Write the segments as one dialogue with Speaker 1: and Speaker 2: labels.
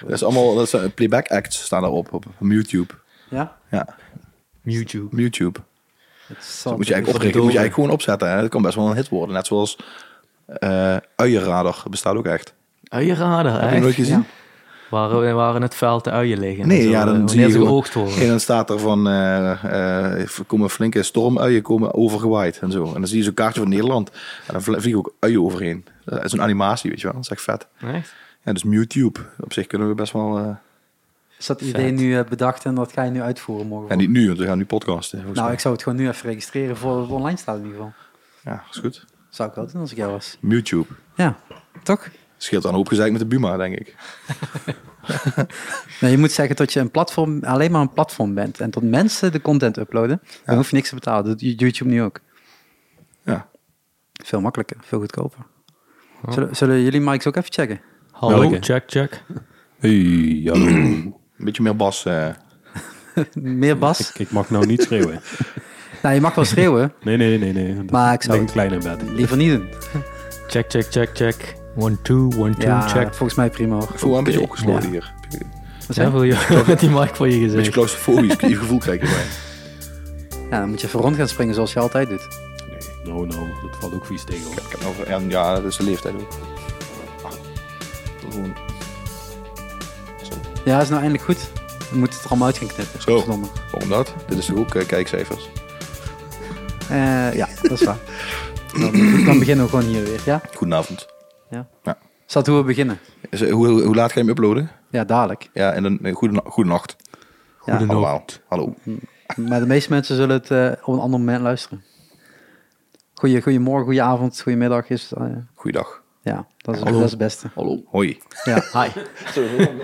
Speaker 1: Dat is allemaal dat zijn playback acts staan daarop op YouTube.
Speaker 2: Ja?
Speaker 1: Ja,
Speaker 3: YouTube.
Speaker 1: op YouTube.
Speaker 2: Het Oh, is
Speaker 1: Dat moet je eigenlijk oprichten. Moet je eigenlijk gewoon opzetten. Hè? Dat kan best wel een hit worden. Net zoals eh uienradar bestaat ook echt.
Speaker 3: Oh, Uienradar,
Speaker 1: Heb je
Speaker 3: echt?
Speaker 1: nooit gezien?
Speaker 3: Waar, we- waar in het veld de uien liggen. en
Speaker 1: Nee,
Speaker 3: zo,
Speaker 1: ja, dan
Speaker 3: wanneer
Speaker 1: zie je
Speaker 3: ze
Speaker 1: gewoon-
Speaker 3: eh, geoogd worden.
Speaker 1: En dan staat er van, eh, eh, komen flinke stormuien komen overgewaaid en zo. En dan zie je zo'n kaartje van Nederland. En dan vlie- vliegen ook uien overheen. Dat is een animatie, weet je wel. Dat is echt vet.
Speaker 3: Echt?
Speaker 1: Ja, dus YouTube. Op zich kunnen we best wel... eh,
Speaker 2: Is dat idee
Speaker 3: Vet.
Speaker 2: nu eh, bedacht en dat ga je nu uitvoeren morgen?
Speaker 1: en niet nu, want we gaan nu podcasten. volgens
Speaker 2: nou,
Speaker 1: mij.
Speaker 2: ik zou het gewoon nu even registreren voor het online staat in ieder geval.
Speaker 1: Ja, is goed.
Speaker 2: Zou ik wel doen als ik jou was.
Speaker 1: YouTube.
Speaker 2: Ja, toch?
Speaker 1: Scheelt dan een hoop gezeik met de Buma, denk ik.
Speaker 2: Nee, Nou, je moet zeggen dat je een platform, alleen maar een platform bent. En dat mensen de content uploaden, dan hoef je niks te betalen. Dat doet YouTube nu ook.
Speaker 1: Ja.
Speaker 2: Veel makkelijker, veel goedkoper. Zullen, zullen jullie mics ook even checken?
Speaker 3: Hallo,
Speaker 1: Welke?
Speaker 3: Nou, check, check.
Speaker 4: Hey, hallo.
Speaker 1: Een beetje meer bas. eh.
Speaker 2: Meer Bas?
Speaker 4: ik mag nou niet schreeuwen.
Speaker 2: Nou, je mag wel schreeuwen,
Speaker 4: Nee, nee, nee, nee. Dat
Speaker 2: Maar ik zou
Speaker 4: ligt
Speaker 2: het-
Speaker 4: een klein in bed.
Speaker 2: liever niet doen.
Speaker 3: Check, check, check, check. One, two, one, two,
Speaker 2: Ja,
Speaker 3: check.
Speaker 2: volgens mij prima hoor.
Speaker 1: ik voel me een beetje opgesloten hier. Een
Speaker 2: Wat
Speaker 3: Zijn
Speaker 2: zeg je?
Speaker 3: voor je met die mic voor je
Speaker 1: beetje
Speaker 3: gezicht.
Speaker 1: claustrofobisch gevoel krijg je bij.
Speaker 2: Ja, dan moet je even rond gaan springen zoals je altijd doet.
Speaker 4: Nou, nou, dat valt ook vies tegen. hoor.
Speaker 1: Ik heb nog- en ja, dat is de leeftijd ook. Dat is gewoon-
Speaker 2: Ja, is nou eindelijk goed. We moeten het er allemaal uit gaan knippen.
Speaker 1: Zo.
Speaker 2: Verdomme.
Speaker 1: Oh. Waarom dat? Dit is toch ook eh, kijkcijfers?
Speaker 2: Eh, ja, dat is waar. Dan, dan beginnen we gewoon hier weer, ja?
Speaker 1: Goedenavond.
Speaker 2: Ja.
Speaker 1: Ja.
Speaker 2: Is dat hoe we beginnen?
Speaker 1: Is, eh, hoe, hoe laat ga je hem uploaden?
Speaker 2: Ja, dadelijk.
Speaker 1: Ja, en dan eh, goeden, goedenacht.
Speaker 2: Ja.
Speaker 1: Allemaal. Hallo.
Speaker 2: Maar de meeste mensen zullen het eh, op een ander moment luisteren. Goeie, goeiemorgen, goeieavond, goeiemiddag is... eh,
Speaker 1: Goeiedag.
Speaker 2: ja, dat is, dat is het beste.
Speaker 1: Hallo. Hoi.
Speaker 2: Ja. Hi.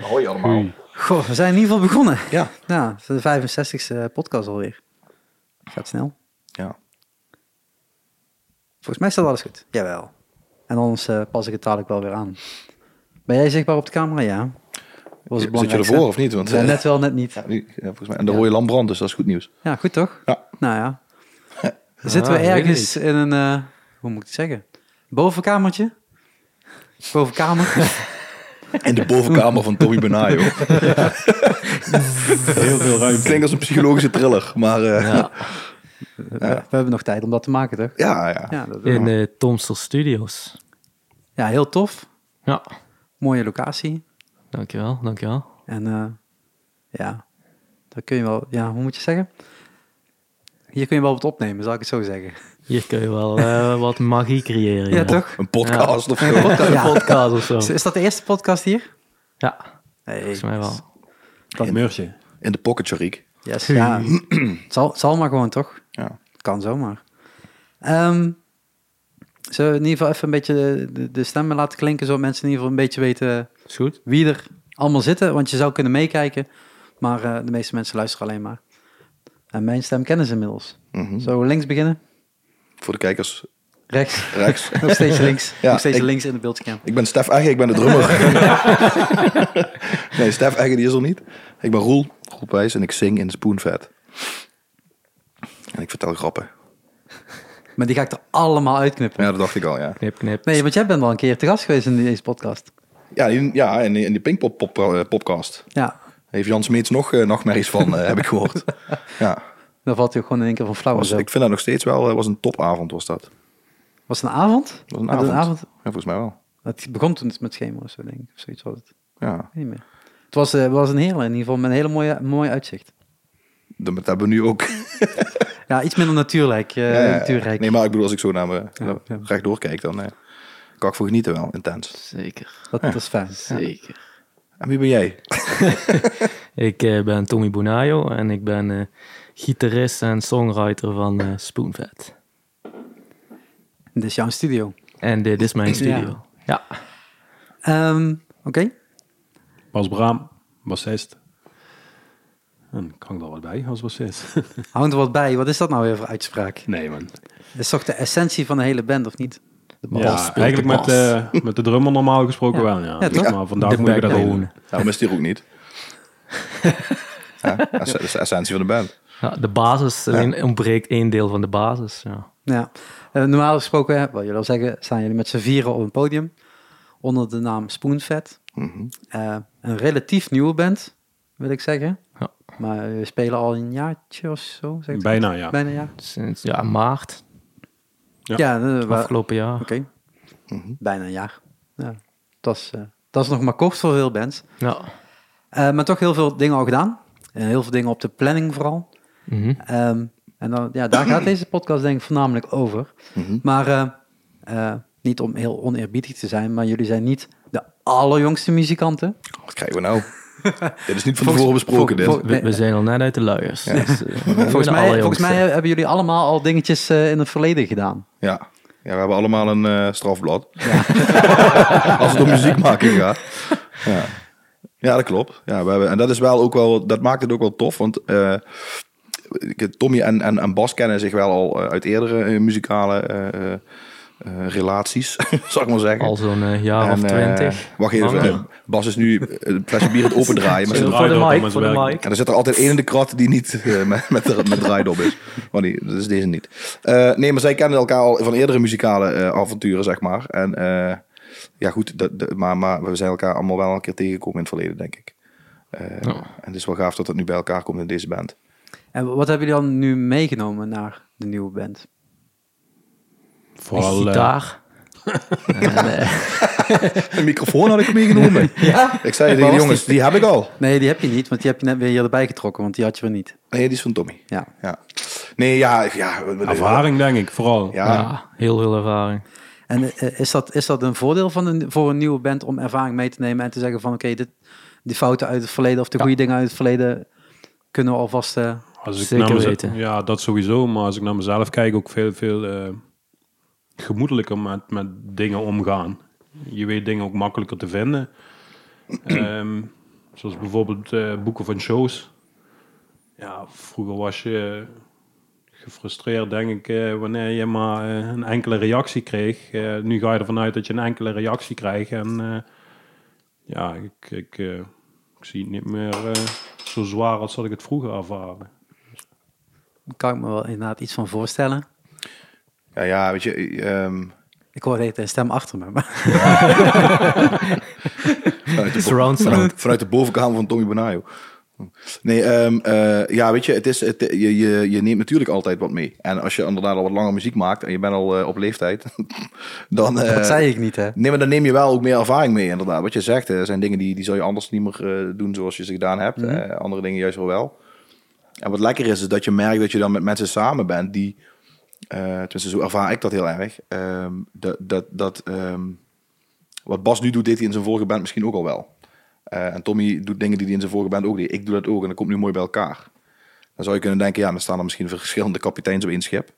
Speaker 1: Hoi allemaal.
Speaker 2: Goh, we zijn in ieder geval begonnen.
Speaker 1: Ja.
Speaker 2: Nou, het is de 65ste podcast alweer. Gaat snel.
Speaker 1: Ja.
Speaker 2: Volgens mij staat alles goed. Jawel. En anders eh, pas ik het dadelijk wel weer aan. Ben jij zichtbaar op de camera? Ja. Dat was het
Speaker 1: Zit je
Speaker 2: belangrijkste.
Speaker 1: ervoor of niet? Want,
Speaker 2: Ja,
Speaker 1: eh,
Speaker 2: net wel, net niet.
Speaker 1: ja, nu- ja, volgens mij. En de rode lamp brandt, dus dat is goed nieuws.
Speaker 2: Ja, goed toch?
Speaker 1: Ja.
Speaker 2: Nou ja. Zitten we
Speaker 3: Ah, weet ik
Speaker 2: ergens in een, eh, hoe moet ik het zeggen? Bovenkamertje? Bovenkamer?
Speaker 1: In de bovenkamer van Tommy Benayo.
Speaker 4: Heel veel
Speaker 1: Het
Speaker 4: ruimte.
Speaker 1: klinkt als een psychologische thriller, maar eh, ja.
Speaker 2: we, we hebben nog tijd om dat te maken, toch?
Speaker 1: Ja, ja.
Speaker 2: Ja, dat,
Speaker 3: In eh Tomster Studios.
Speaker 2: ja heel tof.
Speaker 3: Ja,
Speaker 2: Mooie locatie.
Speaker 3: dankjewel, dankjewel.
Speaker 2: En eh, ja, daar kun je wel, ja, hoe moet je zeggen? Hier kun je wel wat opnemen, zal ik het zo zeggen.
Speaker 3: Hier kun je wel eh, wat magie creëren.
Speaker 2: Ja, toch?
Speaker 1: Een podcast of zo.
Speaker 3: Een
Speaker 2: Ja.
Speaker 3: podcast of zo.
Speaker 2: Is, is dat de eerste podcast hier?
Speaker 3: Ja,
Speaker 2: Nee,
Speaker 3: volgens mij wel.
Speaker 4: Meursje.
Speaker 1: In de pocket, Sharik.
Speaker 2: Yes, ja. het, zal, het zal maar gewoon, toch?
Speaker 1: Ja.
Speaker 2: Kan zomaar. Ehm zullen we in ieder geval even een beetje de, de stemmen laten klinken, zodat mensen in ieder geval een beetje weten
Speaker 3: Is goed.
Speaker 2: wie er allemaal zitten. Want je zou kunnen meekijken, maar eh, de meeste mensen luisteren alleen maar. En mijn stem kennen ze inmiddels.
Speaker 1: Mhm.
Speaker 2: Zo, links beginnen.
Speaker 1: Voor de kijkers
Speaker 2: Rechts.
Speaker 1: rechts.
Speaker 2: Nog steeds links.
Speaker 1: Ja,
Speaker 2: Nog steeds
Speaker 1: ik-
Speaker 2: links in de beeldscherm.
Speaker 1: Ik ben Stef Egge, ik ben de drummer. nee, Stef Egge die is er niet. Ik ben Roel, Roel Pijs, en ik zing in Spoonvet. En ik vertel grappen.
Speaker 2: Maar die ga ik er allemaal uitknippen.
Speaker 1: Ja, dat dacht ik al, ja.
Speaker 3: Knip, knip.
Speaker 2: Nee, want jij bent al een keer te gast geweest in deze podcast.
Speaker 1: Ja, in, ja, in, die- in die Pinkpop pop, eh, podcast
Speaker 2: Ja,
Speaker 1: heeft Jan Smeets nog eh, nachtmerries van, eh, heb ik gehoord. Ja,
Speaker 2: daar valt hij ook gewoon in één keer van flauw.
Speaker 1: was,
Speaker 2: Was,
Speaker 1: ik vind dat nog steeds wel, het was een topavond was dat.
Speaker 2: was het een avond?
Speaker 1: Was Ah, een
Speaker 2: Had het
Speaker 1: avond. Ja, volgens mij wel.
Speaker 2: Het begon toen met schema of zo, denk ik. Of zoiets was het.
Speaker 1: Ja,
Speaker 2: Ik weet niet meer. Het was, eh, was een hele, in ieder geval met een hele mooie, mooi uitzicht.
Speaker 1: dat, dat hebben we nu ook.
Speaker 2: Ja, iets minder natuurlijk. eh,
Speaker 1: Ja, ja, ja.
Speaker 2: natuurrijk.
Speaker 1: Nee, maar ik bedoel, als ik zo naar me
Speaker 2: Ja, ja.
Speaker 1: rechtdoor kijk, dan eh, kan ik voor genieten wel, intens.
Speaker 3: Zeker,
Speaker 2: dat, dat is fijn.
Speaker 3: zeker.
Speaker 1: En wie ben jij?
Speaker 3: Ik eh, ben Tommy Bonayo en ik ben eh, gitarist en songwriter van eh Spoonvet.
Speaker 2: Dit is jouw studio.
Speaker 3: En dit is mijn studio. Ja,
Speaker 2: Ehm, Oké.
Speaker 4: Bas Braam, bassist. En kan ik er wat bij als bassist?
Speaker 2: Hou er wat bij. Wat is dat nou weer voor uitspraak?
Speaker 4: nee, man.
Speaker 2: Dat is toch de essentie van de hele band, of niet? De bas.
Speaker 4: Ja,
Speaker 3: speelt
Speaker 4: eigenlijk
Speaker 3: de
Speaker 4: met, eh met de drummer normaal gesproken
Speaker 2: Ja.
Speaker 4: wel, ja.
Speaker 2: Ja, toch?
Speaker 4: Maar vandaag
Speaker 3: De
Speaker 4: moet ik dat
Speaker 3: backbone.
Speaker 4: doen.
Speaker 1: Daarom is die er ook Nou, niet. ja, dat is- dat is de essentie van de band.
Speaker 3: ja de basis, alleen ontbreekt één deel van de basis. Ja.
Speaker 2: Ja. Eh, normaal gesproken, eh, wat jullie al zeggen, staan jullie met z'n vieren op een podium. onder de naam Spoonvet.
Speaker 1: Mhm.
Speaker 2: Eh, een relatief nieuwe band, wil ik zeggen.
Speaker 3: Ja.
Speaker 2: Maar we spelen al een jaartje of zo. Zeg ik dat?
Speaker 4: Bijna, ja.
Speaker 2: Bijna een jaar.
Speaker 3: Sinds ja, maart,
Speaker 4: Ja.
Speaker 2: Ja, eh, wa- oké.
Speaker 3: afgelopen jaar.
Speaker 1: Mhm.
Speaker 2: Bijna een jaar. Ja. Dat, is, eh, dat is nog maar kort voor veel bands.
Speaker 3: Ja.
Speaker 2: Eh, maar toch heel veel dingen al gedaan. En heel veel dingen op de planning vooral.
Speaker 3: Mhm.
Speaker 2: Ehm, en dan, ja, daar gaat deze podcast denk ik voornamelijk over.
Speaker 1: Mhm.
Speaker 2: Maar eh, eh, niet om heel oneerbiedig te zijn, maar jullie zijn niet de allerjongste muzikanten.
Speaker 1: Wat krijgen we nou? dit is niet van tevoren besproken, dit.
Speaker 2: vol- vol-
Speaker 3: We, we zijn al net uit de luiers. dus, eh, we zijn
Speaker 2: Volgens
Speaker 3: de
Speaker 2: mij,
Speaker 3: allerjongste.
Speaker 2: volgens mij hebben jullie allemaal al dingetjes eh, in het verleden gedaan.
Speaker 1: Ja. ja, we hebben allemaal een eh, strafblad. Als het om muziekmaking gaat. Ja, ja dat klopt. Ja, we hebben, en dat, is wel ook wel, dat maakt het ook wel tof. Want eh, ik- Tommy en, en, en Bas kennen zich wel al eh, uit eerdere eh, muzikale eh, eh, eh, relaties, zal ik maar zeggen.
Speaker 3: al zo'n eh, jaar of
Speaker 1: En, eh,
Speaker 3: twintig.
Speaker 1: wacht even,
Speaker 3: Langer.
Speaker 1: eh, Bas is nu eh, een flesje bier aan het opendraaien. Maar
Speaker 4: Zo.
Speaker 1: zit er-
Speaker 3: voor de
Speaker 4: draaidoor
Speaker 3: mic,
Speaker 4: om het
Speaker 3: voor de
Speaker 4: werk.
Speaker 3: mic.
Speaker 1: en er zit er altijd één in de krat die niet eh, met, met, de- met draaidop is. Maar die, dat is deze niet. Eh, nee, maar zij kennen elkaar al van eerdere muzikale eh, avonturen, zeg maar. En eh, ja, goed, dat, dat- maar, maar we zijn elkaar allemaal wel een keer tegengekomen in het verleden, denk ik. Eh, En het is wel gaaf dat het nu bij elkaar komt in deze band.
Speaker 2: En wat hebben jullie dan nu meegenomen naar de nieuwe band?
Speaker 4: Vooral eh,
Speaker 3: gitaar.
Speaker 1: Een microfoon had ik meegenomen.
Speaker 2: Ja?
Speaker 1: Ik zei tegen de jongens, die heb ik al.
Speaker 2: Nee, die heb je niet, want die heb je net weer hier erbij getrokken, want die had je weer niet.
Speaker 1: Nee, die is van Tommy.
Speaker 2: Ja.
Speaker 1: Ja. Nee, ja. ja
Speaker 4: ervaring, denk ik, vooral.
Speaker 1: Ja.
Speaker 3: Ja, heel veel ervaring.
Speaker 2: En eh, is, dat, is dat een voordeel van een, voor een nieuwe band om ervaring mee te nemen en te zeggen van oké, dit die fouten uit het verleden of de goede dingen uit het verleden kunnen we alvast... eh,
Speaker 4: Als ik
Speaker 3: Zeker
Speaker 4: naar meze-
Speaker 3: weten.
Speaker 4: Ja, dat sowieso. Maar als ik naar mezelf kijk, ook veel, veel eh, gemoedelijker met, met dingen omgaan. Je weet dingen ook makkelijker te vinden. Ehm, zoals bijvoorbeeld eh, boeken van shows. Ja, vroeger was je gefrustreerd, denk ik, eh, wanneer je maar eh, een enkele reactie kreeg. Eh, nu ga je ervan uit dat je een enkele reactie krijgt. En eh, ja, ik, ik, eh, ik zie het niet meer eh, zo zwaar als dat ik het vroeger ervaarde.
Speaker 2: kan ik me wel inderdaad iets van voorstellen.
Speaker 1: Ja, ja, weet je... ehm,
Speaker 2: Ik hoor het een stem achter me. maar-
Speaker 1: Vanuit de, bo-
Speaker 3: Surround sound.
Speaker 1: vanuit- vanuit de bovenkamer van Tommy Bonayo. Nee, ehm, eh, ja, weet je, het is, het, je, je, je neemt natuurlijk altijd wat mee. En als je inderdaad al wat langer muziek maakt en je bent al eh, op leeftijd, dan... eh,
Speaker 2: dat zei ik niet, hè?
Speaker 1: Nee, maar dan neem je wel ook meer ervaring mee, inderdaad. Wat je zegt, er zijn dingen die, die zal je anders niet meer eh, doen zoals je ze gedaan hebt. Eh, andere dingen juist wel wel. En wat lekker is, is dat je merkt dat je dan met mensen samen bent die... eh tenminste, zo ervaar ik dat heel erg. ehm, dat, dat, dat, ehm, wat Bas nu doet, deed hij in zijn vorige band misschien ook al wel. Eh, en Tommy doet dingen die hij in zijn vorige band ook deed. Ik doe dat ook en dat komt nu mooi bij elkaar. Dan zou je kunnen denken, ja, dan staan er misschien verschillende kapiteins op één schip.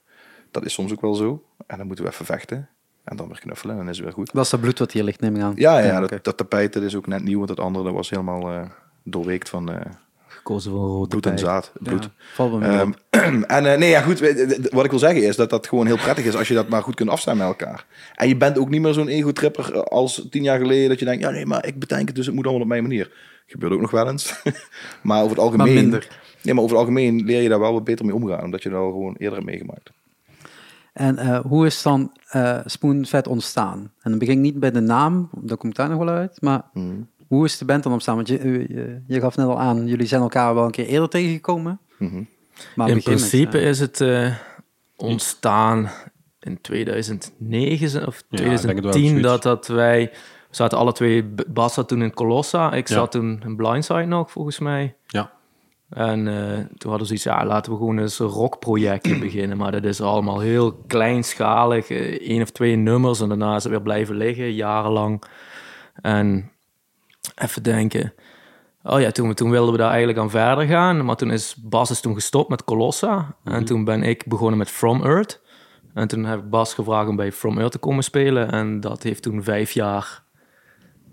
Speaker 1: Dat is soms ook wel zo. En dan moeten we even vechten. En dan weer knuffelen en dan is het weer goed.
Speaker 2: Dat is dat bloed wat hier ligt, neem ik aan.
Speaker 1: Ja, ja
Speaker 2: oké.
Speaker 1: dat, dat tapijt dat is ook net nieuw, want dat andere dat was helemaal eh, doorweekt van eh,
Speaker 3: Gekozen voor een rode
Speaker 1: bloed en
Speaker 3: pijl.
Speaker 1: zaad. Bloed.
Speaker 2: Ja, valt wel mee
Speaker 1: Ehm,
Speaker 2: op.
Speaker 1: en eh, nee, ja, goed. we- d- d- Wat ik wil zeggen is dat dat gewoon heel prettig is als je dat maar goed kunt afstemmen met elkaar. En je bent ook niet meer zo'n ego-tripper eh, als tien jaar geleden dat je denkt, ja nee, maar ik bedenk het, dus het moet allemaal op mijn manier. Gebeurt ook nog wel eens. maar over het algemeen.
Speaker 2: Maar minder.
Speaker 1: Nee, maar over het algemeen leer je daar wel wat beter mee omgaan, omdat je dat al gewoon eerder hebt meegemaakt.
Speaker 2: En eh, hoe is dan eh Spoonvet ontstaan? En dan begin ik niet bij de naam, dan kom ik daar nog wel uit. Maar hoe is de band dan ontstaan? Want je, eh, je, je gaf net al aan, jullie zijn elkaar wel een keer eerder tegengekomen.
Speaker 1: Mhm.
Speaker 2: Maar begin
Speaker 3: In
Speaker 2: met,
Speaker 3: principe
Speaker 2: eh,
Speaker 3: is het eh, ontstaan in 2009 ze- of
Speaker 4: Ja, ik denk het wel,
Speaker 3: 2010
Speaker 4: zoiets.
Speaker 3: dat, dat wij... We zaten alle twee... B- Bas zat toen in Colossa. Ik
Speaker 4: Ja.
Speaker 3: zat toen in Blindside nog, volgens mij.
Speaker 4: Ja.
Speaker 3: En eh, toen hadden ze iets, ja, laten we gewoon eens een rockprojectje beginnen. Maar dat is allemaal heel kleinschalig. eh, één of twee nummers en daarna is het weer blijven liggen, jarenlang. En even denken. Oh ja, toen, toen wilden we daar eigenlijk aan verder gaan. Maar toen is Bas is toen gestopt met Colossa. En toen ben ik begonnen met From Earth. En toen heb ik Bas gevraagd om bij From Earth te komen spelen. En dat heeft toen vijf jaar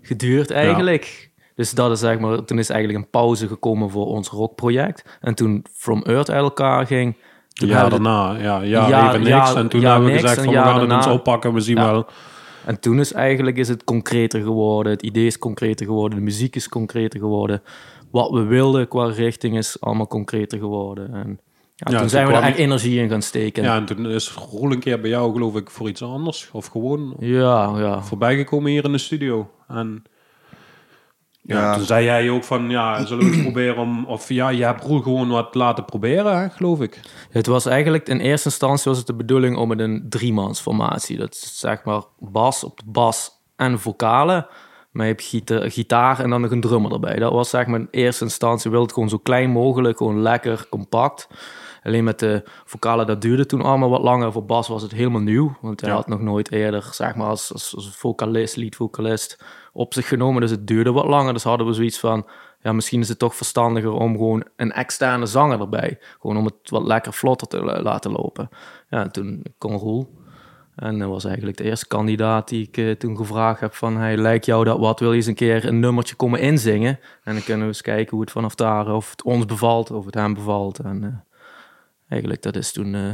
Speaker 3: geduurd eigenlijk. Dus dat is zeg maar, toen is eigenlijk een pauze gekomen voor ons rockproject. En toen From Earth uit elkaar ging. Toen
Speaker 4: Ja,
Speaker 3: hebben we-
Speaker 4: daarna. Ja, ja,
Speaker 3: Ja,
Speaker 4: even
Speaker 3: ja,
Speaker 4: niks. en toen
Speaker 3: ja,
Speaker 4: hebben we
Speaker 3: niks.
Speaker 4: gezegd
Speaker 3: Een
Speaker 4: van we
Speaker 3: jaar
Speaker 4: gaan het
Speaker 3: daarna.
Speaker 4: ons oppakken. We zien
Speaker 3: Ja.
Speaker 4: wel.
Speaker 3: En toen is eigenlijk is het concreter geworden. Het idee is concreter geworden. De muziek is concreter geworden. Wat we wilden qua richting is allemaal concreter geworden. En ja,
Speaker 4: toen
Speaker 3: toen zijn we
Speaker 4: kwam
Speaker 3: daar
Speaker 4: je-
Speaker 3: echt energie in gaan steken.
Speaker 4: Ja, en toen is Roel een keer bij jou geloof ik voor iets anders. Of gewoon
Speaker 3: ja. ja.
Speaker 4: voorbijgekomen hier in de studio. En ja,
Speaker 1: Ja.
Speaker 4: toen zei jij ook van, ja, zullen we het proberen om... Of ja, je hebt Roel gewoon wat laten proberen, hè, geloof ik.
Speaker 3: Het was eigenlijk in eerste instantie was het de bedoeling om met een driemansformatie. Dat is zeg maar bas op de bas en vocalen. Maar je hebt gita- gitaar en dan nog een drummer erbij. Dat was zeg maar in eerste instantie. wilde het gewoon zo klein mogelijk, gewoon lekker compact. Alleen met de vocalen, dat duurde toen allemaal wat langer. Voor Bas was het helemaal nieuw. Want hij
Speaker 4: Ja.
Speaker 3: had nog nooit eerder, zeg maar, als, als, als vocalist, liedvocalist op zich genomen. Dus het duurde wat langer. Dus hadden we zoiets van, ja, misschien is het toch verstandiger om gewoon een externe zanger erbij. Gewoon om het wat lekker vlotter te la- laten lopen. Ja, en toen kon Roel. En dat was eigenlijk de eerste kandidaat die ik eh, toen gevraagd heb van... Hey, lijkt jou dat wat? Wil je eens een keer een nummertje komen inzingen? En dan kunnen we eens kijken hoe het vanaf daar... of het ons bevalt, of het hem bevalt. En eh, eigenlijk dat is toen eh,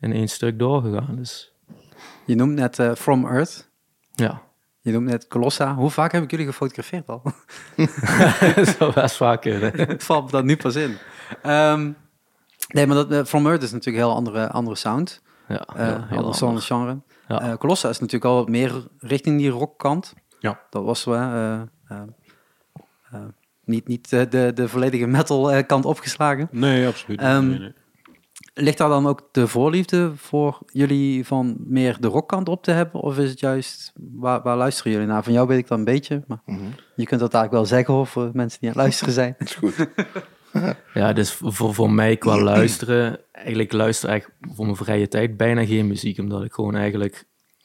Speaker 3: in één stuk doorgegaan. Dus
Speaker 2: Je noemt net eh, From Earth.
Speaker 3: ja,
Speaker 2: Je noemt net Colossa. Hoe vaak heb ik jullie gefotografeerd al?
Speaker 3: dat zou best vaak kunnen.
Speaker 2: Het valt me dat nu pas in. Ehm, nee, maar dat, eh, From Earth is natuurlijk een heel andere, andere sound.
Speaker 3: Ja,
Speaker 2: eh
Speaker 3: ja, heel
Speaker 2: ander
Speaker 3: anders.
Speaker 2: genre.
Speaker 3: Ja.
Speaker 2: Eh, Colossa is natuurlijk al wat meer richting die rockkant.
Speaker 4: Ja.
Speaker 2: Dat was wel... eh, eh, eh, niet niet eh, de, de volledige metal eh, kant opgeslagen.
Speaker 4: Nee, absoluut niet.
Speaker 2: Ehm,
Speaker 4: Nee, nee.
Speaker 2: Ligt daar dan ook de voorliefde voor jullie van meer de rockkant op te hebben? Of is het juist, waar, waar luisteren jullie naar? Van jou weet ik dan een beetje, maar
Speaker 3: Mhm.
Speaker 2: je kunt dat eigenlijk wel zeggen hoor, voor mensen die aan het luisteren zijn.
Speaker 3: Ja, dus voor, voor mij qua luisteren, eigenlijk luister ik voor mijn vrije tijd bijna geen muziek, omdat ik gewoon eigenlijk 24-7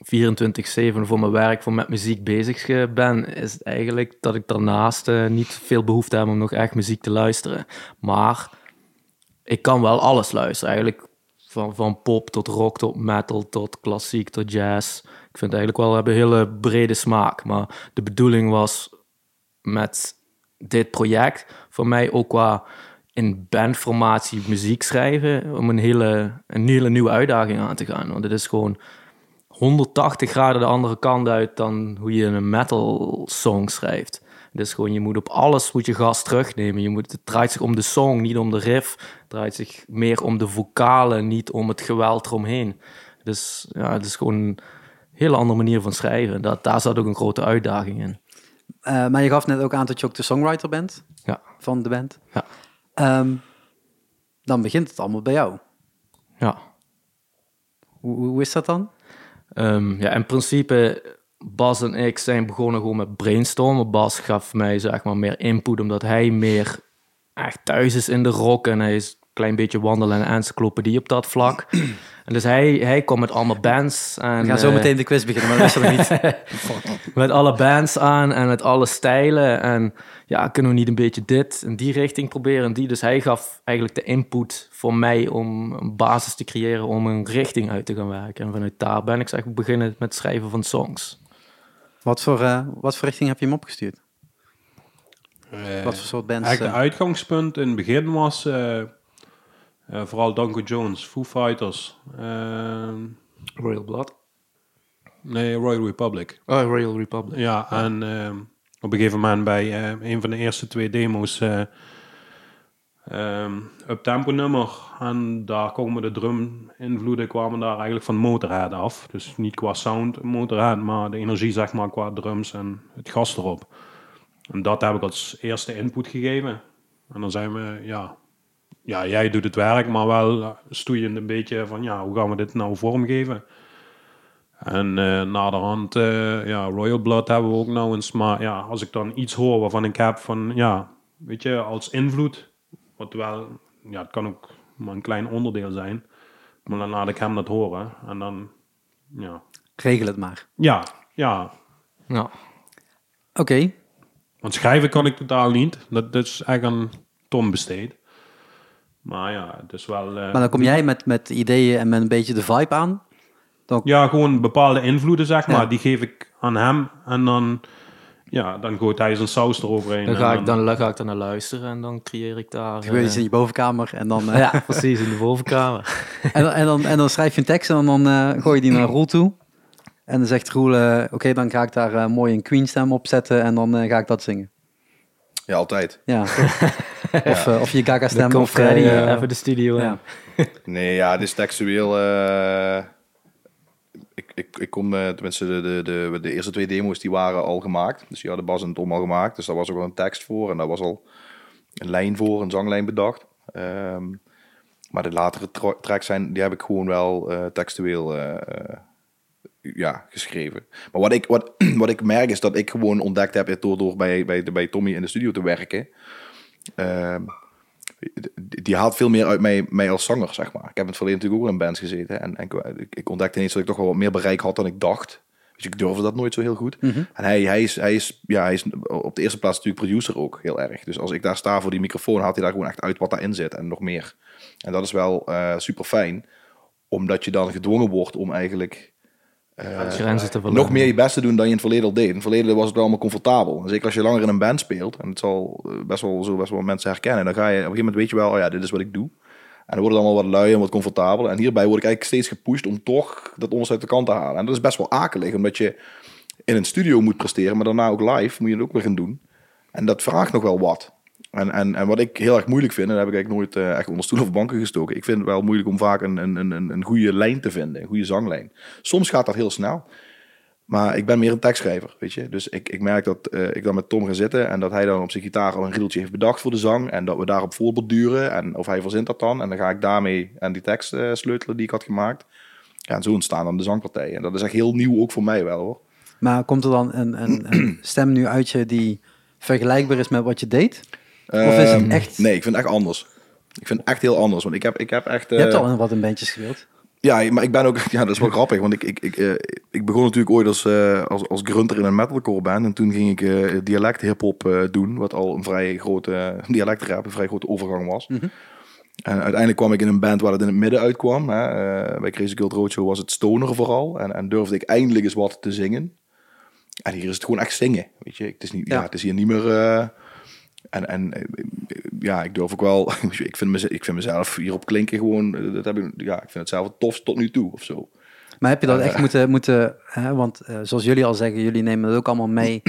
Speaker 3: voor mijn werk, voor met muziek bezig eh, ben, is het eigenlijk dat ik daarnaast eh, niet veel behoefte heb om nog echt muziek te luisteren. Maar ik kan wel alles luisteren, eigenlijk van, van pop tot rock tot metal tot klassiek tot jazz. Ik vind eigenlijk wel, we hebben een hele brede smaak, maar de bedoeling was met dit project voor mij ook qua in bandformatie muziek schrijven om een hele, een hele nieuwe uitdaging aan te gaan. Want het is gewoon 180 graden de andere kant uit dan hoe je een metal song schrijft. Dus gewoon, je moet op alles moet je gas terugnemen. Je moet, het draait zich om de song, niet om de riff. Het draait zich meer om de vocalen, niet om het geweld eromheen. Dus ja, het is gewoon een hele andere manier van schrijven. Dat, daar zat ook een grote uitdaging in.
Speaker 2: Eh, maar je gaf net ook aan dat je ook de songwriter bent
Speaker 3: Ja.
Speaker 2: van de band.
Speaker 3: Ja.
Speaker 2: Ehm, dan begint het allemaal bij jou.
Speaker 3: Ja.
Speaker 2: Hoe, hoe hoe is dat dan?
Speaker 3: Ehm, ja, in principe, Bas en ik zijn begonnen gewoon met brainstormen. Bas gaf mij zeg maar meer input, omdat hij meer echt thuis is in de rock. En hij is een klein beetje wandelen en encyclopedie op dat vlak. En dus hij, hij kwam met allemaal bands. En,
Speaker 2: We gaan zo
Speaker 3: eh,
Speaker 2: meteen de quiz beginnen, maar dat is er nog niet.
Speaker 3: met alle bands aan en met alle stijlen. En ja, kunnen we niet een beetje dit en die richting proberen? En die. Dus hij gaf eigenlijk de input voor mij om een basis te creëren om een richting uit te gaan werken. En vanuit daar ben ik zeg, maar beginnen met het schrijven van songs.
Speaker 2: Wat voor, eh, wat voor richting heb je hem opgestuurd?
Speaker 4: Eh,
Speaker 2: Wat voor soort bands?
Speaker 4: Eigenlijk
Speaker 2: eh,
Speaker 4: het uitgangspunt in het begin was eh, eh, vooral Danko Jones, Foo Fighters, ehm,
Speaker 3: Royal Blood.
Speaker 4: nee, Royal Republic.
Speaker 3: Oh, Royal Republic.
Speaker 4: Ja, en ehm, op een gegeven moment bij eh, een van de eerste twee demo's, eh ehm uptempo nummer, en daar komen de drum invloeden kwamen daar eigenlijk van Motorhead af. Dus niet qua sound Motorhead, maar de energie zeg maar qua drums en het gas erop. En dat heb ik als eerste input gegeven. En dan zijn we, ja, ja jij doet het werk, maar wel stoeiend een beetje van, ja, hoe gaan we dit nou vormgeven? En eh naderhand, eh, ja, Royal Blood hebben we ook nou eens. Maar ja, als ik dan iets hoor waarvan ik heb van, ja, weet je, als invloed, wat wel, ja, het kan ook maar een klein onderdeel zijn. Maar dan laat ik hem dat horen. En dan, ja,
Speaker 2: eh, Regel het maar.
Speaker 4: ja, ja.
Speaker 3: Ja.
Speaker 2: Oké,
Speaker 4: Want schrijven kan ik totaal niet. Dat, dat is echt aan Tom besteed. Maar ja, het is wel... eh,
Speaker 2: maar dan kom jij met, met ideeën en met een beetje de vibe aan.
Speaker 4: Ja, gewoon bepaalde invloeden, zeg
Speaker 2: Ja.
Speaker 4: maar. Die geef ik aan hem. En dan, ja, dan gooit hij zijn saus eroverheen.
Speaker 3: Dan
Speaker 4: en
Speaker 3: ga, ik dan, dan ga ik daar naar luisteren en dan creëer ik daar...
Speaker 2: Gebeurt
Speaker 3: eh,
Speaker 2: iets in je bovenkamer en dan, eh,
Speaker 3: ja, precies, in de bovenkamer.
Speaker 2: en, dan- en, dan, en dan schrijf je een tekst en dan eh, gooi je die naar Roel toe. En dan zegt Roel, eh, oké, dan ga ik daar eh, mooi een Queen stem op zetten en dan eh, ga ik dat zingen.
Speaker 1: Ja, altijd.
Speaker 2: Ja. Of, eh, of je Gaga
Speaker 3: Dan
Speaker 2: stem
Speaker 3: komt
Speaker 2: of
Speaker 3: Freddy
Speaker 2: eh,
Speaker 3: even de studio in.
Speaker 2: ja.
Speaker 1: Nee, ja, dit is textueel. eh, ik, ik, ik kom, eh, tenminste, de, de, de, de eerste twee demo's die waren al gemaakt. Dus die hadden Bas en Tom al gemaakt. Dus daar was ook al een tekst voor en daar was al een lijn voor, een zanglijn bedacht. Ehm, maar de latere tra- tracks zijn, die heb ik gewoon wel eh, textueel eh, eh, ja, geschreven. Maar wat ik, wat, wat ik merk is dat ik gewoon ontdekt heb door, door bij, bij, bij Tommy in de studio te werken. Ehm, die die haalt veel meer uit mij, mij als zanger, zeg maar. Ik heb in het verleden natuurlijk ook in bands gezeten. En, en ik- ik, ik ontdekte ineens dat ik toch wel wat meer bereik had dan ik dacht. Dus ik durfde dat nooit zo heel goed. En hij, hij, is, hij, is, ja, hij is op de eerste plaats natuurlijk producer ook heel erg. Dus als ik daar sta voor die microfoon, haalt hij daar gewoon echt uit wat daarin zit en nog meer. En dat is wel eh, super fijn, omdat je dan gedwongen wordt om eigenlijk
Speaker 3: Grenzen te verleggen.
Speaker 1: nog meer je best te doen dan je in het verleden al deed. In het verleden was het wel allemaal comfortabel. En zeker als je langer in een band speelt, en het zal eh, best wel zo best wel mensen herkennen, dan ga je op een gegeven moment weet je wel, oh ja, dit is wat ik doe. En dan wordt het allemaal wat lui en wat comfortabeler. En hierbij word ik eigenlijk steeds gepusht om toch dat onderste uit de kant te halen. En dat is best wel akelig, omdat je in een studio moet presteren, maar daarna ook live moet je het ook weer gaan doen. En dat vraagt nog wel wat. En, en, en wat ik heel erg moeilijk vind, en dat heb ik eigenlijk nooit eh, echt onder stoelen of banken gestoken. Ik vind het wel moeilijk om vaak een, een, een, een een goede lijn te vinden, een goede zanglijn. Soms gaat dat heel snel. Maar ik ben meer een tekstschrijver, weet je. Dus ik, ik merk dat eh, ik dan met Tom ga zitten en dat hij dan op zijn gitaar al een riedeltje heeft bedacht voor de zang. En dat we daarop voorborduren en of hij verzint dat dan. En dan ga ik daarmee aan die tekst eh, sleutelen die ik had gemaakt. Ja, en zo ontstaan dan de zangpartijen. En dat is echt heel nieuw ook voor mij wel hoor.
Speaker 2: Maar komt er dan een, een, een stem nu uit je die vergelijkbaar is met wat je deed? Of is het
Speaker 1: Ehm,
Speaker 2: echt...
Speaker 1: Nee, ik vind het echt anders. Ik vind het echt heel anders. Want ik heb, ik heb echt...
Speaker 2: Je hebt
Speaker 1: eh,
Speaker 2: al wat in bandjes gespeeld.
Speaker 1: Ja, maar ik ben ook... Ja, dat is wel grappig. Want ik, ik, ik, eh, ik begon natuurlijk ooit als, eh, als, als grunter in een metalcore band. En toen ging ik eh dialect hiphop eh, doen. Wat al een vrij grote... Dialectrap, een vrij grote overgang was. En uiteindelijk kwam ik in een band waar het in het midden uitkwam. Hè. Eh, bij Crazy Guild Roadshow was het stoner vooral. En, en durfde ik eindelijk eens wat te zingen. En hier is het gewoon echt zingen. Weet je, het is, niet, ja.
Speaker 2: Ja.
Speaker 1: het is hier niet meer... eh, en, en eh, ja, ik durf ook wel. Ik vind, mezelf, ik vind mezelf hierop klinken gewoon. eh, Dat heb ik, ja, ik vind het zelf het tofst tot nu toe of zo.
Speaker 2: Maar heb je dat echt moeten... moeten hè, want eh, zoals jullie al zeggen, jullie nemen het ook allemaal mee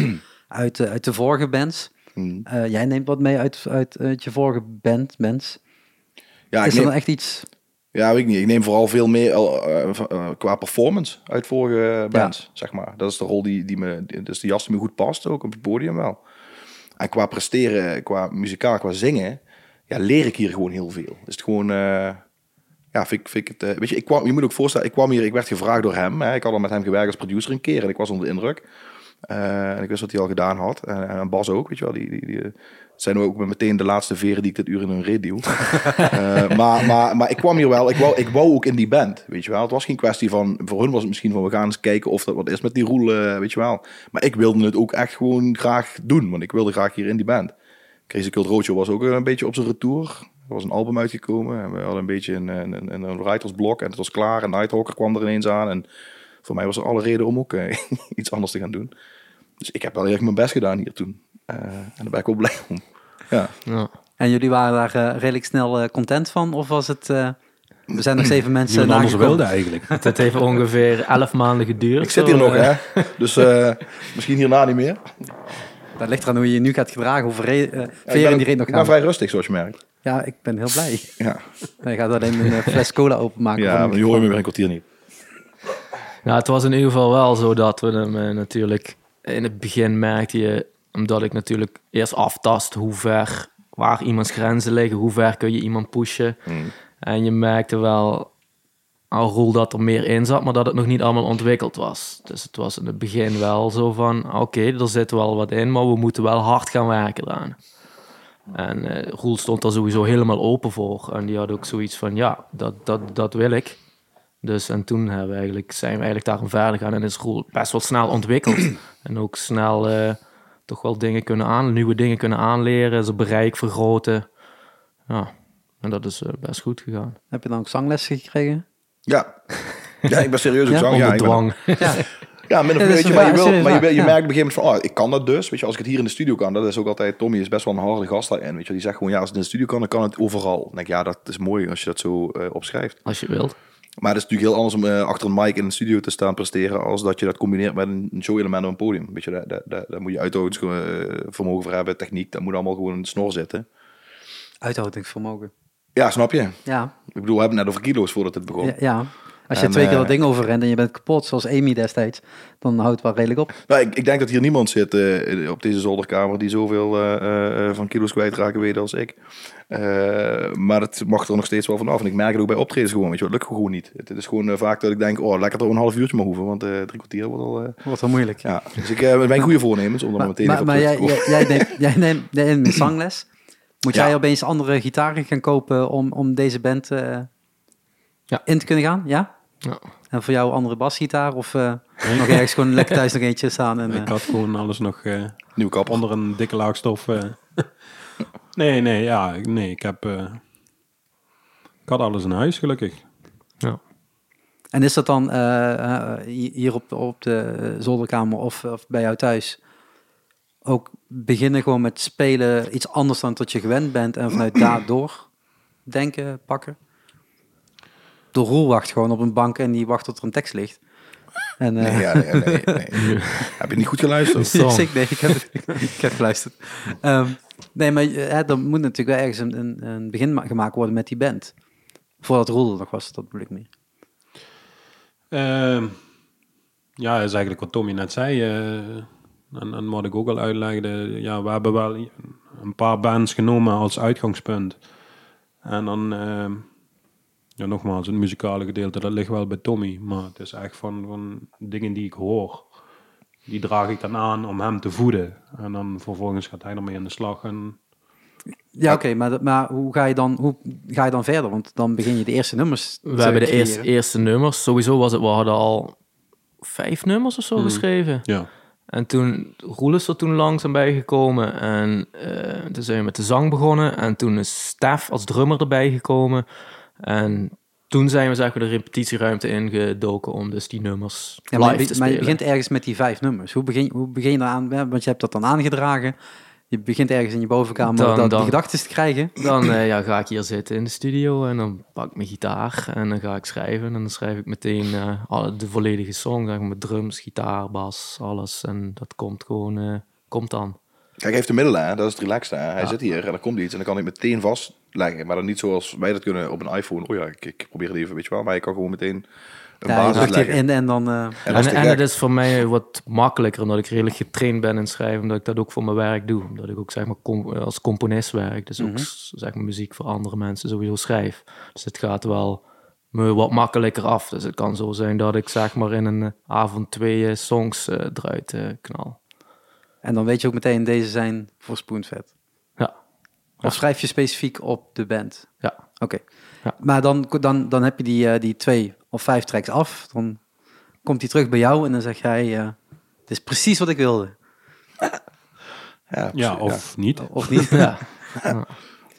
Speaker 2: uit, de- uit de vorige bands.
Speaker 1: Hmm.
Speaker 2: Eh, jij neemt wat mee uit, uit, uit je vorige band, bands.
Speaker 1: Ja, ik
Speaker 2: is
Speaker 1: neem,
Speaker 2: dat dan echt iets...
Speaker 1: ja, weet ik niet. Ik neem vooral veel meer eh, eh, eh, qua performance uit vorige bands, zeg maar. Dat is de rol die, die me, die- dat is de jas die me goed past ook op het podium wel. En qua presteren, qua muzikaal, qua zingen, ja, leer ik hier gewoon heel veel. Is het gewoon, eh, ja, vind ik, vind ik het, eh, weet je, ik kwam, je moet ook voorstellen, ik kwam hier, ik werd gevraagd door hem. Hè, ik had al met hem gewerkt als producer een keer en ik was onder de indruk. Eh, en ik wist wat hij al gedaan had. En, eh, en Bas ook, weet je wel. Die, die, die, eh, het zijn ook meteen de laatste veren die ik dit uur in een reet duw. Eh, maar, maar, maar ik kwam hier wel, ik wou, ik wou ook in die band, weet je wel. Het was geen kwestie van, voor hun was het misschien van, we gaan eens kijken of dat wat is met die roelen, weet je wel. Maar ik wilde het ook echt gewoon graag doen, want ik wilde graag hier in die band. Crazy Cult Roadshow was ook een beetje op zijn retour. Er was een album uitgekomen en we hadden een beetje een, een, een, een writersblok en het was klaar. En Nighthawker kwam er ineens aan en voor mij was er alle reden om ook eh, iets anders te gaan doen. Dus ik heb wel heel erg mijn best gedaan hier toen. Eh, en daar ben ik wel blij om. Ja.
Speaker 3: Ja.
Speaker 2: En jullie waren daar eh, redelijk snel eh, content van? Of was het... eh, we zijn nog zeven mensen
Speaker 4: Iemand anders
Speaker 2: nagekomen?
Speaker 4: wilde eigenlijk.
Speaker 3: Het heeft ongeveer elf maanden geduurd.
Speaker 1: Ik zit hier
Speaker 3: zo,
Speaker 1: nog,
Speaker 3: eh,
Speaker 1: hè? Dus eh, misschien hierna niet meer.
Speaker 2: Dat ligt eraan hoe je je nu gaat gedragen. Hoeveel re- eh,
Speaker 1: Ja,
Speaker 2: veren
Speaker 1: ik ben,
Speaker 2: die reet nog
Speaker 1: ik ben
Speaker 2: aan.
Speaker 1: vrij rustig, zoals je merkt.
Speaker 2: Ja, ik ben heel blij.
Speaker 1: Ja,
Speaker 2: Hij gaat alleen een eh, fles cola openmaken.
Speaker 1: ja
Speaker 2: voor
Speaker 1: maar
Speaker 2: de
Speaker 1: nu hoor je me weer een kwartier niet.
Speaker 3: Nou, het was in ieder geval wel zo dat we hem eh, natuurlijk... In het begin merkte je, omdat ik natuurlijk eerst aftast hoe ver... Waar iemands grenzen liggen, hoe ver kun je iemand pushen. En je merkte wel al Roel dat er meer in zat, maar dat het nog niet allemaal ontwikkeld was. Dus het was in het begin wel zo van, oké, er zit wel wat in, maar we moeten wel hard gaan werken daaraan. En eh, Roel stond daar sowieso helemaal open voor. En die had ook zoiets van, ja, dat, dat, dat wil ik. Dus en toen hebben we eigenlijk, zijn we eigenlijk daarin verder gegaan en is Roel best wel snel ontwikkeld. en ook snel eh, toch wel dingen kunnen aan, nieuwe dingen kunnen aanleren, zijn bereik vergroten. Ja, en dat is eh, best goed gegaan.
Speaker 2: Heb je dan ook zangles gekregen?
Speaker 1: Ja. ja, ik ben serieus ook
Speaker 2: Ja?
Speaker 1: zang. Oh, Ja, ik
Speaker 3: Onder
Speaker 1: ben-
Speaker 3: dwang.
Speaker 2: Ja.
Speaker 1: Ja, min of meer,
Speaker 2: Ja, dat
Speaker 1: weet
Speaker 2: is
Speaker 1: je,
Speaker 2: waar,
Speaker 1: maar je, wil,
Speaker 2: serieus
Speaker 1: maar je,
Speaker 2: waar,
Speaker 1: wil- je
Speaker 2: ja.
Speaker 1: merkt op een gegeven moment van, oh, ik kan dat dus. Weet je, als ik het hier in de studio kan, dat is ook altijd, Tommy is best wel een harde gast daarin. Weet je, die zegt gewoon, ja, als het in de studio kan, dan kan het overal. Dan denk ik, ja, dat is mooi als je dat zo eh, opschrijft.
Speaker 3: Als je wilt.
Speaker 1: Maar het is natuurlijk heel anders om eh, achter een mic in een studio te staan presteren, als dat je dat combineert met een een show-element op een podium. Weet je, daar, daar, daar, daar moet je uithoudingsvermogen voor hebben, techniek, dat moet allemaal gewoon in de snor zitten.
Speaker 2: Uithoudingsvermogen.
Speaker 1: Ja, snap je?
Speaker 2: Ja,
Speaker 1: Ik bedoel, we hebben het net over kilo's voordat het begon.
Speaker 2: ja, ja. Als je
Speaker 1: En,
Speaker 2: twee keer
Speaker 1: eh,
Speaker 2: dat ding overrent en je bent kapot, zoals Amy destijds, dan houdt het wel redelijk op.
Speaker 1: Nou, ik, ik denk dat hier niemand zit eh, op deze zolderkamer die zoveel eh, eh, eh, van kilo's kwijtraken weet als ik. Eh, maar het mag er nog steeds wel van af. En ik merk het ook bij optredens gewoon, weet je, wel, het lukt gewoon niet. Het, het is gewoon eh, vaak dat ik denk, oh, lekker toch een half uurtje maar hoeven, want eh, drie kwartier wordt al... eh,
Speaker 2: Wordt wel moeilijk.
Speaker 1: ja, dus ik eh, ben goede voornemens om er
Speaker 2: maar
Speaker 1: meteen
Speaker 2: maar,
Speaker 1: even
Speaker 2: maar
Speaker 1: op terug
Speaker 2: jij,
Speaker 1: te komen.
Speaker 2: jij, jij neemt, jij neemt, jij neemt zangles. Moet
Speaker 1: Ja.
Speaker 2: jij opeens andere gitaren gaan kopen om, om deze band eh,
Speaker 3: Ja.
Speaker 2: in te kunnen gaan? Ja?
Speaker 3: Ja.
Speaker 2: En voor jou een andere basgitaar? Of eh nog ergens gewoon lekker thuis nog eentje staan? En, eh,
Speaker 4: Ik had gewoon alles nog eh,
Speaker 1: Nieuwe kapper.
Speaker 4: onder een dikke laag stof. eh. nee, nee, ja, ik- nee, ik heb... eh, ik had alles in huis, gelukkig.
Speaker 3: Ja.
Speaker 2: en is dat dan eh, eh, hi- hier op de, op de zolderkamer of, of bij jou thuis ook beginnen gewoon met spelen iets anders dan dat je gewend bent en vanuit daardoor denken, pakken? De roel wacht gewoon op een bank en die wacht tot er een tekst ligt. En, eh,
Speaker 1: Nee, ja, nee, nee, nee. Heb je niet goed geluisterd?
Speaker 3: Song.
Speaker 2: Zeker, nee, ik heb, ik heb geluisterd. Ehm, nee, maar hè, er moet natuurlijk wel ergens een, een, een begin ma- gemaakt worden met die band. Voordat Roel er nog was, dat bedoel ik meer.
Speaker 4: Ehm, ja, dat is eigenlijk wat Tommy net zei. eh, en, en wat ik ook al uitlegde. Ja, we hebben wel een paar bands genomen als uitgangspunt. En dan, ehm, ja, nogmaals, het muzikale gedeelte, dat ligt wel bij Tommy. Maar het is echt van, van dingen die ik hoor. Die draag ik dan aan om hem te voeden. En dan vervolgens gaat hij ermee aan de slag. En
Speaker 2: Ja, oké, maar, dat- maar hoe, ga je dan, hoe ga je dan verder? Want dan begin je de eerste nummers
Speaker 3: We hebben de eerste,
Speaker 2: eerste...
Speaker 3: eerste nummers. Sowieso was het, we hadden al vijf nummers of
Speaker 1: Hmm.
Speaker 3: zo geschreven.
Speaker 4: ja,
Speaker 3: En toen, Roel is er toen langzaam bij gekomen. En eh, toen zijn we met de zang begonnen. En toen is Stef als drummer erbij gekomen. En toen zijn we zeg maar, de repetitieruimte ingedoken om dus die nummers
Speaker 2: Ja,
Speaker 3: live
Speaker 2: maar, je,
Speaker 3: te
Speaker 2: be-
Speaker 3: spelen.
Speaker 2: maar je begint ergens met die vijf nummers. Hoe begin, hoe begin je eraan? Ja, Want je hebt dat dan aangedragen. Je begint ergens in je bovenkamer
Speaker 3: Dan-
Speaker 2: dat,
Speaker 3: dan.
Speaker 2: die gedachten te krijgen.
Speaker 3: Dan eh, ja, ga ik hier zitten in de studio en dan pak ik mijn gitaar en dan ga ik schrijven. En dan schrijf ik meteen eh, alle, de volledige song, zeg maar, met drums, gitaar, bas, alles. En dat komt gewoon, eh, komt dan.
Speaker 1: Kijk, hij heeft de middelen, hè? dat is het relaxed. Hè? Hij zit hier en er komt iets en dan kan ik meteen vastleggen. Maar dan niet zoals wij dat kunnen op een iPhone. Oh ja, ik, ik probeer het even, weet je wel. Maar je kan gewoon meteen een
Speaker 2: Ja, je
Speaker 1: basis
Speaker 2: pakt die
Speaker 1: leggen.
Speaker 2: in en dan... eh,
Speaker 1: En
Speaker 3: En,
Speaker 1: dat
Speaker 3: en,
Speaker 1: is te
Speaker 3: het
Speaker 1: gek.
Speaker 3: is voor mij wat makkelijker, omdat ik redelijk getraind ben in schrijven, omdat ik dat ook voor mijn werk doe. Omdat ik ook zeg maar, com- als componist werk, dus ook s- zeg maar, muziek voor andere mensen sowieso schrijf. Dus het gaat wel me wat makkelijker af. Dus het kan zo zijn dat ik zeg maar in een eh, avond twee eh, songs eh, eruit eh, knal.
Speaker 2: en dan weet je ook meteen, deze zijn voor Spoonvet.
Speaker 3: Ja,
Speaker 2: Of schrijf je specifiek op de band?
Speaker 3: ja.
Speaker 2: Oké.
Speaker 3: Ja.
Speaker 2: Maar dan, dan, dan heb je die, eh, die twee of vijf tracks af. Dan komt die terug bij jou en dan zeg jij... eh, het is precies wat ik wilde. dus-
Speaker 1: Ja,
Speaker 4: ja
Speaker 1: precies,
Speaker 4: of niet.
Speaker 2: Of niet?
Speaker 3: ja.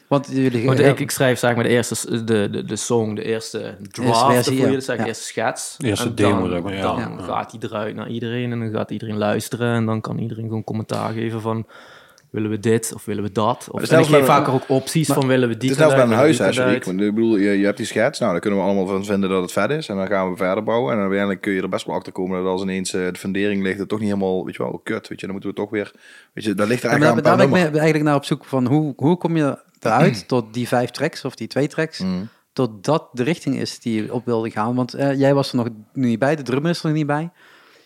Speaker 2: Want jullie...
Speaker 3: Want
Speaker 2: ja,
Speaker 3: ik, ik schrijf zeg maar de eerste s- de, de, de song, de eerste draft,
Speaker 2: versie,
Speaker 3: of hoe je
Speaker 2: ja.
Speaker 3: dat zegt,
Speaker 2: Ja.
Speaker 3: de eerste schets.
Speaker 4: Eerste
Speaker 3: En dan-
Speaker 4: demo, zeg maar, ja.
Speaker 3: Dan
Speaker 4: Ja.
Speaker 3: gaat die eruit naar iedereen en dan gaat iedereen luisteren en dan kan iedereen gewoon commentaar geven van willen we dit of willen we dat. Of,
Speaker 1: het is
Speaker 3: en ik
Speaker 1: zelfs
Speaker 3: geef
Speaker 1: bij-
Speaker 3: vaker ook opties van willen we die
Speaker 1: Het is net als bij een huis,
Speaker 3: eruit, willen
Speaker 1: hè,
Speaker 3: we die
Speaker 1: Sjoerd?
Speaker 3: eruit.
Speaker 1: Want Ik bedoel, je, je hebt die schets. Nou, dan kunnen we allemaal van vinden dat het vet is. En dan gaan we verder bouwen. En uiteindelijk kun je er best wel achter komen dat als ineens eh, de fundering ligt, het toch niet helemaal, weet je wel, oh, kut. Weet je, dan moeten we toch weer, weet je, daar ligt er
Speaker 2: Ja, maar
Speaker 1: eigenlijk
Speaker 2: daar,
Speaker 1: aan een
Speaker 2: daar ben
Speaker 1: paar
Speaker 2: ik mee-
Speaker 1: nummer.
Speaker 2: eigenlijk naar op zoek van hoe, hoe kom je eruit tot die vijf tracks of die twee tracks,
Speaker 1: Mm.
Speaker 2: tot dat de richting is die je op wilde gaan. Want eh, jij was er nog niet bij, de drummer is er niet bij.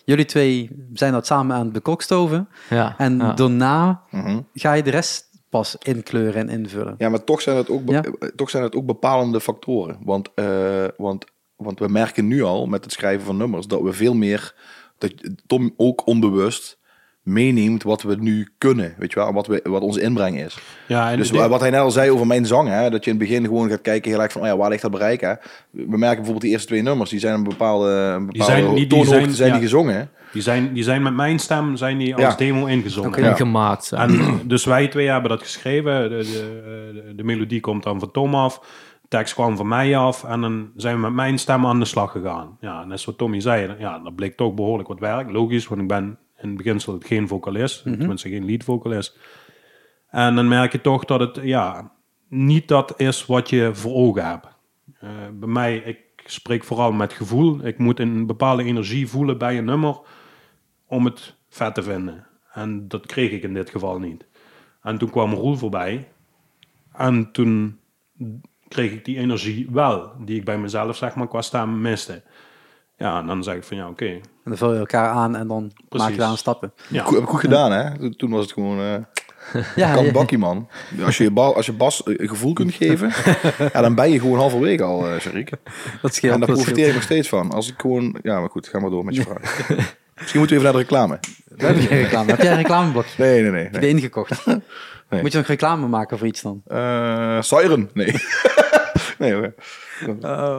Speaker 2: Jullie twee zijn dat samen aan het bekokstoven.
Speaker 3: Ja,
Speaker 2: En
Speaker 3: ja.
Speaker 2: daarna
Speaker 1: Mhm.
Speaker 2: ga je de rest pas inkleuren en invullen.
Speaker 1: Ja, maar toch zijn het ook, be-
Speaker 2: Ja.
Speaker 1: eh, toch zijn het ook bepalende factoren. Want, eh, want, want we merken nu al met het schrijven van nummers dat we veel meer, dat Tom ook onbewust meeneemt wat we nu kunnen, weet je wel, en wat, we, wat onze inbreng is.
Speaker 4: Ja, en
Speaker 1: Dus
Speaker 4: dit-
Speaker 1: wa- wat hij net al zei over mijn zang, hè, dat je in het begin gewoon gaat kijken heel erg van, oh ja, waar ligt dat bereik? Hè? We merken bijvoorbeeld die eerste twee nummers, die zijn een bepaalde, een bepaalde
Speaker 4: zijn niet- die
Speaker 1: toonhoogte
Speaker 4: zijn-
Speaker 1: zijn die
Speaker 4: ja.
Speaker 1: gezongen.
Speaker 4: die, zijn, die zijn met mijn stem zijn die als
Speaker 1: Ja.
Speaker 4: demo ingezongen.
Speaker 2: Oké.
Speaker 3: En
Speaker 1: Ja.
Speaker 3: gemaakt zijn.
Speaker 4: En dus wij twee hebben dat geschreven. De, de, de, de melodie komt dan van Tom af. De tekst kwam van mij af. En dan zijn we met mijn stem aan de slag gegaan. Ja, net zoals Tommy zei. Ja, dat bleek toch behoorlijk wat werk. Logisch, want ik ben in het beginsel geen vocalist. Tenminste, geen lead vocalist. En dan merk je toch dat het ja, niet dat is wat je voor ogen hebt. Eh, bij mij, ik spreek vooral met gevoel. Ik moet een bepaalde energie voelen bij een nummer om het vet te vinden. En dat kreeg ik in dit geval niet. En toen kwam Roel voorbij. En toen kreeg ik die energie wel, die ik bij mezelf zeg maar qua stem miste. Ja, en dan zeg ik van ja, oké.
Speaker 2: En dan vul je elkaar aan en dan maak je daar een stappen.
Speaker 4: Ja.
Speaker 1: Goed- heb ik goed gedaan, hè? Toen- Toen was het gewoon... eh,
Speaker 2: Ah, Ja,
Speaker 1: kan
Speaker 2: ja.
Speaker 1: bakkie, man. Als je, je bal, als je Bas eh, een gevoel kunt geven, ja, dan ben je gewoon halverwege al, eh Sharik.
Speaker 2: dat scheelt.
Speaker 1: En daar
Speaker 2: dat
Speaker 1: profiteer
Speaker 2: scheelt.
Speaker 1: ik nog steeds van. Als ik gewoon... Ja, maar goed, ga maar door met je vraag. Misschien moeten we even naar de reclame.
Speaker 2: We hebben geen reclame. Heb jij een reclameblokje?
Speaker 1: Nee, nee, nee.
Speaker 2: Heb
Speaker 1: nee.
Speaker 2: je ingekocht? Moet je nog reclame maken voor iets dan?
Speaker 1: Eh, siren? Nee. nee, oké.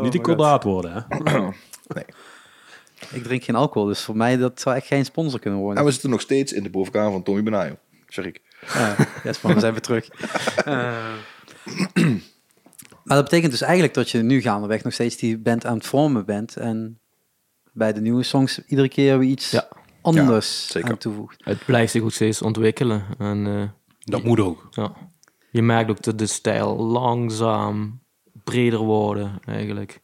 Speaker 4: Niet die kordaat worden, hè.
Speaker 2: Ik drink geen alcohol, dus voor mij dat zou echt geen sponsor kunnen worden.
Speaker 1: En Ah, we zitten nog steeds in de bovenkamer van Tommy Benayo. Sharik.
Speaker 2: Ja, yes man, we zijn weer terug. Eh, maar dat betekent dus eigenlijk dat je nu gaandeweg nog steeds die band aan het vormen bent. En bij de nieuwe songs iedere keer weer iets
Speaker 3: Ja.
Speaker 2: anders
Speaker 1: Ja, zeker.
Speaker 2: aan toevoegt.
Speaker 3: Het blijft zich ook steeds ontwikkelen. En eh,
Speaker 4: Dat moet ook.
Speaker 3: ja, je merkt ook dat de stijl langzaam breder worden eigenlijk.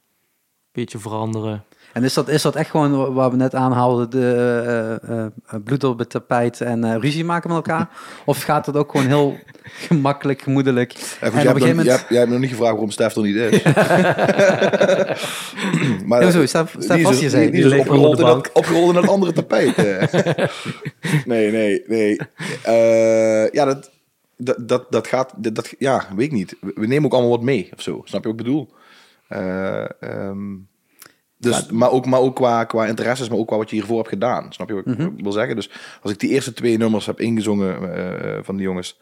Speaker 3: Beetje veranderen.
Speaker 2: En is dat, is dat echt gewoon wa- waar we net aanhaalden, de eh, eh, eh, bloed op het tapijt en eh, ruzie maken met elkaar? of gaat dat ook gewoon heel gemakkelijk, gemoedelijk?
Speaker 1: Ja, goed, jij, hebt nog, jij, hebt, jij hebt nog niet gevraagd waarom Stef er niet is. maar
Speaker 2: Ja, zo, Stef- Stef was hier,
Speaker 1: Die,
Speaker 2: zei hij.
Speaker 1: die is
Speaker 3: Die leek
Speaker 1: opgerold, in
Speaker 3: onder de
Speaker 1: dat, opgerold in dat andere tapijt. eh. nee, nee, nee. Eh, ja, dat, dat, dat, dat gaat... Dat, dat- ja, weet ik niet. We we nemen ook allemaal wat mee of zo. Snap je wat ik bedoel? Eh, ehm, dus, maar ook, maar ook qua, qua interesses, maar ook qua wat je hiervoor hebt gedaan. Snap je wat ik wil zeggen? Dus als ik die eerste twee nummers heb ingezongen eh, van die jongens,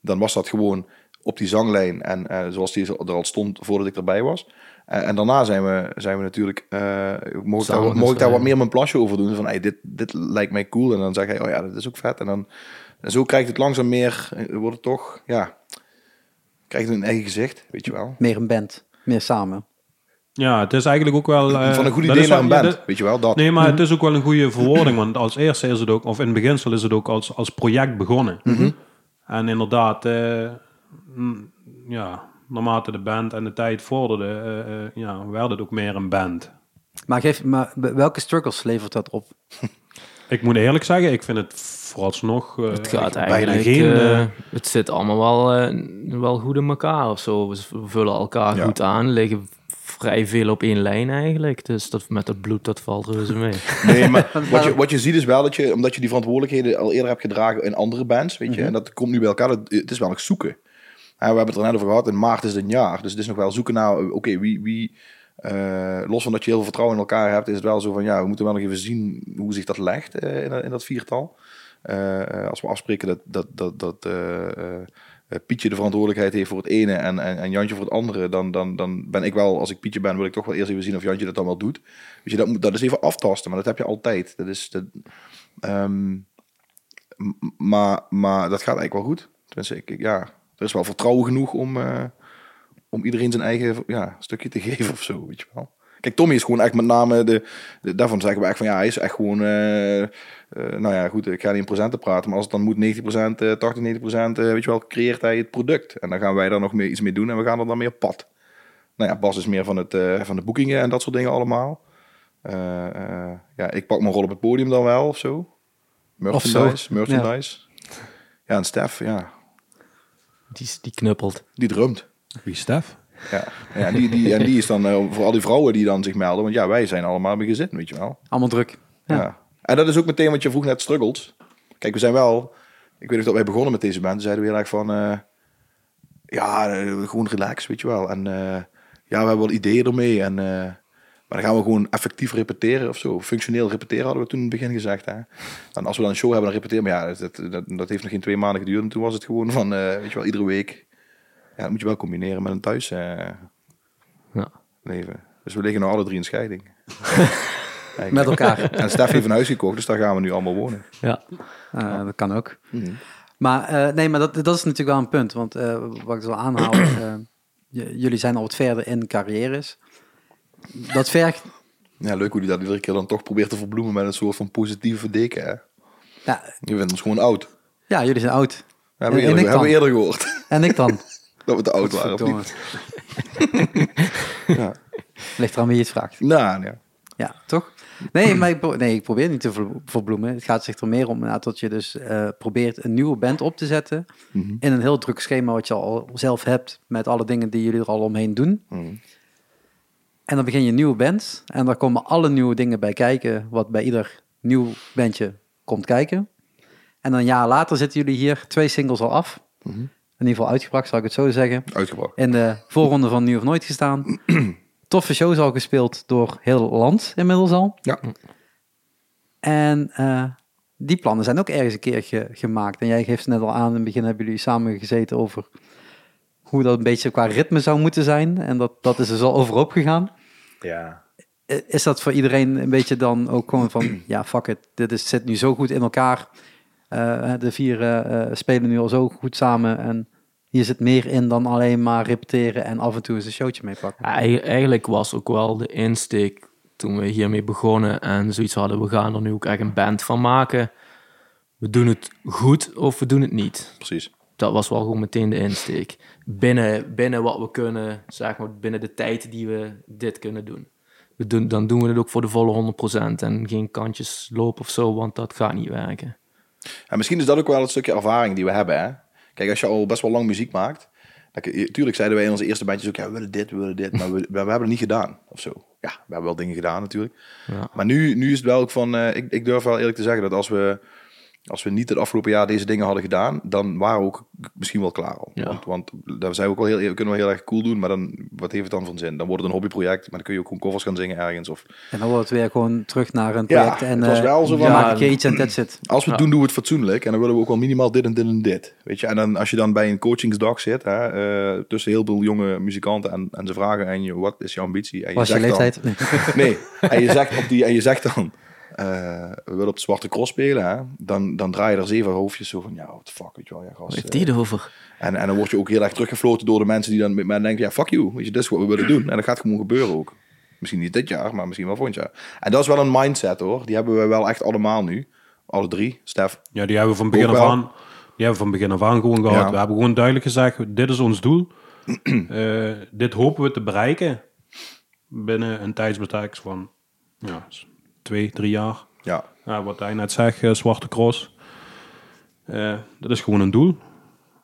Speaker 1: dan was dat gewoon op die zanglijn en eh, zoals die er al stond voordat ik erbij was. Eh, en daarna zijn we, zijn we natuurlijk, eh mocht ik daar, mocht ik
Speaker 3: Samen
Speaker 1: daar wat
Speaker 3: geschreven.
Speaker 1: meer mijn plasje over doen. Van hey, dit, dit lijkt mij cool. En dan zeg hij, oh ja, dat is ook vet. En, dan, en zo krijgt het langzaam meer, eh, wordt het toch, ja, krijgt het een eigen gezicht, weet je wel.
Speaker 2: Meer een band, meer samen.
Speaker 4: Ja, het is eigenlijk ook wel... eh,
Speaker 1: Van een goed
Speaker 4: dat
Speaker 1: idee
Speaker 4: is
Speaker 1: naar
Speaker 4: wel-
Speaker 1: een
Speaker 4: ja,
Speaker 1: band,
Speaker 4: dat-
Speaker 1: weet je wel, dat.
Speaker 4: Nee, maar het is ook wel een goede verwoording. Want als eerste is het ook, of in het beginsel is het ook als, als project begonnen. En inderdaad, eh, mm, ja, naarmate de band en de tijd vorderde, eh, eh, ja, werd het ook meer een band.
Speaker 2: Maar, geef, maar welke struggles levert dat op?
Speaker 4: Ik moet eerlijk zeggen, ik vind het vooralsnog... eh,
Speaker 3: Het gaat
Speaker 4: bijna
Speaker 3: eigenlijk,
Speaker 4: geen,
Speaker 3: eh,
Speaker 4: eh,
Speaker 3: het zit allemaal wel, eh, wel goed in elkaar of zo. We v- vullen elkaar
Speaker 1: Ja.
Speaker 3: goed aan, liggen vrij veel op één lijn eigenlijk. Dus dat, met dat bloed, dat valt reuze mee.
Speaker 1: Nee, maar wat je, wat je ziet is wel dat je, omdat je die verantwoordelijkheden al eerder hebt gedragen in andere bands, weet je,
Speaker 4: Mhm.
Speaker 1: en dat komt nu bij elkaar, dat, het is wel nog zoeken. En Eh, we hebben het er net over gehad, in maart is het een jaar, dus het is nog wel zoeken naar, oké, wie, wie eh, los van dat je heel veel vertrouwen in elkaar hebt, is het wel zo van, ja, we moeten wel nog even zien hoe zich dat legt eh, in, dat- in dat viertal. Eh, eh, als we afspreken dat, dat, dat, dat eh, eh, Pietje de verantwoordelijkheid heeft voor het ene en, en, en Jantje voor het andere, dan, dan, dan ben ik wel, als ik Pietje ben, wil ik toch wel eerst even zien of Jantje dat dan wel doet. Weet je, dat, moet, dat is even aftasten, maar dat heb je altijd. Dat is, dat, ehm, m- maar, maar dat gaat eigenlijk wel goed. Tenminste, ik, ik- ja, er is wel vertrouwen genoeg om, eh, om iedereen zijn eigen ja, stukje te geven of zo, weet je wel. Kijk, Tommy is gewoon echt met name de, de- daarvan zeggen we echt van ja, hij is echt gewoon, eh, eh, nou ja, goed, ik ga niet in procenten praten, maar als het dan moet 90%, eh 80, 90%, eh, weet je wel, creëert hij het product. En dan gaan wij daar nog meer iets mee doen en we gaan er dan meer op pad. Nou ja, Bas is meer van, het, eh, van de boekingen en dat soort dingen allemaal. Eh, eh, ja, ik pak mijn rol op het podium dan wel of zo. Merchandise, merchandise. Ja, en Stef, ja,
Speaker 3: Die, die knuppelt.
Speaker 1: die drumt.
Speaker 4: Wie Stef?
Speaker 1: Ja, ja en, die, die, en die is dan eh, voor al die vrouwen die dan zich melden. Want ja, wij zijn allemaal een gezin, weet je wel.
Speaker 2: Allemaal druk.
Speaker 1: Ja. En dat is ook meteen wat je vroeg net struggelt. Kijk, we zijn wel... Ik weet nog dat wij begonnen met deze band. Toen zeiden we heel erg van... eh, ja, eh, gewoon relax, weet je wel. En eh, ja, we hebben wel ideeën ermee. En, eh, maar dan gaan we gewoon effectief repeteren of zo. Functioneel repeteren hadden we toen in het begin gezegd. Hè? En als we dan een show hebben, dan repeteren we. Maar ja, dat, dat, dat heeft nog geen twee maanden geduurd. En toen was het gewoon van, eh, weet je wel, iedere week. Ja, dat moet je wel combineren met een thuis... eh,
Speaker 3: Ja.
Speaker 1: leven. Dus we liggen nu alle drie in scheiding. Eigenlijk.
Speaker 2: Met elkaar.
Speaker 1: En Stef heeft een huis gekocht, dus daar gaan we nu allemaal wonen.
Speaker 3: Ja.
Speaker 2: Eh, dat kan ook. Maar eh, nee, maar dat, dat is natuurlijk wel een punt. Want eh, wat ik zal aanhouden, eh, j- jullie zijn al wat verder in carrières. Dat vergt.
Speaker 1: Ja, leuk hoe hij dat iedere keer dan toch probeert te verbloemen met een soort van positieve verdeken. Hè?
Speaker 2: Ja,
Speaker 1: Je bent ons gewoon oud. Dat
Speaker 2: ja, jullie zijn oud.
Speaker 1: hebben we
Speaker 2: En- en,
Speaker 1: eerder,
Speaker 2: ik
Speaker 1: hebben we
Speaker 2: dan.
Speaker 1: eerder gehoord.
Speaker 2: En ik dan.
Speaker 1: dat we te oud waren. of
Speaker 2: Verdomme.
Speaker 1: niet? Ja.
Speaker 2: Ligt eraan wie je het vraagt.
Speaker 1: Nou, ja.
Speaker 2: Ja, toch? Nee, maar ik, pro- nee, ik probeer niet te verblo- verbloemen. Het gaat zich er meer om inderdaad dat je dus eh, probeert een nieuwe band op te zetten. In een heel druk schema wat je al zelf hebt. Met alle dingen die jullie er al omheen doen. En dan begin je een nieuwe band. En daar komen alle nieuwe dingen bij kijken. Wat bij ieder nieuw bandje komt kijken. En dan een jaar later zitten jullie hier twee singles al af. In ieder geval uitgebracht, zou ik het zo zeggen
Speaker 1: Uitgebracht.
Speaker 2: in de voorronde van Nu of Nooit gestaan. Toffe shows al gespeeld door heel het land inmiddels al.
Speaker 1: Ja.
Speaker 2: En eh, die plannen zijn ook ergens een keer ge- gemaakt. En jij geeft net al aan, in het begin hebben jullie samen gezeten over hoe dat een beetje qua ritme zou moeten zijn. En dat, dat is dus al overop gegaan.
Speaker 1: Ja.
Speaker 2: Eh, Is dat voor iedereen een beetje dan ook gewoon van, ja, fuck it, dit is, zit nu zo goed in elkaar. Eh, de vier eh, eh, spelen nu al zo goed samen en hier zit meer in dan alleen maar repeteren en af en toe eens een showtje meepakken.
Speaker 3: Ja, eigen- eigenlijk was ook wel de insteek toen we hiermee begonnen en zoiets hadden, we gaan er nu ook echt een band van maken. We doen het goed of we doen het niet.
Speaker 1: Precies.
Speaker 3: Dat was wel gewoon meteen de insteek. Binnen, binnen wat we kunnen, zeg maar, binnen de tijd die we dit kunnen doen. We doen. Dan doen we het ook voor de volle 100% en geen kantjes lopen of zo, want dat gaat niet werken.
Speaker 1: En misschien is dat ook wel het stukje ervaring die we hebben. Hè? Kijk, als je al best wel lang muziek maakt. Dan, kun je- tuurlijk zeiden wij in onze eerste bandjes ook, ja, we willen dit, we willen dit. Maar we, we hebben het niet gedaan, of zo. Ja, we hebben wel dingen gedaan natuurlijk.
Speaker 3: Ja.
Speaker 1: Maar nu, nu is het wel ook van, eh, ik, ik durf wel eerlijk te zeggen dat als we, als we niet het afgelopen jaar deze dingen hadden gedaan, dan waren we ook misschien wel klaar al.
Speaker 3: Ja.
Speaker 1: Want, want daar zijn we ook wel heel, we kunnen wel heel erg cool doen, maar dan, wat heeft het dan van zin? Dan wordt het een hobbyproject, maar dan kun je ook gewoon covers gaan zingen ergens. Of,
Speaker 2: En dan wordt het weer gewoon terug naar een
Speaker 1: Ja,
Speaker 2: project en
Speaker 1: het was
Speaker 2: eh,
Speaker 1: wel zo
Speaker 2: we
Speaker 1: van-
Speaker 2: maken een keer iets en that's it.
Speaker 1: als we het doen, doen we het fatsoenlijk. En dan willen we ook wel minimaal dit en dit en dit. Weet je? En dan, als je dan bij een coachingsdag zit, hè, eh, tussen heel veel jonge muzikanten en, en ze vragen en je, wat is je ambitie? En
Speaker 2: Was je
Speaker 1: zegt dan-
Speaker 2: leeftijd? Nee.
Speaker 1: nee, en je zegt, op die, en je zegt dan, eh, we willen op de Zwarte Cross spelen, hè? Dan, dan draai je er zeven hoofdjes zo van, ja, what the fuck, weet je wel, ja, gast.
Speaker 3: Heeft
Speaker 1: eh.
Speaker 3: die erover?
Speaker 1: en, en dan word je ook heel erg teruggefloten door de mensen die dan met mij denken, ja, fuck you, weet je, dit is wat we willen doen. En dat gaat gewoon gebeuren ook. Misschien niet dit jaar, maar misschien wel volgend jaar. En dat is wel een mindset hoor, die hebben we wel echt allemaal nu. Alle drie, Stef.
Speaker 4: Ja, die hebben we van begin
Speaker 1: Ook
Speaker 4: af
Speaker 1: wel.
Speaker 4: aan, die hebben we van begin af aan gewoon gehad.
Speaker 1: Ja.
Speaker 4: We hebben gewoon duidelijk gezegd, dit is ons doel. Eh, dit hopen we te bereiken binnen een tijdsbeperking van ja, s- twee, drie jaar.
Speaker 1: Ja,
Speaker 4: Ja, wat hij net zegt, eh, Zwarte Cross. Eh, dat is gewoon een doel.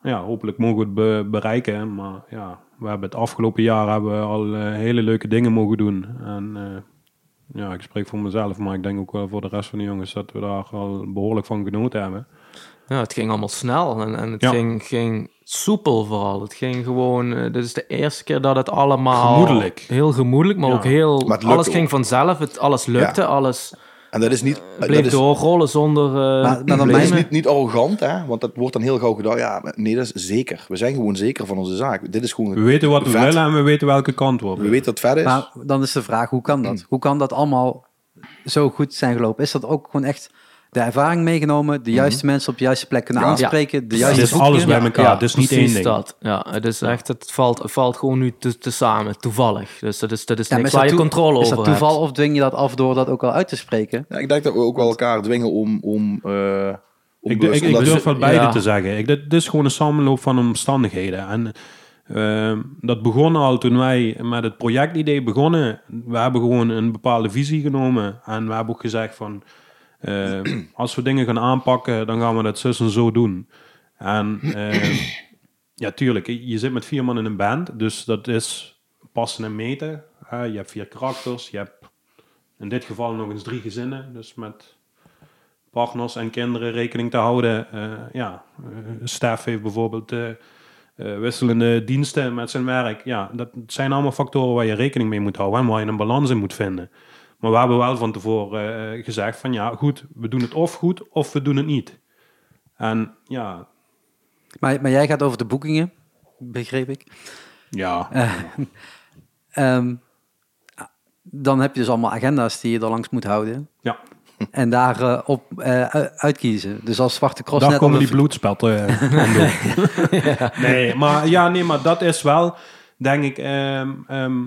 Speaker 4: Ja, hopelijk mogen we het be- bereiken. Maar ja, we hebben het afgelopen jaar hebben we al eh, hele leuke dingen mogen doen. En eh, ja, ik spreek voor mezelf, maar ik denk ook wel voor de rest van de jongens dat we daar al behoorlijk van genoten hebben.
Speaker 3: Ja, het ging allemaal snel en, en het
Speaker 4: Ja.
Speaker 3: ging, ging soepel vooral. Het ging gewoon, eh, dit is de eerste keer dat het allemaal...
Speaker 4: Gemoedelijk.
Speaker 3: Heel gemoedelijk, maar
Speaker 4: Ja.
Speaker 3: ook heel...
Speaker 1: Maar het lukte
Speaker 3: alles ging
Speaker 1: ook.
Speaker 3: vanzelf, het, alles lukte,
Speaker 1: Ja.
Speaker 3: alles
Speaker 1: en dat is niet...
Speaker 2: Eh,
Speaker 3: bleef
Speaker 1: dat is,
Speaker 3: doorrollen zonder... eh
Speaker 2: Maar- maar
Speaker 1: Dat
Speaker 2: dan
Speaker 1: is
Speaker 3: problemen.
Speaker 2: Lijmen.
Speaker 1: niet, niet arrogant, hè? want dat wordt dan heel gauw gedaan. Ja, maar nee, dat is zeker. We zijn gewoon zeker van onze zaak. Dit is gewoon.
Speaker 4: We weten wat we
Speaker 1: vet.
Speaker 4: willen en we weten welke kant we op
Speaker 1: We weten dat het vet is.
Speaker 2: Maar dan is de vraag, hoe kan dat? Hoe kan dat allemaal zo goed zijn gelopen? Is dat ook gewoon echt de ervaring meegenomen, de juiste mensen op de juiste plek kunnen
Speaker 1: Ja.
Speaker 2: aanspreken, de
Speaker 3: Ja.
Speaker 4: Het
Speaker 2: juiste
Speaker 4: is
Speaker 2: groepje?
Speaker 4: alles Dus bij elkaar, het is niet
Speaker 3: precies
Speaker 4: één ding.
Speaker 3: dat. Ja, het is echt, het valt, het valt gewoon nu te, te samen, toevallig. Dus dat is, dat is
Speaker 2: Ja, maar
Speaker 3: niks
Speaker 2: is dat
Speaker 3: waar je
Speaker 2: toe-
Speaker 3: controle
Speaker 2: Is
Speaker 3: over
Speaker 2: dat toeval
Speaker 3: hebt.
Speaker 2: of dwing je dat af door dat ook al uit te spreken?
Speaker 1: Ja, ik denk dat we ook wel elkaar dwingen om. om, eh, om
Speaker 4: Ik,
Speaker 1: dus-
Speaker 4: ik, ik
Speaker 1: omdat-
Speaker 4: durf wel beide
Speaker 3: ja.
Speaker 4: te zeggen. Ik, dit, dit is gewoon een samenloop van omstandigheden. En ehm, dat begon al toen wij met het projectidee begonnen. We hebben gewoon een bepaalde visie genomen. En we hebben ook gezegd van... eh, als we dingen gaan aanpakken, dan gaan we dat zus en zo doen. En eh, ja, tuurlijk. Je zit met vier man in een band. Dus dat is passen en meten. hè. je hebt vier karakters. Je hebt in dit geval nog eens drie gezinnen. Dus met partners en kinderen rekening te houden. Eh, ja, eh, Stef heeft bijvoorbeeld eh, eh, wisselende diensten met zijn werk. Ja, dat zijn allemaal factoren waar je rekening mee moet houden en waar je een balans in moet vinden. Maar we hebben wel van tevoren eh, gezegd van ja, goed, we doen het of goed of we doen het niet. En ja,
Speaker 2: Maar, maar jij gaat over de boekingen, begreep ik.
Speaker 4: ja,
Speaker 2: Ehm, dan heb je dus allemaal agenda's die je er langs moet houden.
Speaker 4: ja.
Speaker 2: En daarop op eh, u- uitkiezen. Dus als Zwarte Cross
Speaker 4: daar
Speaker 2: net...
Speaker 4: komen
Speaker 2: al
Speaker 4: die
Speaker 2: een-
Speaker 4: bloedspetten. eh, om doen. Nee, maar ja, nee, maar dat is wel, denk ik, ehm, ehm,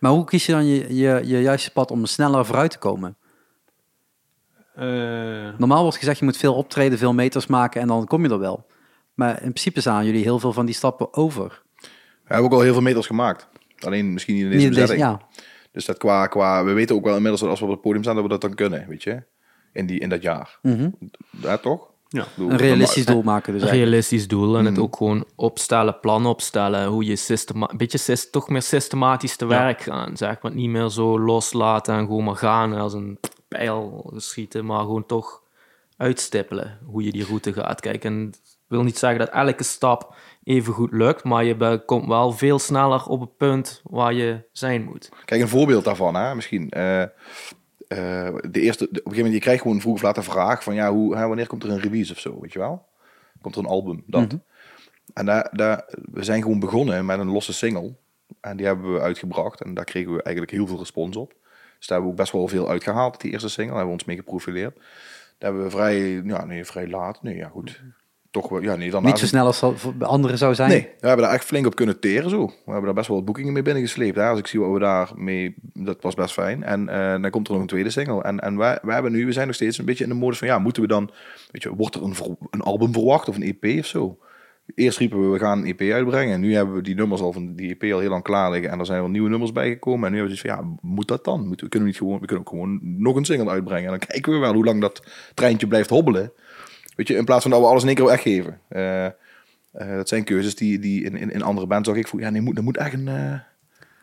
Speaker 2: maar hoe kies je dan je, je, je juiste pad om sneller vooruit te komen?
Speaker 4: eh,
Speaker 2: Normaal wordt gezegd, je moet veel optreden, veel meters maken en dan kom je er wel. Maar in principe staan jullie heel veel van die stappen over.
Speaker 1: We hebben ook al heel veel meters gemaakt. Alleen misschien niet in deze
Speaker 2: Niet in deze-
Speaker 1: bezetting.
Speaker 2: ja.
Speaker 1: Dus dat qua, qua, we weten ook wel inmiddels dat als we op het podium staan, dat we dat dan kunnen, weet je? In, die, in dat jaar. Ja, toch?
Speaker 4: Ja.
Speaker 1: Ik bedoel,
Speaker 2: Mhm. Een realistisch
Speaker 1: normaal-
Speaker 2: doel maken dus
Speaker 3: Een
Speaker 2: eigenlijk.
Speaker 3: realistisch doel en
Speaker 4: Mm.
Speaker 3: het ook gewoon opstellen, plannen opstellen, hoe je systema- een beetje sys- toch meer systematisch te werk gaan, zeg maar. Niet meer zo loslaten en gewoon maar gaan als een pijl schieten, maar gewoon toch uitstippelen hoe je die route gaat. Kijk, en het wil niet zeggen dat elke stap even goed lukt, maar je be- komt wel veel sneller op het punt waar je zijn moet.
Speaker 1: Kijk, een voorbeeld daarvan, hè, misschien. Eh, eh, de eerste, de- op een gegeven moment, je krijgt gewoon vroeg of laat een vraag van, ja, hoe, hè, wanneer komt er een release of zo, weet je wel? Komt er een album, dat. En daar, daar, we zijn gewoon begonnen met een losse single. En die hebben we uitgebracht en daar kregen we eigenlijk heel veel respons op. Dus daar hebben we ook best wel veel uitgehaald, die eerste single. Daar hebben we ons mee geprofileerd. Daar hebben we vrij, ja, nee, vrij laat. Nee, ja, goed. Toch wel, ja, nee, dan
Speaker 2: Niet zo snel als dat voor anderen zou zijn.
Speaker 1: Nee, we hebben daar echt flink op kunnen teren zo. We hebben daar best wel wat boekingen mee binnengesleept. Hè. Als ik zie wat we daar mee... Dat was best fijn. En eh, dan komt er nog een tweede single. En, en wij, wij hebben nu... We zijn nog steeds een beetje in de modus van... Ja, moeten we dan... Weet je, wordt er een, ver- een album verwacht of een EP of zo? Eerst riepen we, we gaan een EP uitbrengen. En nu hebben we die nummers al van die EP al heel lang klaar liggen. En er zijn wel nieuwe nummers bijgekomen. En nu hebben we zoiets van, ja, moet dat dan? Moeten, we- kunnen we, niet gewoon, we kunnen ook gewoon nog een single uitbrengen. En dan kijken we wel hoe lang dat treintje blijft hobbelen. Weet je, in plaats van dat we alles in één keer weggeven. Eh, eh, dat zijn keuzes die, die in, in, in andere bands zag ik vroeg, ja, nee, moet, dat moet echt een... eh,
Speaker 2: Nou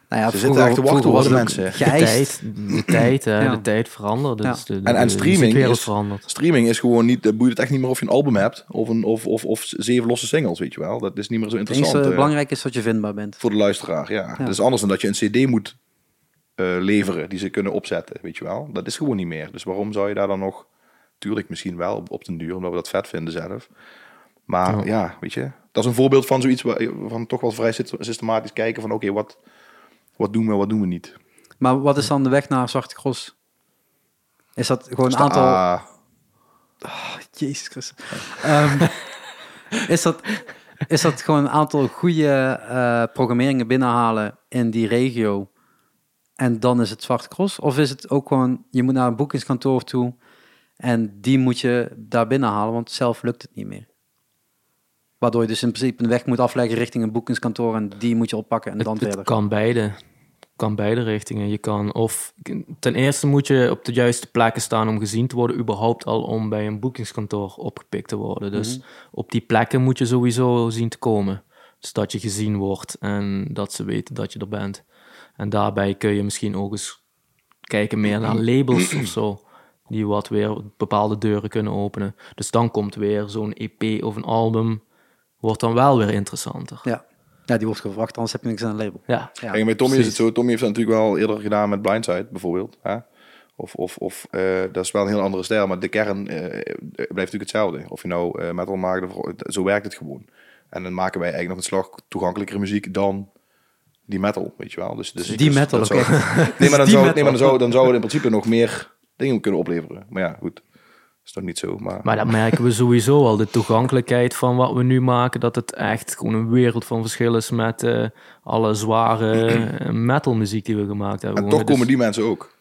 Speaker 2: ja,
Speaker 1: Ze
Speaker 2: vroeger-
Speaker 1: zitten echt te wachten
Speaker 2: vroeger
Speaker 1: op
Speaker 2: was
Speaker 1: andere
Speaker 2: het ook
Speaker 1: mensen.
Speaker 3: De
Speaker 2: Geëist.
Speaker 3: tijd, de tijd, hè,
Speaker 2: Ja.
Speaker 3: de tijd verandert. Dus
Speaker 2: Ja.
Speaker 3: de, de,
Speaker 1: En, en
Speaker 3: de
Speaker 1: streaming
Speaker 3: muziekwereld
Speaker 1: is,
Speaker 3: verandert.
Speaker 1: streaming is gewoon niet... Dat boeit het echt niet meer of je een album hebt of, een, of, of, of zeven losse singles, weet je wel. Dat is niet meer zo
Speaker 2: Het enige
Speaker 1: interessant. eh,
Speaker 2: belangrijk is dat je vindbaar bent.
Speaker 1: voor de luisteraar, ja. Dat is anders dan dat je een cd moet eh, leveren die ze kunnen opzetten, weet je wel. Dat is gewoon niet meer. Dus waarom zou je daar dan nog... Tuurlijk misschien wel op, op den duur, omdat we dat vet vinden zelf. Maar ja, weet je. Dat is een voorbeeld van zoiets waar- van toch wel vrij syst- systematisch kijken van... Oké, wat, wat doen we, wat doen we niet?
Speaker 2: Maar wat is dan de weg naar Zwarte Cross? Is dat gewoon een
Speaker 1: Dus de
Speaker 2: aantal...
Speaker 1: A-
Speaker 2: Jezus Christus. Ehm, is, dat, is dat gewoon een aantal goede eh, programmeringen binnenhalen in die regio en dan is het Zwarte Cross? Of is het ook gewoon, je moet naar een boekingskantoor toe en die moet je daar binnenhalen, want zelf lukt het niet meer. Waardoor je dus in principe een weg moet afleggen richting een boekingskantoor en die moet je oppakken en dan
Speaker 3: het, het
Speaker 2: verder.
Speaker 3: kan beide. Kan beide richtingen. Je kan of ten eerste moet je op de juiste plekken staan om gezien te worden, überhaupt al om bij een boekingskantoor opgepikt te worden. Dus
Speaker 2: Mhm.
Speaker 3: op die plekken moet je sowieso zien te komen. Dus dat je gezien wordt en dat ze weten dat je er bent. En daarbij kun je misschien ook eens kijken meer naar labels of zo. Die wat weer bepaalde deuren kunnen openen. Dus dan komt weer zo'n EP of een album. Wordt dan wel weer interessanter.
Speaker 2: Ja. ja, die wordt gevraagd, anders heb je niks aan een label.
Speaker 3: Ja.
Speaker 2: Ja.
Speaker 1: Kijk, met Tommy is het
Speaker 3: precies.
Speaker 1: zo. Tommy heeft dat natuurlijk wel eerder gedaan met Blindside, bijvoorbeeld. Hè? Of, of, of eh, dat is wel een heel andere stijl, maar de kern eh, blijft natuurlijk hetzelfde. Of je nou eh, metal maakt, of, zo werkt het gewoon. En dan maken wij eigenlijk nog een slag toegankelijkere muziek dan die metal, weet je wel. Dus, dus,
Speaker 2: Die
Speaker 1: dus
Speaker 2: metal,
Speaker 1: dat zou-
Speaker 2: oké.
Speaker 1: Nee, maar, dan
Speaker 2: die
Speaker 1: zou,
Speaker 2: metal.
Speaker 1: nee, maar dan, zou, dan zou het in principe nog meer dingen kunnen opleveren. Maar ja, goed. is toch niet zo, maar...
Speaker 3: Maar dat merken we sowieso al. De toegankelijkheid van wat we nu maken, dat het echt gewoon een wereld van verschil is met eh, alle zware eh, metalmuziek die we gemaakt hebben.
Speaker 1: en toch
Speaker 3: Gewoon, dus
Speaker 1: komen die mensen ook.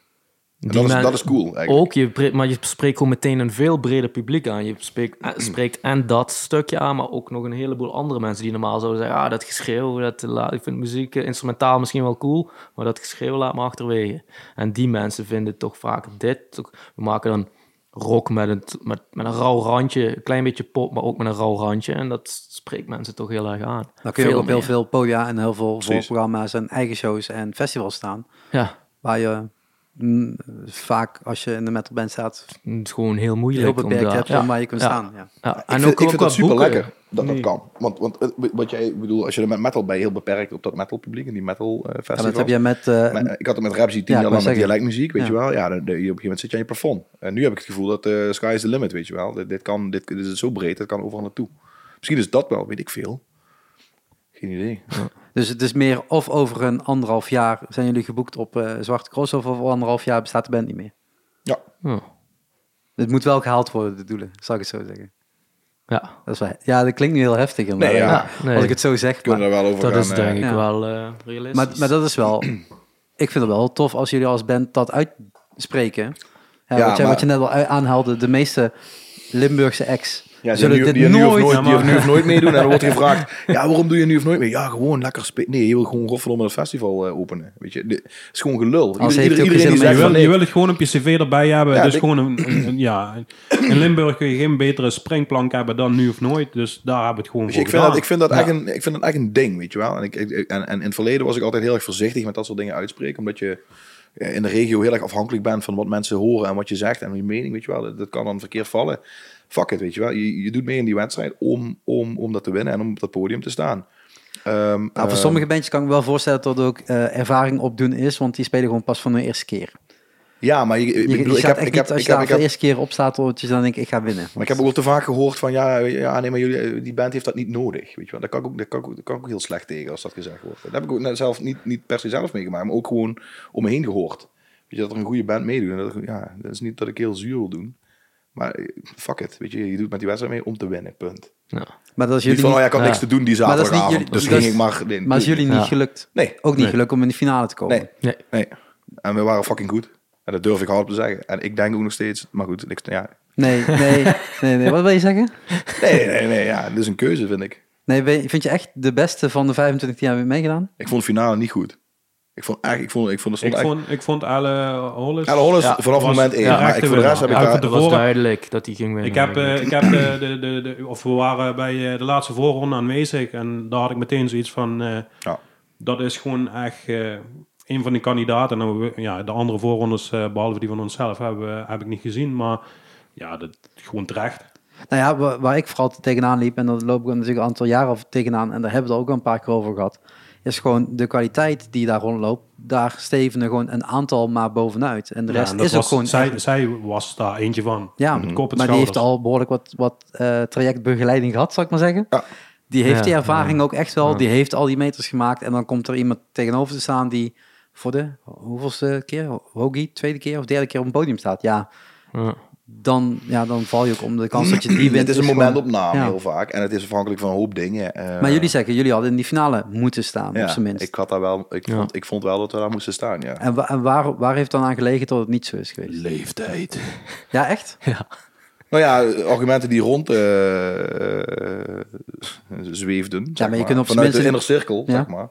Speaker 1: En dat,
Speaker 3: men-
Speaker 1: is, dat is cool, eigenlijk.
Speaker 3: Ook, je, pre- maar je spreekt gewoon meteen een veel breder publiek aan. Je spreekt, eh, spreekt en dat stukje aan, maar ook nog een heleboel andere mensen die normaal zouden zeggen, ah, dat geschreeuw, dat, la- ik vind muziek eh, instrumentaal misschien wel cool, maar dat geschreeuw laat me achterwege. En die mensen vinden toch vaak dit. toch- We maken dan rock met een, met, met een rauw randje, een klein beetje pop, maar ook met een rauw randje. En dat spreekt mensen toch heel erg aan.
Speaker 2: Dan kun je ook op heel
Speaker 3: meer.
Speaker 2: veel podia en heel veel
Speaker 1: Precies.
Speaker 2: voorprogramma's en eigen shows en festivals staan.
Speaker 3: Ja,
Speaker 2: Waar je mm, vaak, als je in de metalband staat,
Speaker 3: het is gewoon heel moeilijk.
Speaker 2: heel
Speaker 3: om
Speaker 2: beperkt
Speaker 3: daar-
Speaker 2: hebt
Speaker 3: ja,
Speaker 2: van waar je kunt
Speaker 3: ja,
Speaker 2: staan. Ja.
Speaker 3: ja.
Speaker 1: ik
Speaker 3: En
Speaker 1: vind,
Speaker 3: ook,
Speaker 1: ik
Speaker 3: ook
Speaker 1: vind
Speaker 3: qua
Speaker 1: dat super lekker dat
Speaker 3: boeken.
Speaker 1: dat kan. Want, want het- wat jij, ik bedoel, als je er met metal bij heel beperkt op dat metal publiek en die metal eh,
Speaker 2: Ja,
Speaker 1: festivals.
Speaker 2: dat heb je met... eh,
Speaker 1: Maar, eh, ik had het met Rapsy tien
Speaker 2: Ja,
Speaker 1: jaar
Speaker 2: ik wou
Speaker 1: lang met
Speaker 2: zeggen.
Speaker 1: dialectmuziek, weet
Speaker 2: Ja.
Speaker 1: je wel. Ja, dan, dan- op een gegeven moment zit je aan je plafond. En nu heb ik het gevoel dat eh sky is the limit, weet je wel. Dit, dit, kan, dit, dit is zo breed, dat kan overal naartoe. Misschien is dat wel, weet ik veel. Geen idee.
Speaker 2: dus het is meer of over een anderhalf jaar zijn jullie geboekt op eh, Zwarte Cross of over anderhalf jaar bestaat de band niet meer.
Speaker 1: Ja,
Speaker 3: Ja.
Speaker 2: Het moet wel gehaald worden, de doelen, zou ik het zo zeggen.
Speaker 3: ja.
Speaker 2: Dat is wel, ja, dat klinkt nu heel heftig, inderdaad,
Speaker 1: Nee, ja.
Speaker 2: ja,
Speaker 3: Nee.
Speaker 2: als ik het zo zeg.
Speaker 1: kunnen
Speaker 2: Maar,
Speaker 1: we daar wel over
Speaker 3: Dat
Speaker 1: gaan.
Speaker 3: is
Speaker 1: eh,
Speaker 3: denk ik
Speaker 2: ja.
Speaker 3: wel eh, realistisch.
Speaker 2: maar, maar dat is wel... ik vind het wel tof als jullie als band dat uitspreken. Ja,
Speaker 1: Ja,
Speaker 2: wat, jij,
Speaker 1: maar-
Speaker 2: wat je net al u- aanhaalde, de meeste Limburgse acts
Speaker 1: Ja,
Speaker 2: Zullen
Speaker 1: die,
Speaker 2: dit
Speaker 1: die, nu of
Speaker 2: nooit-
Speaker 1: nooit, die
Speaker 4: Ja,
Speaker 1: of nu of nooit meedoen. En dan wordt er gevraagd, ja, waarom doe je nu of nooit mee? Ja, gewoon lekker spelen. Nee, je wil gewoon godverdomme het festival eh, openen. Weet je, de- het is gewoon gelul. Ieder-
Speaker 2: heeft hij
Speaker 1: ieder-
Speaker 2: ook geen
Speaker 1: iedereen die
Speaker 2: zin om
Speaker 1: zegt
Speaker 4: Je
Speaker 2: mee
Speaker 1: van,
Speaker 4: wil,
Speaker 1: nee,
Speaker 4: je wil het gewoon op je cv erbij hebben.
Speaker 1: Ja,
Speaker 4: dus
Speaker 1: dik-
Speaker 4: gewoon een, een- een- ja. In Limburg kun je geen betere springplank hebben dan nu of nooit. Dus daar hebben we het gewoon
Speaker 1: Weet je,
Speaker 4: voor
Speaker 1: ik, vind dat,
Speaker 4: gedaan.
Speaker 1: ik, vind dat echt een, ik vind dat echt een ding, weet je wel. En, ik, ik- en, en in het verleden was ik altijd heel erg voorzichtig met dat soort dingen uitspreken. Omdat je eh, in de regio heel erg afhankelijk bent van wat mensen horen en wat je zegt en je mening, weet je wel. Dat, dat kan dan verkeerd vallen. Fuck it, weet je wel. Je, je doet mee in die wedstrijd om, om, om dat te winnen en om op dat podium te staan. Ehm,
Speaker 2: Nou, voor
Speaker 1: ehm,
Speaker 2: sommige bandjes kan ik me wel voorstellen dat er ook eh, ervaring opdoen is, want die spelen gewoon pas van de eerste keer.
Speaker 1: ja, maar je- ik,
Speaker 2: Je, je
Speaker 1: bedoel, ik
Speaker 2: gaat
Speaker 1: heb,
Speaker 2: echt
Speaker 1: ik
Speaker 2: niet,
Speaker 1: heb,
Speaker 2: als
Speaker 1: ik
Speaker 2: je
Speaker 1: heb, ik
Speaker 2: daar voor
Speaker 1: heb,
Speaker 2: de eerste keer op staat, dat je dan denk ik, ik ga winnen.
Speaker 1: maar ik heb ook wel te vaak gehoord van, ja, ja nee, maar jullie, eh, die band heeft dat niet nodig. Weet je wel. Daar, kan ik ook, daar, kan ik, ook- daar kan ik ook heel slecht tegen als dat gezegd wordt. Dat heb ik ook net zelf niet, niet per se zelf meegemaakt, maar ook gewoon om me heen gehoord. Weet je, dat er een goede band meedoet. En dat, ja, dat is niet dat ik heel zuur wil doen. Maar eh, fuck it, weet je, je doet met die wedstrijd mee om te winnen, punt.
Speaker 3: Ja.
Speaker 2: Maar dat is
Speaker 1: Niet
Speaker 2: jullie
Speaker 1: van, oh ja,
Speaker 2: niet-
Speaker 1: ik had
Speaker 3: Ja.
Speaker 1: niks te doen die
Speaker 2: Maar dat is niet
Speaker 1: zaterdagavond,
Speaker 2: jullie-
Speaker 1: dus
Speaker 2: dat
Speaker 1: ging
Speaker 2: is-
Speaker 1: ik maar... Nee,
Speaker 2: maar is jullie niet
Speaker 3: Ja.
Speaker 2: gelukt?
Speaker 1: Nee,
Speaker 2: Ook niet
Speaker 4: Nee.
Speaker 2: gelukt om in de finale te komen.
Speaker 1: nee,
Speaker 3: Nee.
Speaker 1: nee. En we waren fucking goed. En dat durf ik hardop te zeggen. En ik denk ook nog steeds, maar goed, ik, ja.
Speaker 2: Nee, nee, nee, nee. Wat wil je zeggen?
Speaker 1: Nee, nee, nee, ja, dit is een keuze, vind ik.
Speaker 2: Nee, ben je- vind je echt de beste van de 25 die hebben meegedaan?
Speaker 1: Ik vond de finale niet goed. Ik vond echt, ik vond, ik vond, er stond
Speaker 4: Ik
Speaker 1: echt...
Speaker 4: vond, ik vond alle Hollis...
Speaker 1: Alle Hollis
Speaker 3: Ja,
Speaker 1: vanaf
Speaker 4: was-
Speaker 1: moment één.
Speaker 4: ja,
Speaker 1: maar
Speaker 4: raakte
Speaker 1: ik, voor de rest heb
Speaker 4: winnaar.
Speaker 1: ik
Speaker 4: Ja,
Speaker 1: daar...
Speaker 3: Het
Speaker 4: de
Speaker 3: was
Speaker 4: voren-
Speaker 3: duidelijk dat hij ging winnen.
Speaker 4: Ik heb,
Speaker 3: eigenlijk.
Speaker 4: eh, ik heb eh, de, de, de, of we waren bij eh, de laatste voorronde aanwezig en daar had ik meteen zoiets van, eh,
Speaker 1: Ja.
Speaker 4: dat is gewoon echt eh, een van die kandidaten. En we- ja, de andere voorrondes, eh, behalve die van onszelf, hebben, we- heb ik niet gezien, maar ja, dat gewoon terecht.
Speaker 2: Nou ja, wa- waar, ik vooral tegenaan liep, en dat loop ik natuurlijk een aantal jaren over tegenaan, en daar hebben we het ook al een paar keer over gehad, is gewoon de kwaliteit die daar rondloopt. Daar steven er gewoon een aantal maar bovenuit. En de
Speaker 4: Ja,
Speaker 2: rest
Speaker 4: en dat
Speaker 2: is ook
Speaker 4: was-
Speaker 2: gewoon...
Speaker 4: Zij, zij was daar eentje van.
Speaker 2: ja,
Speaker 4: met kop en
Speaker 2: maar die heeft
Speaker 4: schouders.
Speaker 2: al behoorlijk wat, wat eh, trajectbegeleiding gehad, zal ik maar zeggen.
Speaker 1: Ja.
Speaker 2: Die heeft
Speaker 3: Ja,
Speaker 2: die ervaring
Speaker 3: ja.
Speaker 2: ook echt wel.
Speaker 3: Ja.
Speaker 2: Die heeft al die meters gemaakt. En dan komt er iemand tegenover te staan die voor de hoeveelste keer, Hoagie, tweede keer of derde keer op het podium staat. Ja,
Speaker 3: Ja.
Speaker 2: dan, ja, dan val je ook om de kans dat je die wint.
Speaker 1: Het is een
Speaker 2: gewoon-
Speaker 1: momentopname
Speaker 2: Ja.
Speaker 1: heel vaak. En het is afhankelijk van een hoop dingen. eh.
Speaker 2: Maar jullie zeggen, jullie hadden in die finale moeten staan,
Speaker 1: ja,
Speaker 2: op zijn minst.
Speaker 1: Ik, had daar wel, ik,
Speaker 3: Ja.
Speaker 1: vond, ik vond wel dat we daar moesten staan, ja.
Speaker 2: En, wa- en waar, waar heeft dan aan gelegen dat het niet zo is geweest?
Speaker 4: Leeftijd.
Speaker 2: Ja, echt?
Speaker 3: Ja.
Speaker 1: Nou ja, argumenten die rond eh, eh, zweefden, zeg
Speaker 2: maar je kunt op zijn
Speaker 1: vanuit
Speaker 2: minst-
Speaker 1: de inner cirkel,
Speaker 2: Ja.
Speaker 1: zeg maar,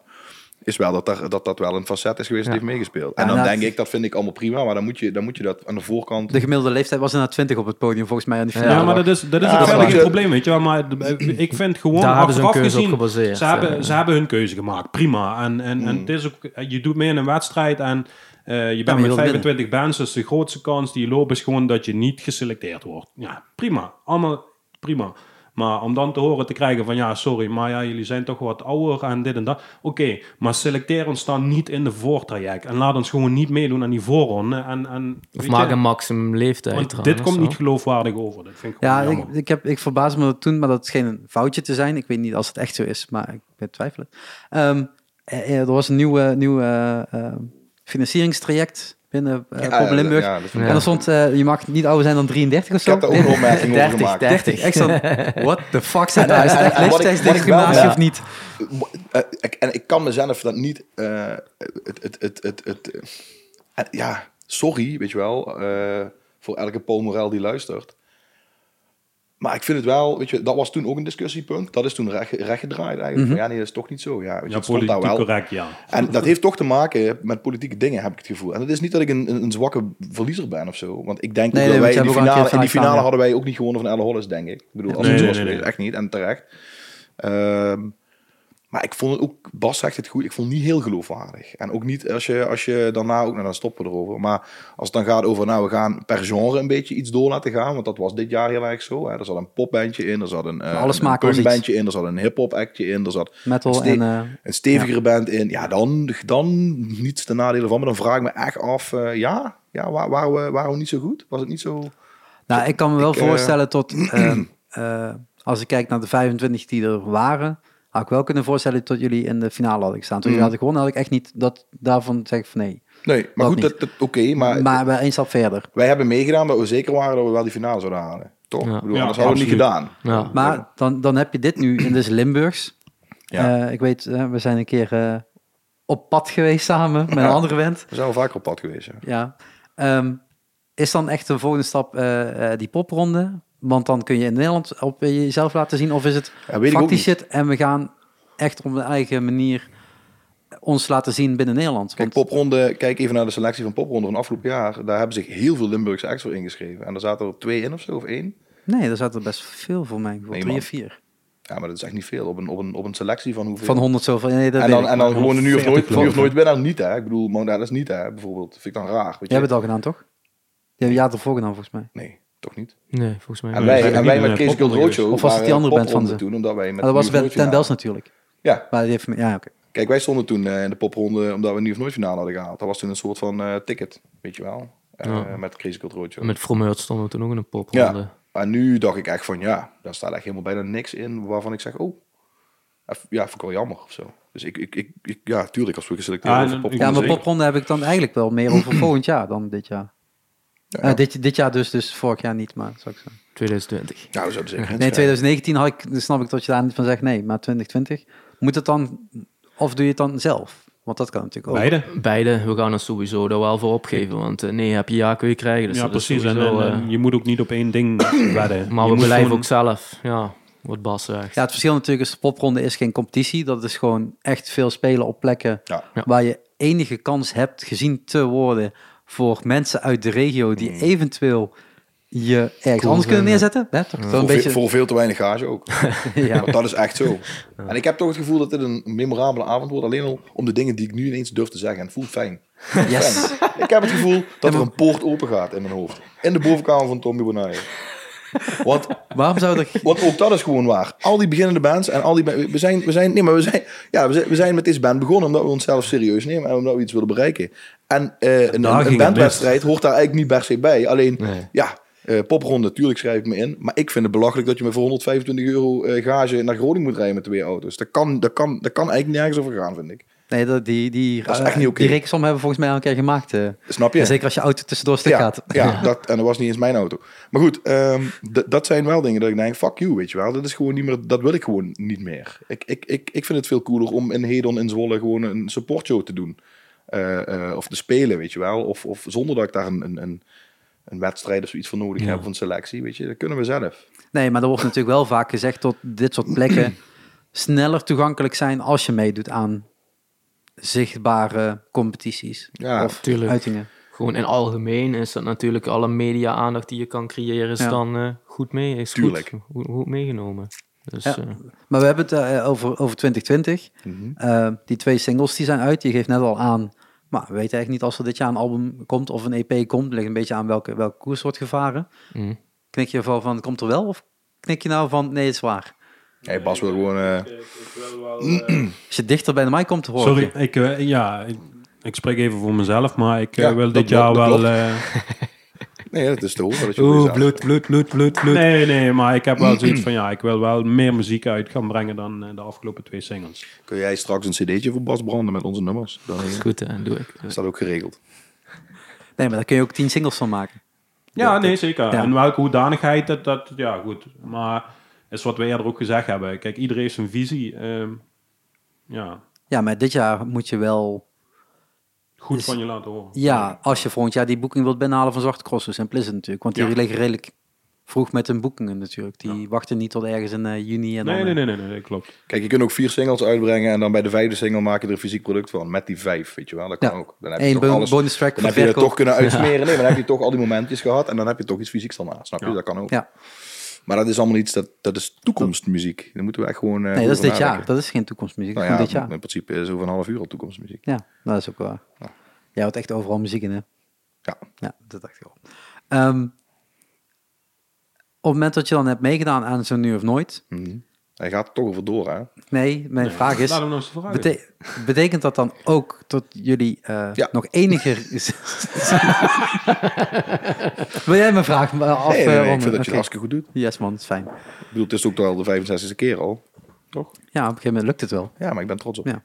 Speaker 1: is wel dat, daar, dat dat wel een facet is geweest die heeft meegespeeld. En
Speaker 2: Ja,
Speaker 1: dan
Speaker 2: nou,
Speaker 1: denk ik, dat vind ik allemaal prima, maar dan moet je, dan moet je dat aan de voorkant...
Speaker 2: De gemiddelde leeftijd was inderdaad 20 op het podium, volgens mij aan die
Speaker 3: Ja,
Speaker 4: Ja,
Speaker 2: finale.
Speaker 4: maar dat is, dat is
Speaker 1: Ja,
Speaker 4: ook wel
Speaker 1: maar
Speaker 4: een
Speaker 1: je-
Speaker 4: probleem, weet je wel. Maar de- ik vind gewoon,
Speaker 3: Daar hadden ze een
Speaker 4: achteraf
Speaker 3: keuze op
Speaker 4: gezien,
Speaker 3: gebaseerd,
Speaker 4: Ze hebben,
Speaker 3: eh.
Speaker 4: ze hebben hun keuze gemaakt, prima. En, en, en het is ook, je doet mee in een wedstrijd en eh, je
Speaker 2: maar
Speaker 4: bent
Speaker 2: je
Speaker 4: met
Speaker 2: wilt
Speaker 4: 25 bands, dus de grootste kans die je loopt is gewoon dat je niet geselecteerd wordt. Ja, prima. Allemaal prima. Maar om dan te horen te krijgen van ja, sorry, maar ja, jullie zijn toch wat ouder en dit en dat. Oké, maar selecteer ons dan niet in de voortraject. En laat ons gewoon niet meedoen aan die voorronde. En, en, weet
Speaker 3: Of
Speaker 4: je,
Speaker 3: maak een maximum leeftijd.
Speaker 4: Want
Speaker 3: eraan
Speaker 4: dit
Speaker 3: of
Speaker 4: komt
Speaker 3: zo.
Speaker 4: niet geloofwaardig over. Dat vind ik gewoon
Speaker 2: Ja, ik,
Speaker 4: jammer.
Speaker 2: ik, heb, ik verbaas me dat toen, maar dat scheen een foutje te zijn. Ik weet niet als het echt zo is, maar ik ben twijfelen. Ehm, eh, eh, er was een nieuw, eh, nieuw eh, eh, financieringstraject binnen eh
Speaker 1: Ja,
Speaker 2: Pop
Speaker 1: ja,
Speaker 2: Limburg.
Speaker 1: ja, dat vind ik-
Speaker 2: En er stond, eh, je mag niet ouder zijn dan 33 of
Speaker 1: Ik
Speaker 2: zo.
Speaker 1: heb daar ook een opmerking over
Speaker 3: 30,
Speaker 1: gemaakt.
Speaker 2: 30. Ik zat, what the fuck zijn
Speaker 1: En-
Speaker 2: daar? Is het
Speaker 1: en-
Speaker 2: echt
Speaker 1: en wat ik- wat ik wel-
Speaker 2: leeftijdsdiscriminatie
Speaker 1: ja.
Speaker 2: of niet?
Speaker 1: Eh, ik- en ik kan mezelf dat niet. eh, het, het, het, het, het, eh, ja, sorry, weet je wel. eh, voor elke Paul Morel die luistert. Maar ik vind het wel, weet je, dat was toen ook een discussiepunt. Dat is toen recht, rechtgedraaid eigenlijk. Van, ja, nee, dat is toch niet zo. Ja, weet je,
Speaker 4: Ja,
Speaker 1: het stond daar
Speaker 4: politiek
Speaker 1: wel.
Speaker 4: correct, ja.
Speaker 1: En dat heeft toch te maken met politieke dingen, heb ik het gevoel. En het is niet dat ik een, een, een zwakke verliezer ben of zo. Want ik denk
Speaker 2: Nee,
Speaker 1: ook
Speaker 2: nee,
Speaker 1: dat wij
Speaker 2: want
Speaker 1: in
Speaker 2: je
Speaker 1: die
Speaker 2: hebt ook al een keer
Speaker 1: finale, in die
Speaker 2: gedaan,
Speaker 1: finale
Speaker 2: ja.
Speaker 1: hadden wij ook niet gewonnen van Elle Hollis, denk ik. Ik bedoel, als
Speaker 4: Nee,
Speaker 1: het zo
Speaker 4: nee,
Speaker 1: was
Speaker 4: nee,
Speaker 1: geweest,
Speaker 4: nee.
Speaker 1: echt niet. En terecht. Ehm, maar ik vond het ook, Bas zegt het goed, ik vond het niet heel geloofwaardig. En ook niet als je, als je daarna ook, nou dan stoppen we erover. Maar als het dan gaat over, nou we gaan per genre een beetje iets door laten gaan. Want dat was dit jaar heel erg zo. Hè. Er zat een popbandje in, er zat een, eh,
Speaker 2: Alle
Speaker 1: een,
Speaker 2: smaken was iets.
Speaker 1: punkbandje in, er zat een hip-hop actje in, er zat
Speaker 2: Metal
Speaker 1: Ste-
Speaker 2: en... eh,
Speaker 1: een stevigere band in. Ja, dan, dan niets ten nadele van. Maar dan vraag ik me echt af, eh, ja, ja waar, waren, we, waren we niet zo goed? Was het niet zo...
Speaker 2: Nou, ik kan me wel
Speaker 1: Ik, eh,
Speaker 2: voorstellen tot... ehm, eh, als ik kijk naar de 25 die er waren... had ik wel kunnen voorstellen tot jullie in de finale hadden gestaan. Toen jullie
Speaker 1: Mm.
Speaker 2: hadden gewonnen, had ik echt niet dat, daarvan zeg ik van nee.
Speaker 1: Nee, maar
Speaker 2: Dat
Speaker 1: goed,
Speaker 2: niet.
Speaker 1: dat, dat, oké, maar,
Speaker 2: Maar, maar één stap verder.
Speaker 1: wij hebben meegedaan dat we zeker waren dat we wel die finale zouden halen. Toch?
Speaker 3: Ja.
Speaker 1: Ik bedoel,
Speaker 4: Ja,
Speaker 1: anders hadden we het niet gedaan.
Speaker 3: Ja.
Speaker 2: Maar dan, dan heb je dit nu in dus Limburgs.
Speaker 1: Ja.
Speaker 2: Eh, ik weet, eh, we zijn een keer eh, op pad geweest samen met een
Speaker 1: Ja.
Speaker 2: andere band.
Speaker 1: We zijn wel vaker op pad geweest. ja.
Speaker 2: Ja. Ehm, is dan echt de volgende stap eh, eh, die popronde? Want dan kun je in Nederland op jezelf laten zien. Of is het
Speaker 1: Ja, weet ik ook
Speaker 2: faktisch
Speaker 1: niet.
Speaker 2: shit en we gaan echt op een eigen manier ons laten zien binnen Nederland.
Speaker 1: Kijk,
Speaker 2: Want-
Speaker 1: popronde, kijk even naar de selectie van popronde van afgelopen jaar. Daar hebben zich heel veel Limburgse acts voor ingeschreven. En er zaten er twee in of zo, of één.
Speaker 2: Nee, daar zaten er best veel voor mij.
Speaker 1: Nee,
Speaker 2: drie
Speaker 1: man.
Speaker 2: of vier.
Speaker 1: Ja, maar dat is echt niet veel op een, op een, op een selectie van hoeveel.
Speaker 2: Van honderd zoveel. Nee, dat
Speaker 1: en
Speaker 2: weet
Speaker 1: dan,
Speaker 2: ik.
Speaker 1: en dan gewoon een nu of
Speaker 4: 140
Speaker 1: nooit, nu of
Speaker 4: geloof
Speaker 1: nooit winnaar niet, hè? Ik bedoel, Mount Atlas niet, hè? Bijvoorbeeld. Vind ik dan raar. Weet je?
Speaker 2: Jij hebt het al gedaan, toch? Je hebt een jaar ervoor gedaan, volgens mij.
Speaker 1: Nee, toch niet.
Speaker 3: Nee, volgens mij
Speaker 1: En
Speaker 4: we
Speaker 3: niet.
Speaker 1: wij,
Speaker 4: zijn
Speaker 1: en
Speaker 4: niet
Speaker 1: wij
Speaker 4: meer
Speaker 1: met
Speaker 4: naar
Speaker 1: Case Guild
Speaker 4: popronde
Speaker 1: Roadshow
Speaker 2: Of was het die
Speaker 1: waren
Speaker 2: andere band van
Speaker 1: popronde
Speaker 2: ze?
Speaker 1: toen, omdat wij met
Speaker 2: Maar Ah, dat was
Speaker 1: Nu of
Speaker 2: wel
Speaker 1: Nooit
Speaker 2: Ten
Speaker 1: finale-
Speaker 2: Dels natuurlijk.
Speaker 1: Ja,
Speaker 2: Maar die heeft... me- Ja, oké.
Speaker 1: kijk, wij stonden toen eh, in de popronde, omdat we nu of nooit finale hadden gehaald. Dat was toen een soort van eh, ticket, weet je wel. Eh,
Speaker 3: Ja.
Speaker 1: Met Crazy Guild Roadshow.
Speaker 3: Met Frommeurt stonden we toen ook in een popronde.
Speaker 1: Ja, maar nu dacht ik echt van ja, daar staat echt helemaal bijna niks in waarvan ik zeg, oh, eff- ja, vind ik wel jammer of zo. Dus ik, ik, ik, ik- ja, tuurlijk als we geselecteerd
Speaker 4: Ah,
Speaker 1: worden
Speaker 4: en-
Speaker 1: voor
Speaker 2: Ja,
Speaker 1: popronde,
Speaker 2: maar
Speaker 4: Zeker.
Speaker 2: popronde heb ik dan eigenlijk wel meer over volgend jaar dan dit jaar.
Speaker 1: zeker.
Speaker 2: Eh,
Speaker 1: Ja, ja.
Speaker 2: dit, dit jaar dus, dus vorig jaar niet, maar zou ik zeggen.
Speaker 3: 2020.
Speaker 1: Nou, we zouden zeker.
Speaker 2: Nee, 2019 had ik, dan snap ik dat je daar niet van zegt, nee, maar 2020. Moet het dan, of doe je het dan zelf? Want dat kan natuurlijk ook.
Speaker 4: Beide.
Speaker 3: Beide, we gaan er sowieso daar wel voor opgeven. Want eh, nee, heb je ja, kun je krijgen. Dus
Speaker 4: ja,
Speaker 3: dat is
Speaker 4: precies. En,
Speaker 3: sowieso,
Speaker 4: en-
Speaker 3: eh,
Speaker 4: en je moet ook niet op één ding wedden.
Speaker 3: maar
Speaker 4: Je
Speaker 3: we
Speaker 4: moet
Speaker 3: blijven
Speaker 4: gewoon-
Speaker 3: ook zelf. Ja, wat Bas zegt.
Speaker 2: Ja, het verschil natuurlijk is, de popronde is geen competitie. Dat is gewoon echt veel spelen op plekken
Speaker 1: Ja.
Speaker 3: Ja.
Speaker 2: waar je enige kans hebt gezien te worden voor mensen uit de regio die eventueel je ergens anders kunnen
Speaker 3: vinden.
Speaker 2: neerzetten. Hè, toch? Zo'n
Speaker 1: Voor,
Speaker 2: beetje,
Speaker 1: veel, voor veel te weinig gage ook.
Speaker 2: ja.
Speaker 1: Want dat is echt zo. En ik heb toch het gevoel dat dit een memorabele avond wordt. Alleen al om de dingen die ik nu ineens durf te zeggen. En het voelt fijn. Het voelt
Speaker 2: Yes.
Speaker 1: fijn. Ik heb het gevoel dat er een poort open gaat in mijn hoofd. In de bovenkamer van Tommy Bonaire. Want
Speaker 2: Waarom zou er
Speaker 1: Want ook dat is gewoon waar. Al die beginnende bands en al die ba- we zijn, we zijn, nee, maar we zijn, ja, we zijn, we zijn met deze band begonnen omdat we onszelf serieus nemen en omdat we iets willen bereiken. En eh, een,
Speaker 4: daar
Speaker 1: een,
Speaker 4: ging het
Speaker 1: bandwedstrijd hoort daar eigenlijk niet per se bij. Alleen,
Speaker 3: Nee.
Speaker 1: ja, eh, popronde, natuurlijk schrijf ik me in, maar ik vind het belachelijk dat je me voor 125 euro eh, gage naar Groningen moet rijden met twee auto's. Dat kan, dat kan, dat kan eigenlijk nergens over gaan, vind ik.
Speaker 2: Nee, dat, die, die, eh,
Speaker 1: Dat is echt niet oké.
Speaker 2: die rekensom hebben we volgens mij al een keer gemaakt. eh.
Speaker 1: Snap je?
Speaker 2: En zeker als je auto tussendoor stuk
Speaker 1: ja,
Speaker 2: gaat.
Speaker 1: Ja, Dat, en dat was niet eens mijn auto. Maar goed, ehm, d- dat zijn wel dingen dat ik denk, fuck you, weet je wel. Dat is gewoon niet meer, dat wil ik gewoon niet meer. Ik, ik, ik, ik vind het veel cooler om in Hedon in Zwolle gewoon een supportshow te doen. Eh, eh, of te spelen, weet je wel. Of, of zonder dat ik daar een, een, een, een wedstrijd of zoiets voor nodig heb, of een selectie, weet je. Dat kunnen we zelf.
Speaker 2: Nee, maar er wordt natuurlijk wel vaak gezegd dat dit soort plekken sneller toegankelijk zijn als je meedoet aan zichtbare competities
Speaker 1: Ja,
Speaker 2: of
Speaker 3: tuurlijk.
Speaker 2: uitingen.
Speaker 3: Gewoon in algemeen is dat natuurlijk alle media-aandacht die je kan creëren, is
Speaker 2: Ja.
Speaker 3: dan eh, goed mee. Is
Speaker 1: Tuurlijk.
Speaker 3: Goed, goed, goed meegenomen. Dus,
Speaker 2: Ja.
Speaker 3: eh,
Speaker 2: Maar we hebben het eh, over, over 2020.
Speaker 1: Mhm.
Speaker 2: Eh, die twee singles die zijn uit. Je geeft net al aan. Maar we weten eigenlijk niet als er dit jaar een album komt of een EP komt. Het ligt een beetje aan welke, welke koers wordt gevaren.
Speaker 3: mm.
Speaker 2: Knik je van, van komt er wel? Of knik je nou van nee, het is waar?
Speaker 1: hey, Bas wil gewoon... eh,
Speaker 2: Als je dichter bij de mic komt te horen.
Speaker 4: Sorry, ik, eh, ja, ik, ik spreek even voor mezelf, maar ik eh,
Speaker 1: Ja,
Speaker 4: wil
Speaker 1: dat
Speaker 4: dit
Speaker 1: klopt,
Speaker 4: jaar
Speaker 1: dat
Speaker 4: wel...
Speaker 1: klopt.
Speaker 4: eh,
Speaker 1: nee, dat is te horen. Dat je
Speaker 3: Oeh,
Speaker 1: goeie zaak-
Speaker 3: bloed, bloed, bloed, bloed, bloed.
Speaker 4: nee, nee, maar ik heb wel zoiets van, ja, ik wil wel meer muziek uit gaan brengen dan eh, de afgelopen twee singles.
Speaker 1: Kun jij straks een cd'tje voor Bas branden met onze nummers? Dan eh,
Speaker 3: Dat is goed, hè, doe ik.
Speaker 1: is dat ook geregeld.
Speaker 2: Nee, maar daar kun je ook tien singles van maken.
Speaker 4: Ja, nee, zeker.
Speaker 2: ja.
Speaker 4: En welke hoedanigheid, dat, dat, ja, goed. Maar is wat we eerder ook gezegd hebben. Kijk, iedereen heeft zijn visie. ehm, ja,
Speaker 2: Ja, maar dit jaar moet je wel...
Speaker 4: goed
Speaker 2: Dus-
Speaker 4: van je laten horen.
Speaker 2: Ja, als je volgend jaar die boeking wilt binnenhalen van Zwarte Crossers en Pleasant natuurlijk. Want die
Speaker 4: Ja.
Speaker 2: liggen redelijk vroeg met hun boekingen natuurlijk. Die wachten niet tot ergens in eh, juni. En dan,
Speaker 4: Nee,
Speaker 2: eh,
Speaker 4: nee, nee, nee, nee, nee, klopt.
Speaker 1: Kijk, je kunt ook vier singles uitbrengen en dan bij de vijfde single maak je er een fysiek product van. Met die vijf, weet je wel. Dat kan
Speaker 2: Ja.
Speaker 1: ook. Dan heb je
Speaker 2: Eén
Speaker 1: toch
Speaker 2: bo-
Speaker 1: alles.
Speaker 2: bonus track
Speaker 1: Dan
Speaker 2: voor
Speaker 1: heb je het
Speaker 2: verkoop.
Speaker 1: toch kunnen uitsmeren. Nee, maar dan heb je toch al die momentjes gehad en dan heb je toch iets fysieks dan aan. Snap je?
Speaker 4: Ja.
Speaker 1: Dat kan ook.
Speaker 2: Ja,
Speaker 1: Maar dat is allemaal iets, dat, dat is toekomstmuziek. Daar moeten we echt gewoon... eh,
Speaker 2: nee, dat
Speaker 1: over
Speaker 2: is dit jaar.
Speaker 1: nadenken.
Speaker 2: Dat is geen toekomstmuziek.
Speaker 1: Nou
Speaker 2: dat
Speaker 1: ja,
Speaker 2: is gewoon dit jaar.
Speaker 1: in principe is over een half uur al toekomstmuziek.
Speaker 2: Ja, dat is ook waar.
Speaker 1: Ja.
Speaker 2: Jij houdt echt overal muziek in, hè?
Speaker 1: Ja.
Speaker 2: Ja, dat dacht ik al. Ehm, op het moment dat je dan hebt meegedaan aan zo'n nu of nooit...
Speaker 1: Mhm. Hij gaat toch over door, hè?
Speaker 2: Nee, mijn vraag is...
Speaker 4: Laat hem nog eens vragen.
Speaker 2: Bete- betekent dat dan ook dat jullie eh,
Speaker 1: Ja.
Speaker 2: nog enige... Wil jij mijn vraag maar af?
Speaker 1: Nee, nee, nee,
Speaker 2: eh,
Speaker 1: ik
Speaker 2: ronden?
Speaker 1: vind dat je het
Speaker 2: Oké.
Speaker 1: hartstikke goed doet.
Speaker 2: Yes man, het is fijn.
Speaker 1: Ik bedoel, het is ook al de 65e keer al. Toch?
Speaker 2: Ja, op een gegeven moment lukt het wel.
Speaker 1: Ja, maar ik ben trots op.
Speaker 2: Ja.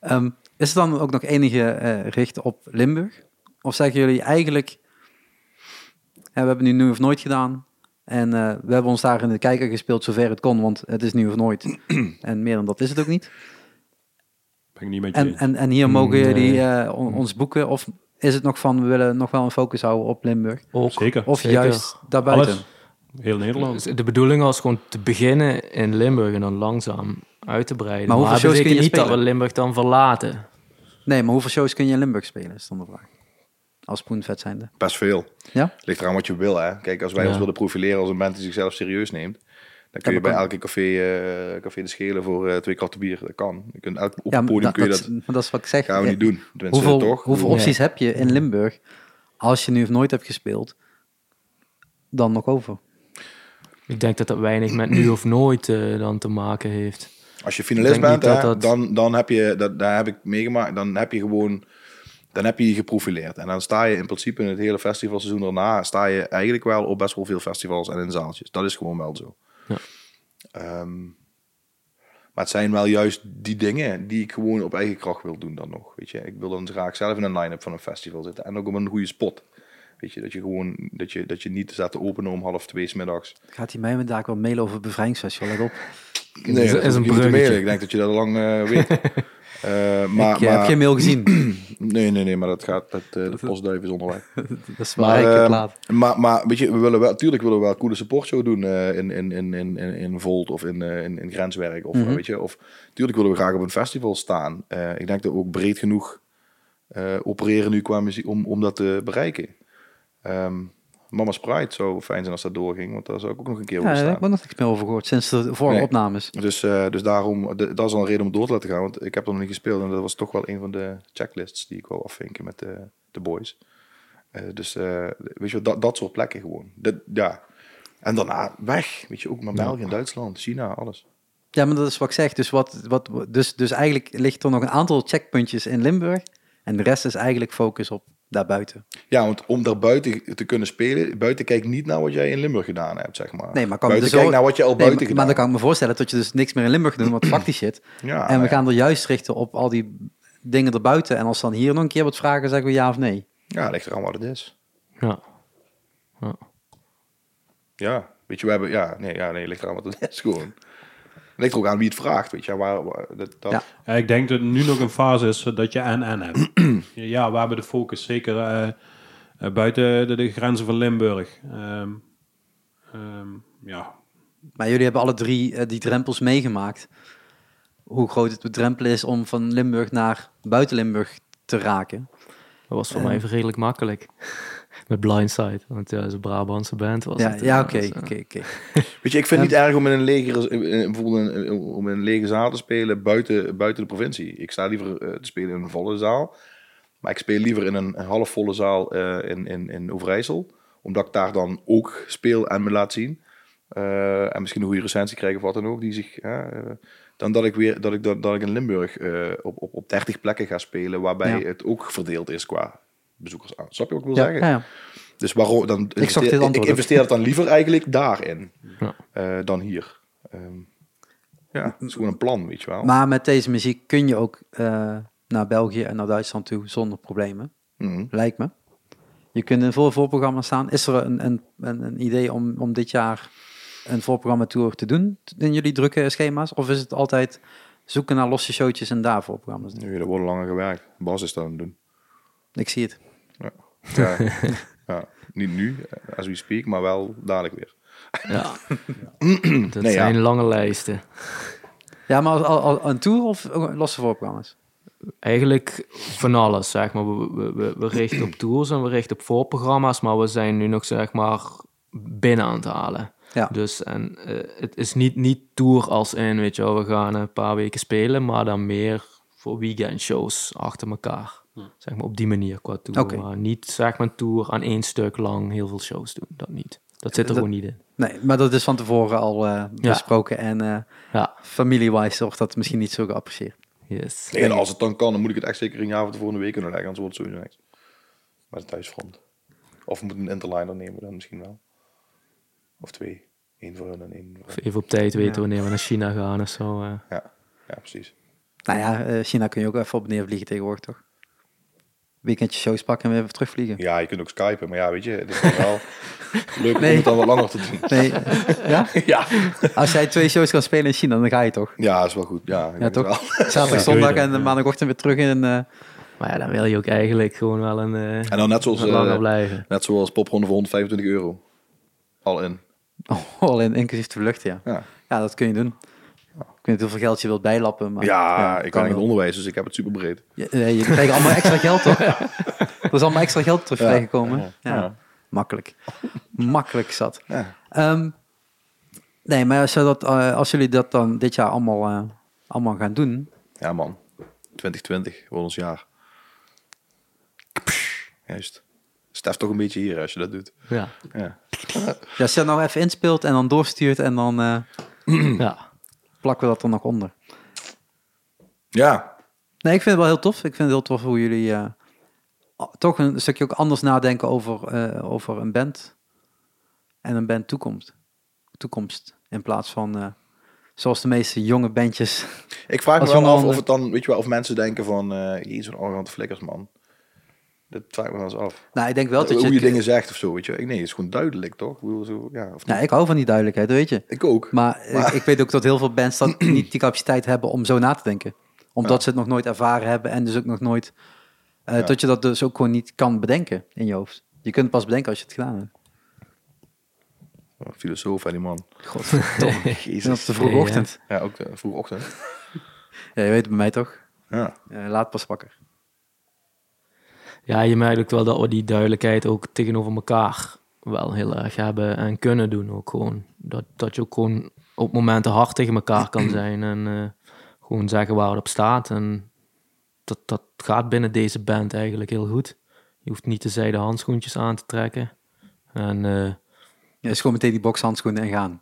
Speaker 2: Ehm, is er dan ook nog enige eh, richt op Limburg? Of zeggen jullie eigenlijk... hè, we hebben nu nu of nooit gedaan. En eh, we hebben ons daar in de kijker gespeeld zover het kon. Want het is nu of nooit. en meer dan dat is het ook niet.
Speaker 4: Ben ik niet met je
Speaker 2: En,
Speaker 4: eens.
Speaker 2: en, en hier mogen
Speaker 1: Mm,
Speaker 3: Nee.
Speaker 2: jullie eh, on- ons boeken? Of is het nog van, we willen nog wel een focus houden op Limburg?
Speaker 3: Ook.
Speaker 4: Zeker.
Speaker 2: Of
Speaker 3: Zeker.
Speaker 2: juist daarbuiten?
Speaker 4: Alles. Heel Nederland.
Speaker 3: Dus de bedoeling was gewoon te beginnen in Limburg en dan langzaam uit te breiden.
Speaker 2: Maar hoeveel shows
Speaker 3: betekent
Speaker 2: kun je
Speaker 3: niet dat we
Speaker 2: spelen?
Speaker 3: Limburg dan verlaten.
Speaker 2: Nee, maar hoeveel shows kun je in Limburg spelen, is dan de vraag. Als Spoenvet zijnde.
Speaker 1: Best veel.
Speaker 2: Ja?
Speaker 1: Ligt eraan wat je wil, hè. Kijk, als wij
Speaker 3: Ja.
Speaker 1: ons willen profileren als een band die zichzelf serieus neemt, dan kun je
Speaker 2: maar
Speaker 1: bij
Speaker 2: kan-
Speaker 1: elke café, eh, café de schelen voor eh, twee kratten bier. Dat kan. Je kunt elk, op
Speaker 2: ja,
Speaker 1: het
Speaker 2: maar
Speaker 1: podium
Speaker 2: dat,
Speaker 1: kun je dat,
Speaker 2: dat, maar dat is wat ik zeg.
Speaker 1: gaan we
Speaker 2: Ja,
Speaker 1: niet doen. Tenminste,
Speaker 2: Hoeveel,
Speaker 1: toch?
Speaker 2: hoeveel
Speaker 3: Nee.
Speaker 2: opties heb je in Limburg, als je nu of nooit hebt gespeeld, dan nog over?
Speaker 3: Ik denk dat dat weinig met nu of nooit eh, dan te maken heeft.
Speaker 1: Als je
Speaker 3: Ik
Speaker 1: finalist
Speaker 3: denk
Speaker 1: bent,
Speaker 3: niet
Speaker 1: hè,
Speaker 3: dat dat-
Speaker 1: dan, dan heb je, dat, daar heb ik meegemaakt, dan heb je gewoon, dan heb je je geprofileerd. En dan sta je in principe in het hele festivalseizoen daarna, sta je eigenlijk wel op best wel veel festivals en in zaaltjes. Dat is gewoon wel zo.
Speaker 3: Ja.
Speaker 1: Ehm, maar het zijn wel juist die dingen die ik gewoon op eigen kracht wil doen dan nog. Weet je, ik wil dan graag zelf in een line-up van een festival zitten en ook op een goede spot. Weet je, dat je gewoon, dat je, dat je niet staat te openen om half twee 's middags.
Speaker 2: Gaat hij mij met daar wel mailen over het bevrijdingsfestival? Let op.
Speaker 1: Nee,
Speaker 3: is-
Speaker 1: dat hoef
Speaker 3: is een
Speaker 1: je niet te
Speaker 3: bruggetje.
Speaker 1: mailen. Ik denk dat je dat al lang eh, weet. Eh, maar,
Speaker 2: ik eh,
Speaker 1: maar-
Speaker 2: heb geen mail gezien.
Speaker 1: Nee, nee, nee, maar dat gaat, dat, eh, de postduif is onderweg.
Speaker 2: dat is
Speaker 1: Maar,
Speaker 2: waar ik
Speaker 1: eh,
Speaker 2: het laat.
Speaker 1: maar, maar weet je, we willen wel, tuurlijk willen we wel een coole supportshow doen eh, in, in, in, in, in, in Volt of in, eh, in, in Grenswerk. Of, eh, weet je, of tuurlijk willen we graag op een festival staan. Eh, ik denk dat we ook breed genoeg eh, opereren nu qua muziek om, om dat te bereiken. Ehm Mama's Pride zou fijn zijn als dat doorging, want daar zou ik ook nog een keer
Speaker 2: Ja,
Speaker 1: willen
Speaker 2: daar heb ik
Speaker 1: staan.
Speaker 2: ook nog niks meer over gehoord sinds de vorige
Speaker 1: Nee.
Speaker 2: opnames.
Speaker 1: Dus, eh, dus daarom, de- dat is al een reden om door te laten gaan, want ik heb er nog niet gespeeld. En dat was toch wel een van de checklists die ik wou afvinken met de, de boys. Eh, dus eh, weet je wel, dat, dat soort plekken gewoon. Dat, ja. En daarna weg, weet je, ook naar België, Duitsland, China, alles.
Speaker 2: Ja, maar dat is wat ik zeg. Dus, wat, wat, dus, dus eigenlijk ligt er nog een aantal checkpuntjes in Limburg. En de rest is eigenlijk focus op daarbuiten.
Speaker 1: Ja, want om daar buiten te kunnen spelen, buiten kijk niet naar wat jij in Limburg gedaan hebt, zeg maar.
Speaker 2: Nee, maar kan ik
Speaker 1: buiten
Speaker 2: dus
Speaker 1: kijk
Speaker 2: ook-
Speaker 1: naar wat je al
Speaker 2: Nee,
Speaker 1: buiten
Speaker 2: maar,
Speaker 1: gedaan
Speaker 2: maar dan kan ik me voorstellen dat je dus niks meer in Limburg doet, want fuck die shit.
Speaker 1: Ja,
Speaker 2: en we
Speaker 1: ja.
Speaker 2: gaan er juist richten op al die dingen erbuiten. En als dan hier nog een keer wat vragen, zeggen we ja of nee.
Speaker 1: hebt. Ja, ligt eraan wat het is.
Speaker 3: Ja. ja.
Speaker 1: Ja, weet je, we hebben... Ja, nee, ja, nee ligt eraan wat het is gewoon. Ligt er ook aan wie het vraagt, weet je. Waar, waar- dat, dat,
Speaker 2: Ja.
Speaker 4: Ja, ik denk dat nu nog een fase is eh, dat je en-en hebt. ja, we hebben de focus zeker eh, eh, buiten de, de grenzen van Limburg. Ehm, ehm, ja,
Speaker 2: Maar jullie hebben alle drie eh, die drempels meegemaakt. Hoe groot het de drempel is om van Limburg naar buiten Limburg te raken.
Speaker 3: Dat was voor mij even redelijk makkelijk. Met Blindside, want ja, dat is een Brabantse band. Was
Speaker 2: Ja,
Speaker 3: het,
Speaker 2: ja
Speaker 3: eh,
Speaker 2: oké.
Speaker 3: dus, eh,
Speaker 2: oké, oké.
Speaker 1: Weet je, ik vind het niet erg om in een lege, eh, eh, bijvoorbeeld een- eh, om in een lege zaal te spelen buiten, buiten de provincie. Ik sta liever eh, te spelen in een volle zaal. Maar ik speel liever in een, een halfvolle zaal eh, in, in, in Overijssel. Omdat ik daar dan ook speel en me laat zien. Eh, en misschien een goede recensie krijg of wat dan ook. Die zich, eh, eh, dan dat ik, weer, dat ik, dat, dat ik in Limburg eh, op, op, op 30 plekken ga spelen. Waarbij
Speaker 2: Ja.
Speaker 1: het ook verdeeld is qua bezoekers. Snap je wat ik wil
Speaker 2: Ja,
Speaker 1: zeggen?
Speaker 2: ja, ja.
Speaker 1: Dus waarom dan investeer, ik,
Speaker 2: dit antwoord ook.
Speaker 1: investeer het dan liever eigenlijk daarin
Speaker 3: Ja.
Speaker 1: eh, dan hier. Ehm, ja, het is gewoon een plan, weet je wel.
Speaker 2: Maar met deze muziek kun je ook eh, naar België en naar Duitsland toe zonder problemen.
Speaker 1: Mhm.
Speaker 2: Lijkt me. Je kunt in veel voorprogramma's staan. Is er een, een, een, een idee om, om dit jaar een voorprogramma tour te doen in jullie drukke schema's? Of is het altijd zoeken naar losse showtjes en daar voorprogramma's doen?
Speaker 1: Nu, er wordt langer gewerkt. Bas is dat aan het doen.
Speaker 2: Ik zie het.
Speaker 1: Ja. Ja. ja. Niet nu, eh, as we speak, maar wel dadelijk weer.
Speaker 3: ja. Dat
Speaker 1: Nee, ja.
Speaker 3: zijn lange lijsten.
Speaker 2: Ja, maar als, als- als een tour of losse voorprogramma's?
Speaker 3: Eigenlijk van alles, zeg maar. We, we, we, we richten op tours en we richten op voorprogramma's, maar we zijn nu nog, zeg maar, binnen aan het halen.
Speaker 2: Ja.
Speaker 3: Dus en, eh, het is niet, niet tour als in, weet je wel, we gaan een paar weken spelen, maar dan meer voor weekendshows achter elkaar. Zeg maar op die manier qua tour.
Speaker 2: Oké.
Speaker 3: Maar niet, zeg maar, een tour aan één stuk lang heel veel shows doen. Dat niet. Dat zit er
Speaker 2: Dat-
Speaker 3: gewoon niet in.
Speaker 2: Nee, maar dat is van tevoren al eh, besproken. En eh
Speaker 3: Ja,
Speaker 2: familie-wise wordt dat misschien niet zo geapprecieerd.
Speaker 3: yes.
Speaker 1: Nee, en als het dan kan, dan moet ik het echt zeker een jaar van tevoren een week kunnen leggen. Anders wordt het sowieso niks. Maar het thuisfront. Of we moeten een interliner nemen dan misschien wel. Of twee. Eén voor hun en één voor
Speaker 3: Of
Speaker 1: hen.
Speaker 3: Even op tijd weten wanneer we naar China gaan of zo. eh.
Speaker 1: Ja. ja, precies.
Speaker 2: Nou ja, eh, China kun je ook even op en neer vliegen tegenwoordig, toch? Weekendje shows pakken en weer even terugvliegen.
Speaker 1: Ja, je kunt ook skypen, maar ja, weet je, het is dan wel leuk
Speaker 2: Nee.
Speaker 1: om het dan wat langer te doen.
Speaker 2: Nee, eh, ja?
Speaker 1: Ja,
Speaker 2: Als jij twee shows kan spelen in China, dan ga je toch?
Speaker 1: ja is wel goed. Ja, ik
Speaker 2: Ja,
Speaker 1: denk het
Speaker 2: toch?
Speaker 1: wel.
Speaker 2: Zaterdag, zondag en eh, maandagochtend weer terug in... eh,
Speaker 3: Maar ja, dan wil je ook eigenlijk gewoon wel een... eh,
Speaker 1: En dan net zoals,
Speaker 3: wat langer
Speaker 1: eh,
Speaker 3: blijven.
Speaker 1: net zoals popronde voor 125 euro. Al in.
Speaker 2: Oh, alleen inclusief de vlucht, ja.
Speaker 1: Ja.
Speaker 2: Ja, dat kun je doen. Ik weet niet hoeveel geld je wilt bijlappen, maar...
Speaker 1: Ja, ik kan in het
Speaker 2: wel.
Speaker 1: onderwijs, dus ik heb het super breed.
Speaker 2: Je, eh, je krijgt allemaal extra geld, toch? Er is allemaal extra geld terug vrijgekomen. Ja.
Speaker 1: Ja.
Speaker 2: Makkelijk. Makkelijk zat.
Speaker 1: Ja.
Speaker 2: Ehm, nee, maar als, je dat, eh, als jullie dat dan dit jaar allemaal, eh, allemaal gaan doen...
Speaker 1: Ja, man. 2020 wordt ons jaar. Juist. Stef toch een beetje hier als je dat doet.
Speaker 3: Ja.
Speaker 1: Ja.
Speaker 2: Ja, als je dat nou even inspeelt en dan doorstuurt en dan eh,
Speaker 3: ja.
Speaker 2: plakken we dat er nog onder.
Speaker 1: Ja.
Speaker 2: Nee, ik vind het wel heel tof. Ik vind het heel tof hoe jullie eh, a- toch een stukje ook anders nadenken over, eh, over een band. En een band toekomst. Toekomst. In plaats van, eh, zoals de meeste jonge bandjes.
Speaker 1: Ik vraag
Speaker 2: Als
Speaker 1: me wel af
Speaker 2: jongeman,
Speaker 1: of het dan, weet je wel, of mensen denken van, eh jezus, zo'n arrogante flikkers, man. Dat vraag ik me wel eens af.
Speaker 2: nou, ik denk wel dat
Speaker 1: Eh, Hoe
Speaker 2: je...
Speaker 1: je, dingen zegt of zo, weet je. Ik- Nee, het is gewoon duidelijk, toch? Ik bedoel, zo, ja, of niet?
Speaker 2: Nou, ik hou van die duidelijkheid, weet je.
Speaker 1: Ik ook.
Speaker 2: Maar, eh, Ik, weet ook dat heel veel bands dan niet die capaciteit hebben om zo na te denken. Omdat ze het nog nooit ervaren hebben en dus ook nog nooit... eh, Dat je dat dus ook gewoon niet kan bedenken in je hoofd. Je kunt het pas bedenken als je het gedaan hebt.
Speaker 1: Oh, filosoof, hè, die man.
Speaker 2: Godverdomme. En op
Speaker 1: Jezus.
Speaker 2: de vroege
Speaker 3: Ja.
Speaker 2: ochtend.
Speaker 1: Ja, ook de vroege ochtend.
Speaker 2: Ja, je weet het bij mij toch?
Speaker 1: Ja.
Speaker 2: Eh, laat pas wakker.
Speaker 3: ja, je merkt ook wel dat we die duidelijkheid ook tegenover elkaar wel heel erg hebben en kunnen doen ook gewoon. Dat, dat je ook gewoon op momenten hard tegen elkaar kan zijn en eh, gewoon zeggen waar het op staat. En dat, dat gaat binnen deze band eigenlijk heel goed. Je hoeft niet de zijde handschoentjes aan te trekken. En eh,
Speaker 2: Ja, dus gewoon meteen die bokshandschoenen en gaan.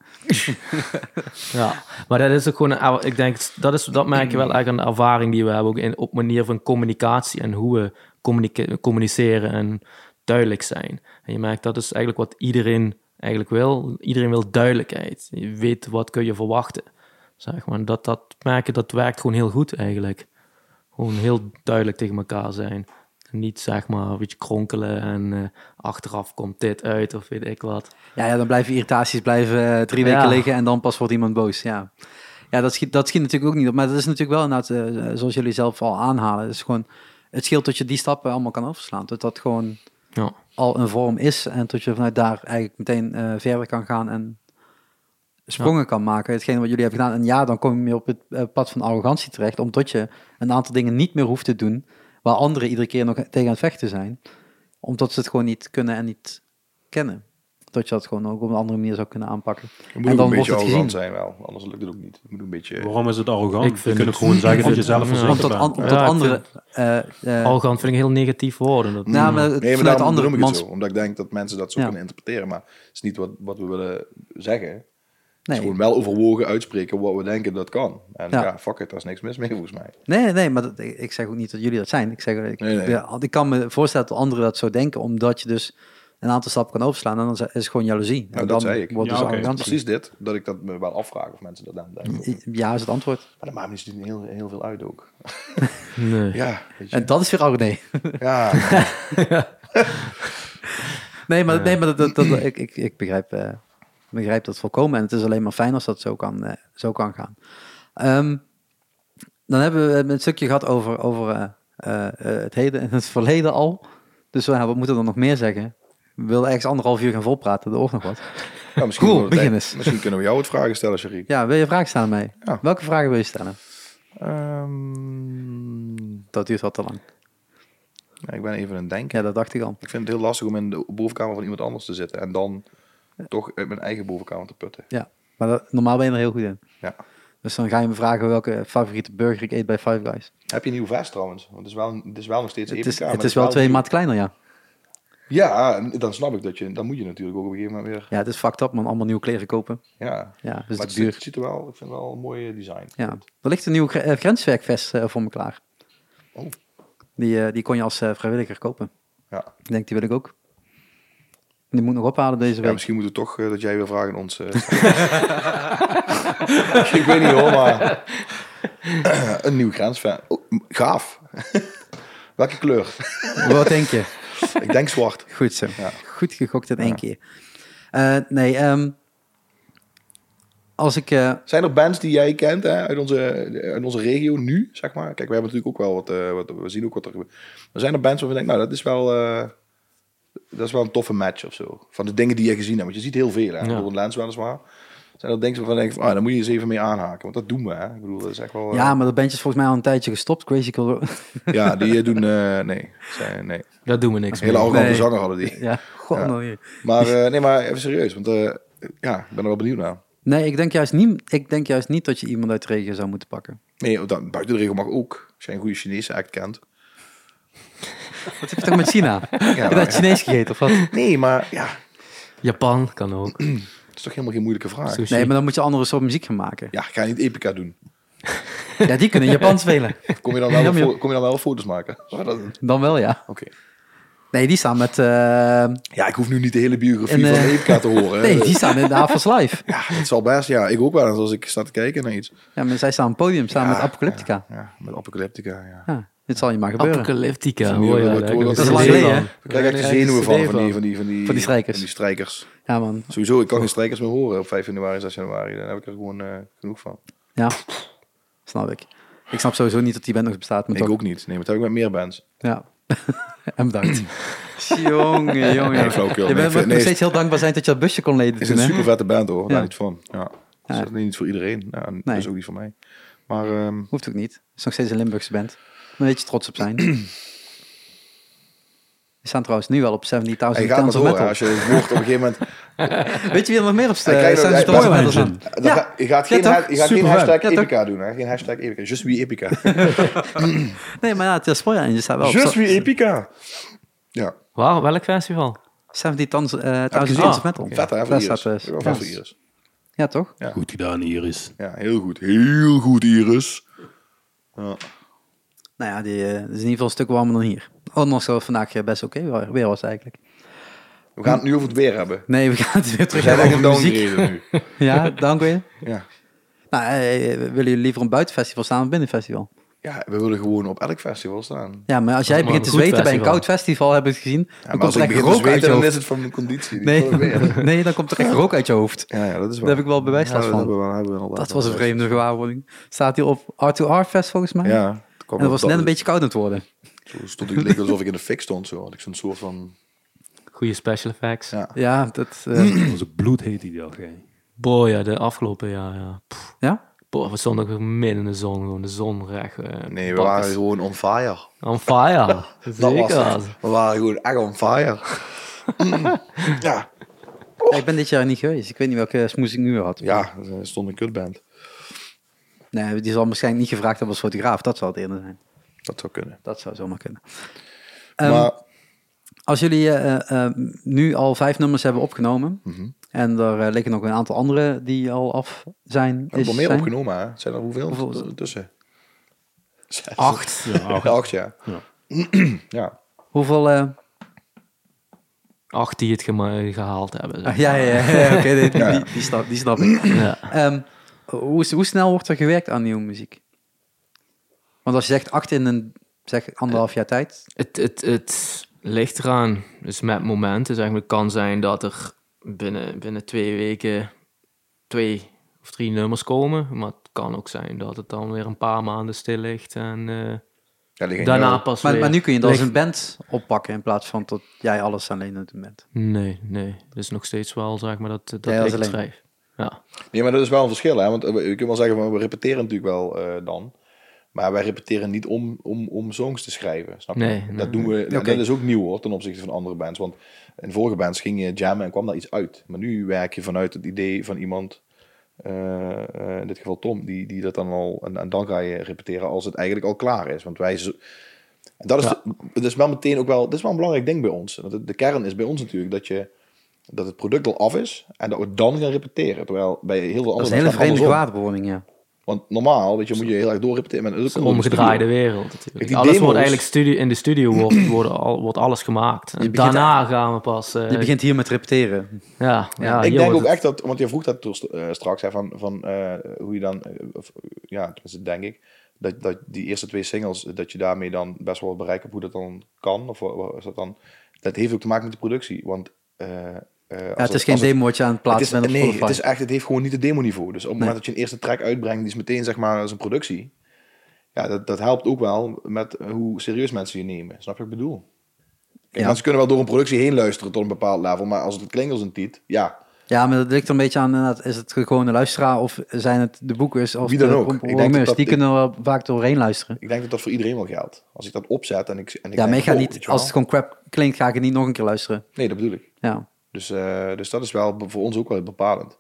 Speaker 3: Ja, maar dat is ook gewoon, een er- ik denk, dat, is, dat merk je wel echt aan de ervaring die we hebben, ook in, op manier van communicatie en hoe we communice- communiceren en duidelijk zijn. En je merkt dat is eigenlijk wat iedereen eigenlijk wil. Iedereen wil duidelijkheid. Je weet wat kun je verwachten. Zeg maar, dat, dat merken, dat werkt gewoon heel goed eigenlijk. Gewoon heel duidelijk tegen elkaar zijn. En niet zeg maar een beetje kronkelen en eh, achteraf komt dit uit of weet ik wat.
Speaker 2: Ja, ja dan blijven irritaties blijven eh, drie weken
Speaker 3: Ja.
Speaker 2: liggen en dan pas wordt iemand boos. Ja, ja dat, schiet, dat schiet natuurlijk ook niet op. Maar dat is natuurlijk wel inderdaad, eh, zoals jullie zelf al aanhalen. Het, is gewoon, het scheelt dat je die stappen allemaal kan overslaan. Dat dat gewoon
Speaker 3: Ja.
Speaker 2: al een vorm is en dat je vanuit daar eigenlijk meteen eh, verder kan gaan en sprongen kan maken. Hetgeen wat jullie hebben gedaan. En ja, dan kom je meer op het eh, pad van arrogantie terecht, omdat je een aantal dingen niet meer hoeft te doen waar anderen iedere keer nog tegen aan het vechten zijn, omdat ze het gewoon niet kunnen en niet kennen. Dat je dat gewoon ook op een andere manier zou kunnen aanpakken.
Speaker 1: Je moet
Speaker 2: en
Speaker 1: ook
Speaker 2: dan
Speaker 1: een
Speaker 2: wordt
Speaker 1: beetje
Speaker 2: het gezien.
Speaker 1: arrogant zijn wel, anders lukt het ook niet. Je moet een beetje...
Speaker 4: Waarom is het
Speaker 3: Ik
Speaker 4: arrogant?
Speaker 3: vind
Speaker 4: Je kunt
Speaker 3: het-
Speaker 4: ook gewoon zeggen dat je
Speaker 3: vind het-
Speaker 4: zelf
Speaker 3: ja.
Speaker 2: Omdat
Speaker 4: verzekerd bent.
Speaker 2: an- omdat
Speaker 3: Ja, ik
Speaker 2: anderen... eh, eh,
Speaker 3: Arrogant vind ik een heel negatief woord. en dat-
Speaker 2: nou, maar het-
Speaker 1: Nee, maar
Speaker 2: vanuit
Speaker 1: daarom andere
Speaker 2: andere
Speaker 1: ik het
Speaker 2: mans...
Speaker 1: zo. Omdat ik denk dat mensen dat zo
Speaker 2: Ja.
Speaker 1: kunnen interpreteren. Maar het is niet wat, wat we willen zeggen. Het is
Speaker 2: Nee.
Speaker 1: gewoon wel overwogen uitspreken wat we denken dat kan. En
Speaker 2: Ja.
Speaker 1: ja, fuck it, daar is niks mis mee volgens mij.
Speaker 2: Nee, nee, maar dat, ik zeg ook niet dat jullie dat zijn. Ik, zeg, ik,
Speaker 1: Nee, nee.
Speaker 2: ja, ik kan me voorstellen dat anderen dat zo denken, omdat je dus een aantal stappen kan overslaan en dan is het gewoon jaloezie.
Speaker 1: Nou,
Speaker 2: en
Speaker 1: dat
Speaker 2: dan
Speaker 1: zei ik.
Speaker 2: Wordt
Speaker 4: Ja,
Speaker 2: dus
Speaker 4: oké,
Speaker 2: arrogantie.
Speaker 1: Precies dit, dat ik dat me wel afvraag of mensen dat aan denken.
Speaker 2: Ja, is het antwoord.
Speaker 1: Maar dat maakt me dus niet heel, heel veel uit ook.
Speaker 3: nee.
Speaker 1: Ja, weet je.
Speaker 2: En dat is weer arrogant.
Speaker 1: Ja,
Speaker 2: Nee, maar, nee, maar dat, dat, dat- ik, ik, ik begrijp, eh, begrijp dat volkomen. En het is alleen maar fijn als dat zo kan, eh, zo kan gaan. Ehm, dan hebben we een stukje gehad over, over eh, eh, eh, het heden en het verleden al. Dus ja, wat moeten we dan nog meer zeggen? We wilden ergens anderhalf uur gaan volpraten, er ook nog wat.
Speaker 1: Ja, misschien,
Speaker 2: Cool,
Speaker 1: kunnen we dat-
Speaker 2: begin eens.
Speaker 1: misschien kunnen we jou wat vragen stellen, Sharik.
Speaker 2: Ja, wil je vragen stellen aan mij?
Speaker 1: Ja.
Speaker 2: Welke vragen wil je stellen?
Speaker 1: Ehm,
Speaker 2: Dat duurt wat te lang.
Speaker 1: ja, ik ben even aan het denken.
Speaker 2: Ja, dat dacht ik al.
Speaker 1: Ik vind het heel lastig om in de bovenkamer van iemand anders te zitten. En dan toch uit mijn eigen bovenkamer te putten.
Speaker 2: Ja, maar dat- normaal ben je er heel goed in.
Speaker 1: Ja.
Speaker 2: Dus dan ga je me vragen welke favoriete burger ik eet bij Five Guys.
Speaker 1: Heb je een nieuw vest trouwens? Want het is wel, het is wel nog steeds
Speaker 2: Het
Speaker 1: EPK.
Speaker 2: is,
Speaker 1: maar
Speaker 2: het is wel twee
Speaker 1: nieuw.
Speaker 2: maat kleiner, ja.
Speaker 1: Ja, en dan snap ik dat je... Dan moet je natuurlijk ook op een gegeven moment weer...
Speaker 2: Ja, het is fucked up, man. Allemaal nieuwe kleren kopen.
Speaker 1: Ja.
Speaker 2: Ja,
Speaker 1: maar
Speaker 2: dus de
Speaker 1: het,
Speaker 2: duur.
Speaker 1: ziet- het ziet er wel... Ik vind het wel een mooi design.
Speaker 2: Ja. Er ligt een nieuw gre- eh, grenswerkvest eh, voor me klaar.
Speaker 1: Oh.
Speaker 2: Die, eh, die kon je als eh, vrijwilliger kopen.
Speaker 1: Ja.
Speaker 2: Ik denk, die wil ik ook. Die moet ik nog ophalen deze
Speaker 1: ja
Speaker 2: week.
Speaker 1: misschien moeten we toch eh, dat jij weer vragen aan ons... eh, ik weet niet hoor, maar... een nieuw grensfan. Oh, m- gaaf. Welke kleur?
Speaker 2: Wat denk je?
Speaker 1: ik denk zwart.
Speaker 2: Goed zo.
Speaker 1: Ja.
Speaker 2: Goed gegokt in één keer. Eh, nee, ehm, als ik... eh,
Speaker 1: Zijn er bands die jij kent hè, uit, onze, uit onze regio nu, zeg maar? Kijk, we hebben natuurlijk ook wel wat, eh, wat... We zien ook wat er gebeurt. Maar zijn er bands waarvan je denkt, nou, dat is wel... eh, dat is wel een toffe match of zo. Van de dingen die je gezien hebt. Want je ziet heel veel, hè.
Speaker 3: Ja.
Speaker 1: Door een lens weliswaar. Zijn dat dingen waarvan ik denk, van, ah, dan moet je eens even mee aanhaken. Want dat doen we, hè. Ik bedoel, dat is echt wel... eh,
Speaker 2: Ja, maar dat bandje is volgens mij al een tijdje gestopt. Crazy Cool.
Speaker 1: ja, die eh, doen... eh, nee, zijn, nee.
Speaker 3: Daar doen we niks
Speaker 1: Hele
Speaker 3: mee.
Speaker 1: arrogante
Speaker 2: Nee.
Speaker 1: zanger hadden die.
Speaker 2: ja, god,
Speaker 1: Ja.
Speaker 2: nou hier.
Speaker 1: Maar eh, nee, maar even serieus. Want eh, ja, ik ben er wel benieuwd naar.
Speaker 2: Nee, ik denk, juist niet, ik denk juist niet dat je iemand uit de regio zou moeten pakken.
Speaker 1: Nee, dat, buiten de regel mag ook. Als jij een goede Chinese act kent.
Speaker 2: Wat heb je toch met China? Heb je
Speaker 1: maar-
Speaker 2: dat Chinees gegeten of wat?
Speaker 1: Nee, maar ja,
Speaker 3: Japan kan ook.
Speaker 1: dat is toch helemaal geen moeilijke vraag.
Speaker 3: Sushi.
Speaker 2: Nee, maar dan moet je andere soort muziek gaan maken.
Speaker 1: Ja, ga je niet Epica doen.
Speaker 2: Ja, die kunnen Japan spelen.
Speaker 1: Kom je dan wel,
Speaker 2: Jammer.
Speaker 1: fo- kom je dan wel foto's maken? Zou dat doen? Oké.
Speaker 2: Dan wel, ja. Nee, die staan met... eh,
Speaker 1: Ja, ik hoef nu niet de hele biografie
Speaker 2: En, eh,
Speaker 1: van Epica te horen. hè.
Speaker 2: nee, die staan in de Avals Live.
Speaker 1: Ja, het zal best. Ja, ik ook wel. Als ik sta te kijken naar iets.
Speaker 2: Ja, maar zij staan op het podium, staan
Speaker 1: Ja,
Speaker 2: met Apocalyptica.
Speaker 1: Ja, ja, met Apocalyptica, ja.
Speaker 2: Ja, dit zal je maar gebeuren.
Speaker 3: Apocalyptica,
Speaker 1: Nu
Speaker 3: hoor je.
Speaker 1: wil ik
Speaker 3: daar
Speaker 1: horen
Speaker 3: heb
Speaker 2: Dat
Speaker 3: ik
Speaker 2: is
Speaker 3: een
Speaker 2: lang
Speaker 3: idee
Speaker 2: geleden,
Speaker 3: van.
Speaker 1: Ik krijg echt
Speaker 3: Daar
Speaker 1: de
Speaker 3: heb ik
Speaker 1: zenuwen
Speaker 3: een
Speaker 1: van,
Speaker 3: idee
Speaker 1: van, die, van, die, van, die,
Speaker 2: Van die strijkers.
Speaker 1: van die strijkers.
Speaker 2: ja, man.
Speaker 1: Sowieso, ik kan geen strijkers meer horen op 5 januari, 6 januari. Daar heb ik er gewoon eh, genoeg van.
Speaker 2: Ja, snap ik. Ik snap sowieso niet dat die band nog bestaat. Maar
Speaker 1: Ik
Speaker 2: toch.
Speaker 1: ook niet. Nee, maar dat heb ik met meer bands.
Speaker 2: Ja. en bedankt. jongen, jongen.
Speaker 1: Nee, flauwekul.
Speaker 2: je
Speaker 1: Nee,
Speaker 2: bent
Speaker 1: nee,
Speaker 2: nog
Speaker 1: nee,
Speaker 2: steeds heel dankbaar zijn dat je dat busje kon leden
Speaker 1: Het
Speaker 2: toen,
Speaker 1: is een
Speaker 2: hè?
Speaker 1: super vette band hoor, daar
Speaker 2: Ja.
Speaker 1: niet van. Ja. Dus
Speaker 2: Ja.
Speaker 1: dat is niet voor iedereen. Ja, en Dat is ook niet voor mij. Maar ehm,
Speaker 2: Hoeft ook niet. Het is nog steeds een Limburgse band. Maar weet je trots op zijn. Die staan trouwens nu wel op 70.000
Speaker 1: hij gaat maar
Speaker 2: Towns of
Speaker 1: door. hè.
Speaker 2: Metal.
Speaker 1: Als je het hoort op een gegeven moment...
Speaker 2: Weet je wie er nog meer op staat?
Speaker 1: Hij kijkt
Speaker 2: Uh,
Speaker 1: ook- hij-
Speaker 2: 70.000 Towns of
Speaker 1: hij-
Speaker 2: Metal staan?
Speaker 1: dan
Speaker 2: Ja.
Speaker 1: ga- je gaat
Speaker 2: Ja,
Speaker 1: geen,
Speaker 2: toch?
Speaker 1: ha- je gaat geen
Speaker 2: Supervet.
Speaker 1: hashtag
Speaker 2: Ja, toch?
Speaker 1: Epica doen. Hè? Geen hashtag Epica. Just wie Epica.
Speaker 2: Nee, maar ja, het Spoiler Engine staat wel op.
Speaker 1: Just wie Epica. Ja.
Speaker 2: Oh,
Speaker 3: Waar, welk festival?
Speaker 2: 70.000 Towns, eh,
Speaker 1: Heb je
Speaker 2: Towns
Speaker 1: gezien? Ah,
Speaker 2: of Metal.
Speaker 1: Vet hè, voor
Speaker 2: Daar
Speaker 1: Iris.
Speaker 2: staat
Speaker 1: Wel
Speaker 2: dus.
Speaker 1: vet
Speaker 2: Ja.
Speaker 1: voor Iris.
Speaker 2: Ja, toch?
Speaker 4: Goed gedaan, Iris.
Speaker 1: Ja, heel goed. Heel goed Iris. Ja.
Speaker 2: Nou ja, die eh, is in ieder geval een stuk warmer dan hier. Ondanks dat het vandaag eh, best oké wa- weer was eigenlijk.
Speaker 1: We gaan het nu over het weer hebben.
Speaker 2: Nee, we gaan het weer
Speaker 1: We
Speaker 2: terug
Speaker 1: zijn
Speaker 2: hebben
Speaker 1: echt een
Speaker 2: over muziek.
Speaker 1: downgrade nu.
Speaker 2: Ja, dank weer.
Speaker 1: Ja.
Speaker 2: Nou, eh, eh, willen jullie liever een buitenfestival staan of een binnenfestival?
Speaker 1: ja, we willen gewoon op elk festival staan.
Speaker 2: Ja, maar als jij
Speaker 3: Maar een
Speaker 2: begint te
Speaker 3: goed
Speaker 2: zweten bij een
Speaker 3: festival.
Speaker 2: koud festival, hebben we het gezien,
Speaker 1: Ja,
Speaker 2: dan
Speaker 1: maar als
Speaker 2: komt er
Speaker 1: ik
Speaker 2: echt
Speaker 1: begin te
Speaker 2: rook uit je
Speaker 1: zweten, dan is
Speaker 2: hoofd.
Speaker 1: het van mijn conditie. niet
Speaker 2: Nee,
Speaker 1: van het weer.
Speaker 2: nee, dan komt er echt rook uit je hoofd.
Speaker 1: Ja, ja, dat is wel.
Speaker 2: Daar heb ik wel bewijs
Speaker 1: Ja, dat
Speaker 2: van.
Speaker 1: hebben we wel- hebben we inderdaad
Speaker 2: Dat was een
Speaker 1: wel.
Speaker 2: vreemde gewaarwording. Staat hier op R2R Fest volgens mij?
Speaker 1: Ja, het kwam
Speaker 2: En dat
Speaker 1: op
Speaker 2: was net een
Speaker 1: dat-
Speaker 2: beetje koud aan het worden.
Speaker 1: Toen stond ik, leek alsof ik in de fik stond. Zo had ik zo'n soort van.
Speaker 3: Goede special effects.
Speaker 1: Ja.
Speaker 2: Ja, dat...
Speaker 1: Mm.
Speaker 2: eh,
Speaker 4: Dat was ook bloedheet die dag. hè.
Speaker 3: Boy, ja, de afgelopen jaar, ja. Pff,
Speaker 2: ja?
Speaker 3: Boy, we stonden ook midden in de zon, gewoon de zon recht. eh,
Speaker 1: Nee, we
Speaker 3: bakkes.
Speaker 1: waren gewoon on fire.
Speaker 3: On fire.
Speaker 1: Dat was
Speaker 3: Zeker.
Speaker 1: het. We waren gewoon echt on fire. ja.
Speaker 2: Ja, Ik ben dit jaar niet geweest. Ik weet niet welke smoes ik nu weer had.
Speaker 1: ja, er stond een kutband.
Speaker 2: Nee, die zal waarschijnlijk niet gevraagd hebben als fotograaf. Dat zal het eerder zijn.
Speaker 1: Dat zou kunnen.
Speaker 2: Dat zou zomaar kunnen. Ehm,
Speaker 1: maar
Speaker 2: Als jullie eh, eh, nu al vijf nummers hebben opgenomen,
Speaker 1: Mhm.
Speaker 2: en er eh, liggen nog een aantal andere die al af zijn.
Speaker 1: we hebben wel meer
Speaker 2: zijn.
Speaker 1: opgenomen. Hè? Zijn er hoeveel,
Speaker 2: Hoeveel-
Speaker 1: tussen? Zes.
Speaker 3: Acht.
Speaker 1: Ja, acht. ja. Ja.
Speaker 4: Ja.
Speaker 2: Hoeveel? eh,
Speaker 3: Acht die het gema- gehaald hebben. zeg.
Speaker 2: ah, ja, ja, ja, ja, oké, die, die,
Speaker 1: Ja.
Speaker 2: die, die snap, die snap ik.
Speaker 3: Ja.
Speaker 2: Ehm, hoe, s- hoe snel wordt er gewerkt aan nieuwe muziek? Want als je zegt acht in een zeg anderhalf jaar tijd,
Speaker 3: Het, het, het ligt eraan. Dus met momenten, zeg maar, het kan zijn dat er binnen, binnen twee weken twee of drie nummers komen. Maar het kan ook zijn dat het dan weer een paar maanden stil ligt en eh,
Speaker 1: Ja, die ging
Speaker 3: daarna
Speaker 1: wel.
Speaker 3: pas
Speaker 2: maar,
Speaker 3: weer.
Speaker 2: maar nu kun je dat als
Speaker 3: ligt-
Speaker 2: een band oppakken in plaats van dat jij alles alleen aan het doen bent.
Speaker 3: Nee, nee. Dat is nog steeds wel, zeg maar, dat, dat
Speaker 2: Jij als
Speaker 3: ik het
Speaker 2: alleen.
Speaker 3: schrijf. Ja.
Speaker 1: Nee, maar dat is wel een verschil, hè? Want eh, we- je kunt wel zeggen, van, we repeteren natuurlijk wel eh, dan. Maar wij repeteren niet om, om, om songs te schrijven, snap je?
Speaker 3: Nee, nee,
Speaker 1: dat doen we. en
Speaker 2: Oké.
Speaker 1: Dat is ook nieuw hoor, ten opzichte van andere bands. Want in vorige bands ging je jammen en kwam daar iets uit. Maar nu werk je vanuit het idee van iemand, eh, eh, in dit geval Tom, die, die dat dan al... En, en dan ga je repeteren als het eigenlijk al klaar is. Want wij... zo- en dat is,
Speaker 3: Ja.
Speaker 1: dat is wel meteen ook wel... Dat is wel een belangrijk ding bij ons. Want de- de kern is bij ons natuurlijk dat je... Dat het product al af is en dat we dan gaan repeteren. Terwijl bij heel veel andere
Speaker 2: Dat is
Speaker 1: bands
Speaker 2: een hele
Speaker 1: gaat het
Speaker 2: vreemde
Speaker 1: andersom.
Speaker 2: gewaarwording, ja.
Speaker 1: Want normaal, weet je, moet je heel erg doorrepeteren. Maar dat is
Speaker 3: Het is
Speaker 1: ook
Speaker 3: een
Speaker 1: een
Speaker 3: omgedraaide
Speaker 1: studio.
Speaker 3: wereld
Speaker 1: Ik
Speaker 3: natuurlijk.
Speaker 1: die
Speaker 3: Alles
Speaker 1: demo's-
Speaker 3: wordt eigenlijk studie, in de studio wordt, worden al, wordt alles gemaakt. En
Speaker 2: Je begint
Speaker 3: daarna gaan we pas... eh,
Speaker 2: Je begint hier met repeteren.
Speaker 3: ja, ja,
Speaker 2: Ah,
Speaker 3: hier
Speaker 1: ik denk
Speaker 3: wordt
Speaker 1: ook
Speaker 3: het-
Speaker 1: echt dat, want je vroeg dat toch, eh, straks hè, van, van eh, hoe je dan, eh, of, ja, tenminste denk ik, dat, dat die eerste twee singles, eh, dat je daarmee dan best wel bereikt hebt hoe dat dan kan. Of wa- wa- is dat dan, dat heeft ook te maken met de productie. Want eh, eh, als
Speaker 2: Ja, het is geen
Speaker 1: als
Speaker 2: demo wat je aan het
Speaker 1: Het
Speaker 2: plaatsen
Speaker 1: is,
Speaker 2: bent op
Speaker 1: nee,
Speaker 2: Spotify.
Speaker 1: het, is echt, het heeft gewoon niet het demoniveau. Dus op het
Speaker 2: Nee.
Speaker 1: moment dat je een eerste track uitbrengt, die is meteen zeg maar als een productie. Ja, dat, dat helpt ook wel met hoe serieus mensen je nemen. Snap je wat ik bedoel? Kijk,
Speaker 2: Ja.
Speaker 1: Mensen kunnen wel door een productie heen luisteren tot een bepaald level, maar als het klinkt als een tiet, ja,
Speaker 2: Ja, maar dat ligt er een beetje aan. inderdaad, Is het gewoon een luisteraar of zijn het de boekers of
Speaker 1: Wie dan
Speaker 2: de
Speaker 1: ook.
Speaker 2: prom-
Speaker 1: Ik denk
Speaker 2: programmeurs?
Speaker 1: dat dat-
Speaker 2: Die kunnen er wel vaak doorheen luisteren.
Speaker 1: ik denk dat dat voor iedereen wel geldt. Als ik dat opzet en ik, en ik
Speaker 2: ja, maar
Speaker 1: denk,
Speaker 2: ik ga
Speaker 1: oh, weet
Speaker 2: niet,
Speaker 1: je wel.
Speaker 2: als het gewoon crap klinkt, ga ik het niet nog een keer luisteren.
Speaker 1: Nee, dat bedoel ik.
Speaker 2: Ja.
Speaker 1: Dus, eh, dus dat is wel voor ons ook wel bepalend,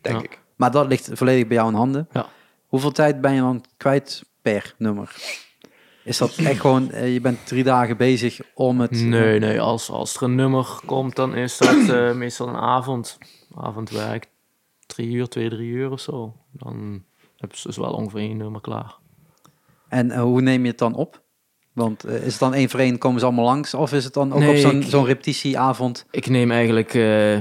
Speaker 1: denk
Speaker 3: Ja.
Speaker 1: ik.
Speaker 2: Maar dat ligt volledig bij jou in handen.
Speaker 3: Ja.
Speaker 2: Hoeveel tijd ben je dan kwijt per nummer? Is dat echt gewoon, eh, je bent drie dagen bezig om het...
Speaker 3: Nee, nee, als, als er een nummer komt, dan is dat eh, meestal een avond. Avondwerk, drie uur, twee, drie uur of zo. Dan heb ze dus wel ongeveer één nummer klaar.
Speaker 2: En eh, hoe neem je het dan op? Want eh, is het dan één voor één, komen ze allemaal langs? Of is het dan ook
Speaker 3: Nee,
Speaker 2: op zo'n
Speaker 3: ik-
Speaker 2: zo'n repetitieavond?
Speaker 3: Ik neem eigenlijk, eh,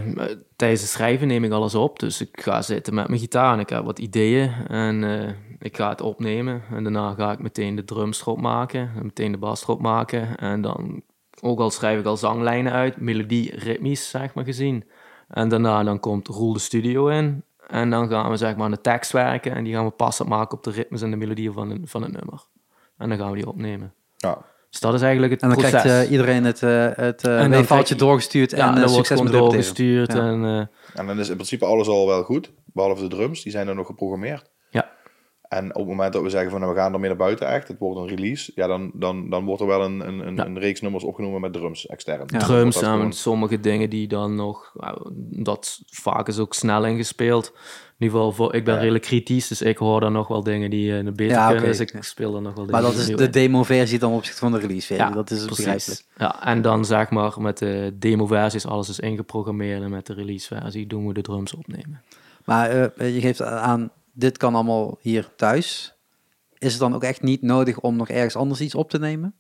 Speaker 3: tijdens het schrijven neem ik alles op. Dus ik ga zitten met mijn gitaar en ik heb wat ideeën. En eh, ik ga het opnemen. En daarna ga ik meteen de drums erop maken. En meteen de bas erop maken. En dan, ook al schrijf ik al zanglijnen uit, melodie, ritmisch, zeg maar gezien. En daarna dan komt Roel de studio in. En dan gaan we zeg maar aan de tekst werken. En die gaan we passend maken op de ritmes en de melodieën van, een- van het nummer. En dan gaan we die opnemen.
Speaker 1: Ja.
Speaker 3: Dus dat is eigenlijk het
Speaker 2: En dan
Speaker 3: proces.
Speaker 2: krijgt eh, iedereen het, eh het eh
Speaker 3: dan
Speaker 2: meevalletje
Speaker 3: krijg je-
Speaker 2: doorgestuurd
Speaker 3: ja,
Speaker 2: en
Speaker 3: dan
Speaker 2: eh,
Speaker 3: wordt
Speaker 2: succes
Speaker 3: gewoon
Speaker 2: met de repetitie.
Speaker 3: doorgestuurd.
Speaker 2: Ja.
Speaker 3: En, eh,
Speaker 1: En dan is in principe alles al wel goed, behalve de drums, die zijn dan nog geprogrammeerd.
Speaker 3: Ja.
Speaker 1: En op het moment dat we zeggen van nou, we gaan ermee naar buiten echt, het wordt een release, ja, dan, dan, dan wordt er wel een, een, een,
Speaker 3: Ja.
Speaker 1: een reeks nummers opgenomen met drums extern.
Speaker 2: Ja.
Speaker 1: Dan wordt
Speaker 3: drums
Speaker 1: dat
Speaker 3: en
Speaker 1: gewoon-
Speaker 3: sommige dingen die dan nog, nou, dat vaak is ook snel ingespeeld. In ieder geval, voor, ik ben
Speaker 1: Ja.
Speaker 3: redelijk kritisch, dus ik hoor dan nog wel dingen die eh, beter
Speaker 2: Ja,
Speaker 3: kunnen,
Speaker 2: oké.
Speaker 3: dus ik speel er nog wel
Speaker 2: Maar
Speaker 3: dingen
Speaker 2: dat is
Speaker 3: nieuw
Speaker 2: de
Speaker 3: in.
Speaker 2: demo-versie dan opzicht van de release-versie. dat is
Speaker 3: precies.
Speaker 2: begrijpelijk.
Speaker 3: Ja, en dan zeg maar met de demo-versies, alles is ingeprogrammeerd en met de release-versie doen we de drums opnemen.
Speaker 2: Maar eh, je geeft aan, dit kan allemaal hier thuis. Is het dan ook echt niet nodig om nog ergens anders iets op te nemen?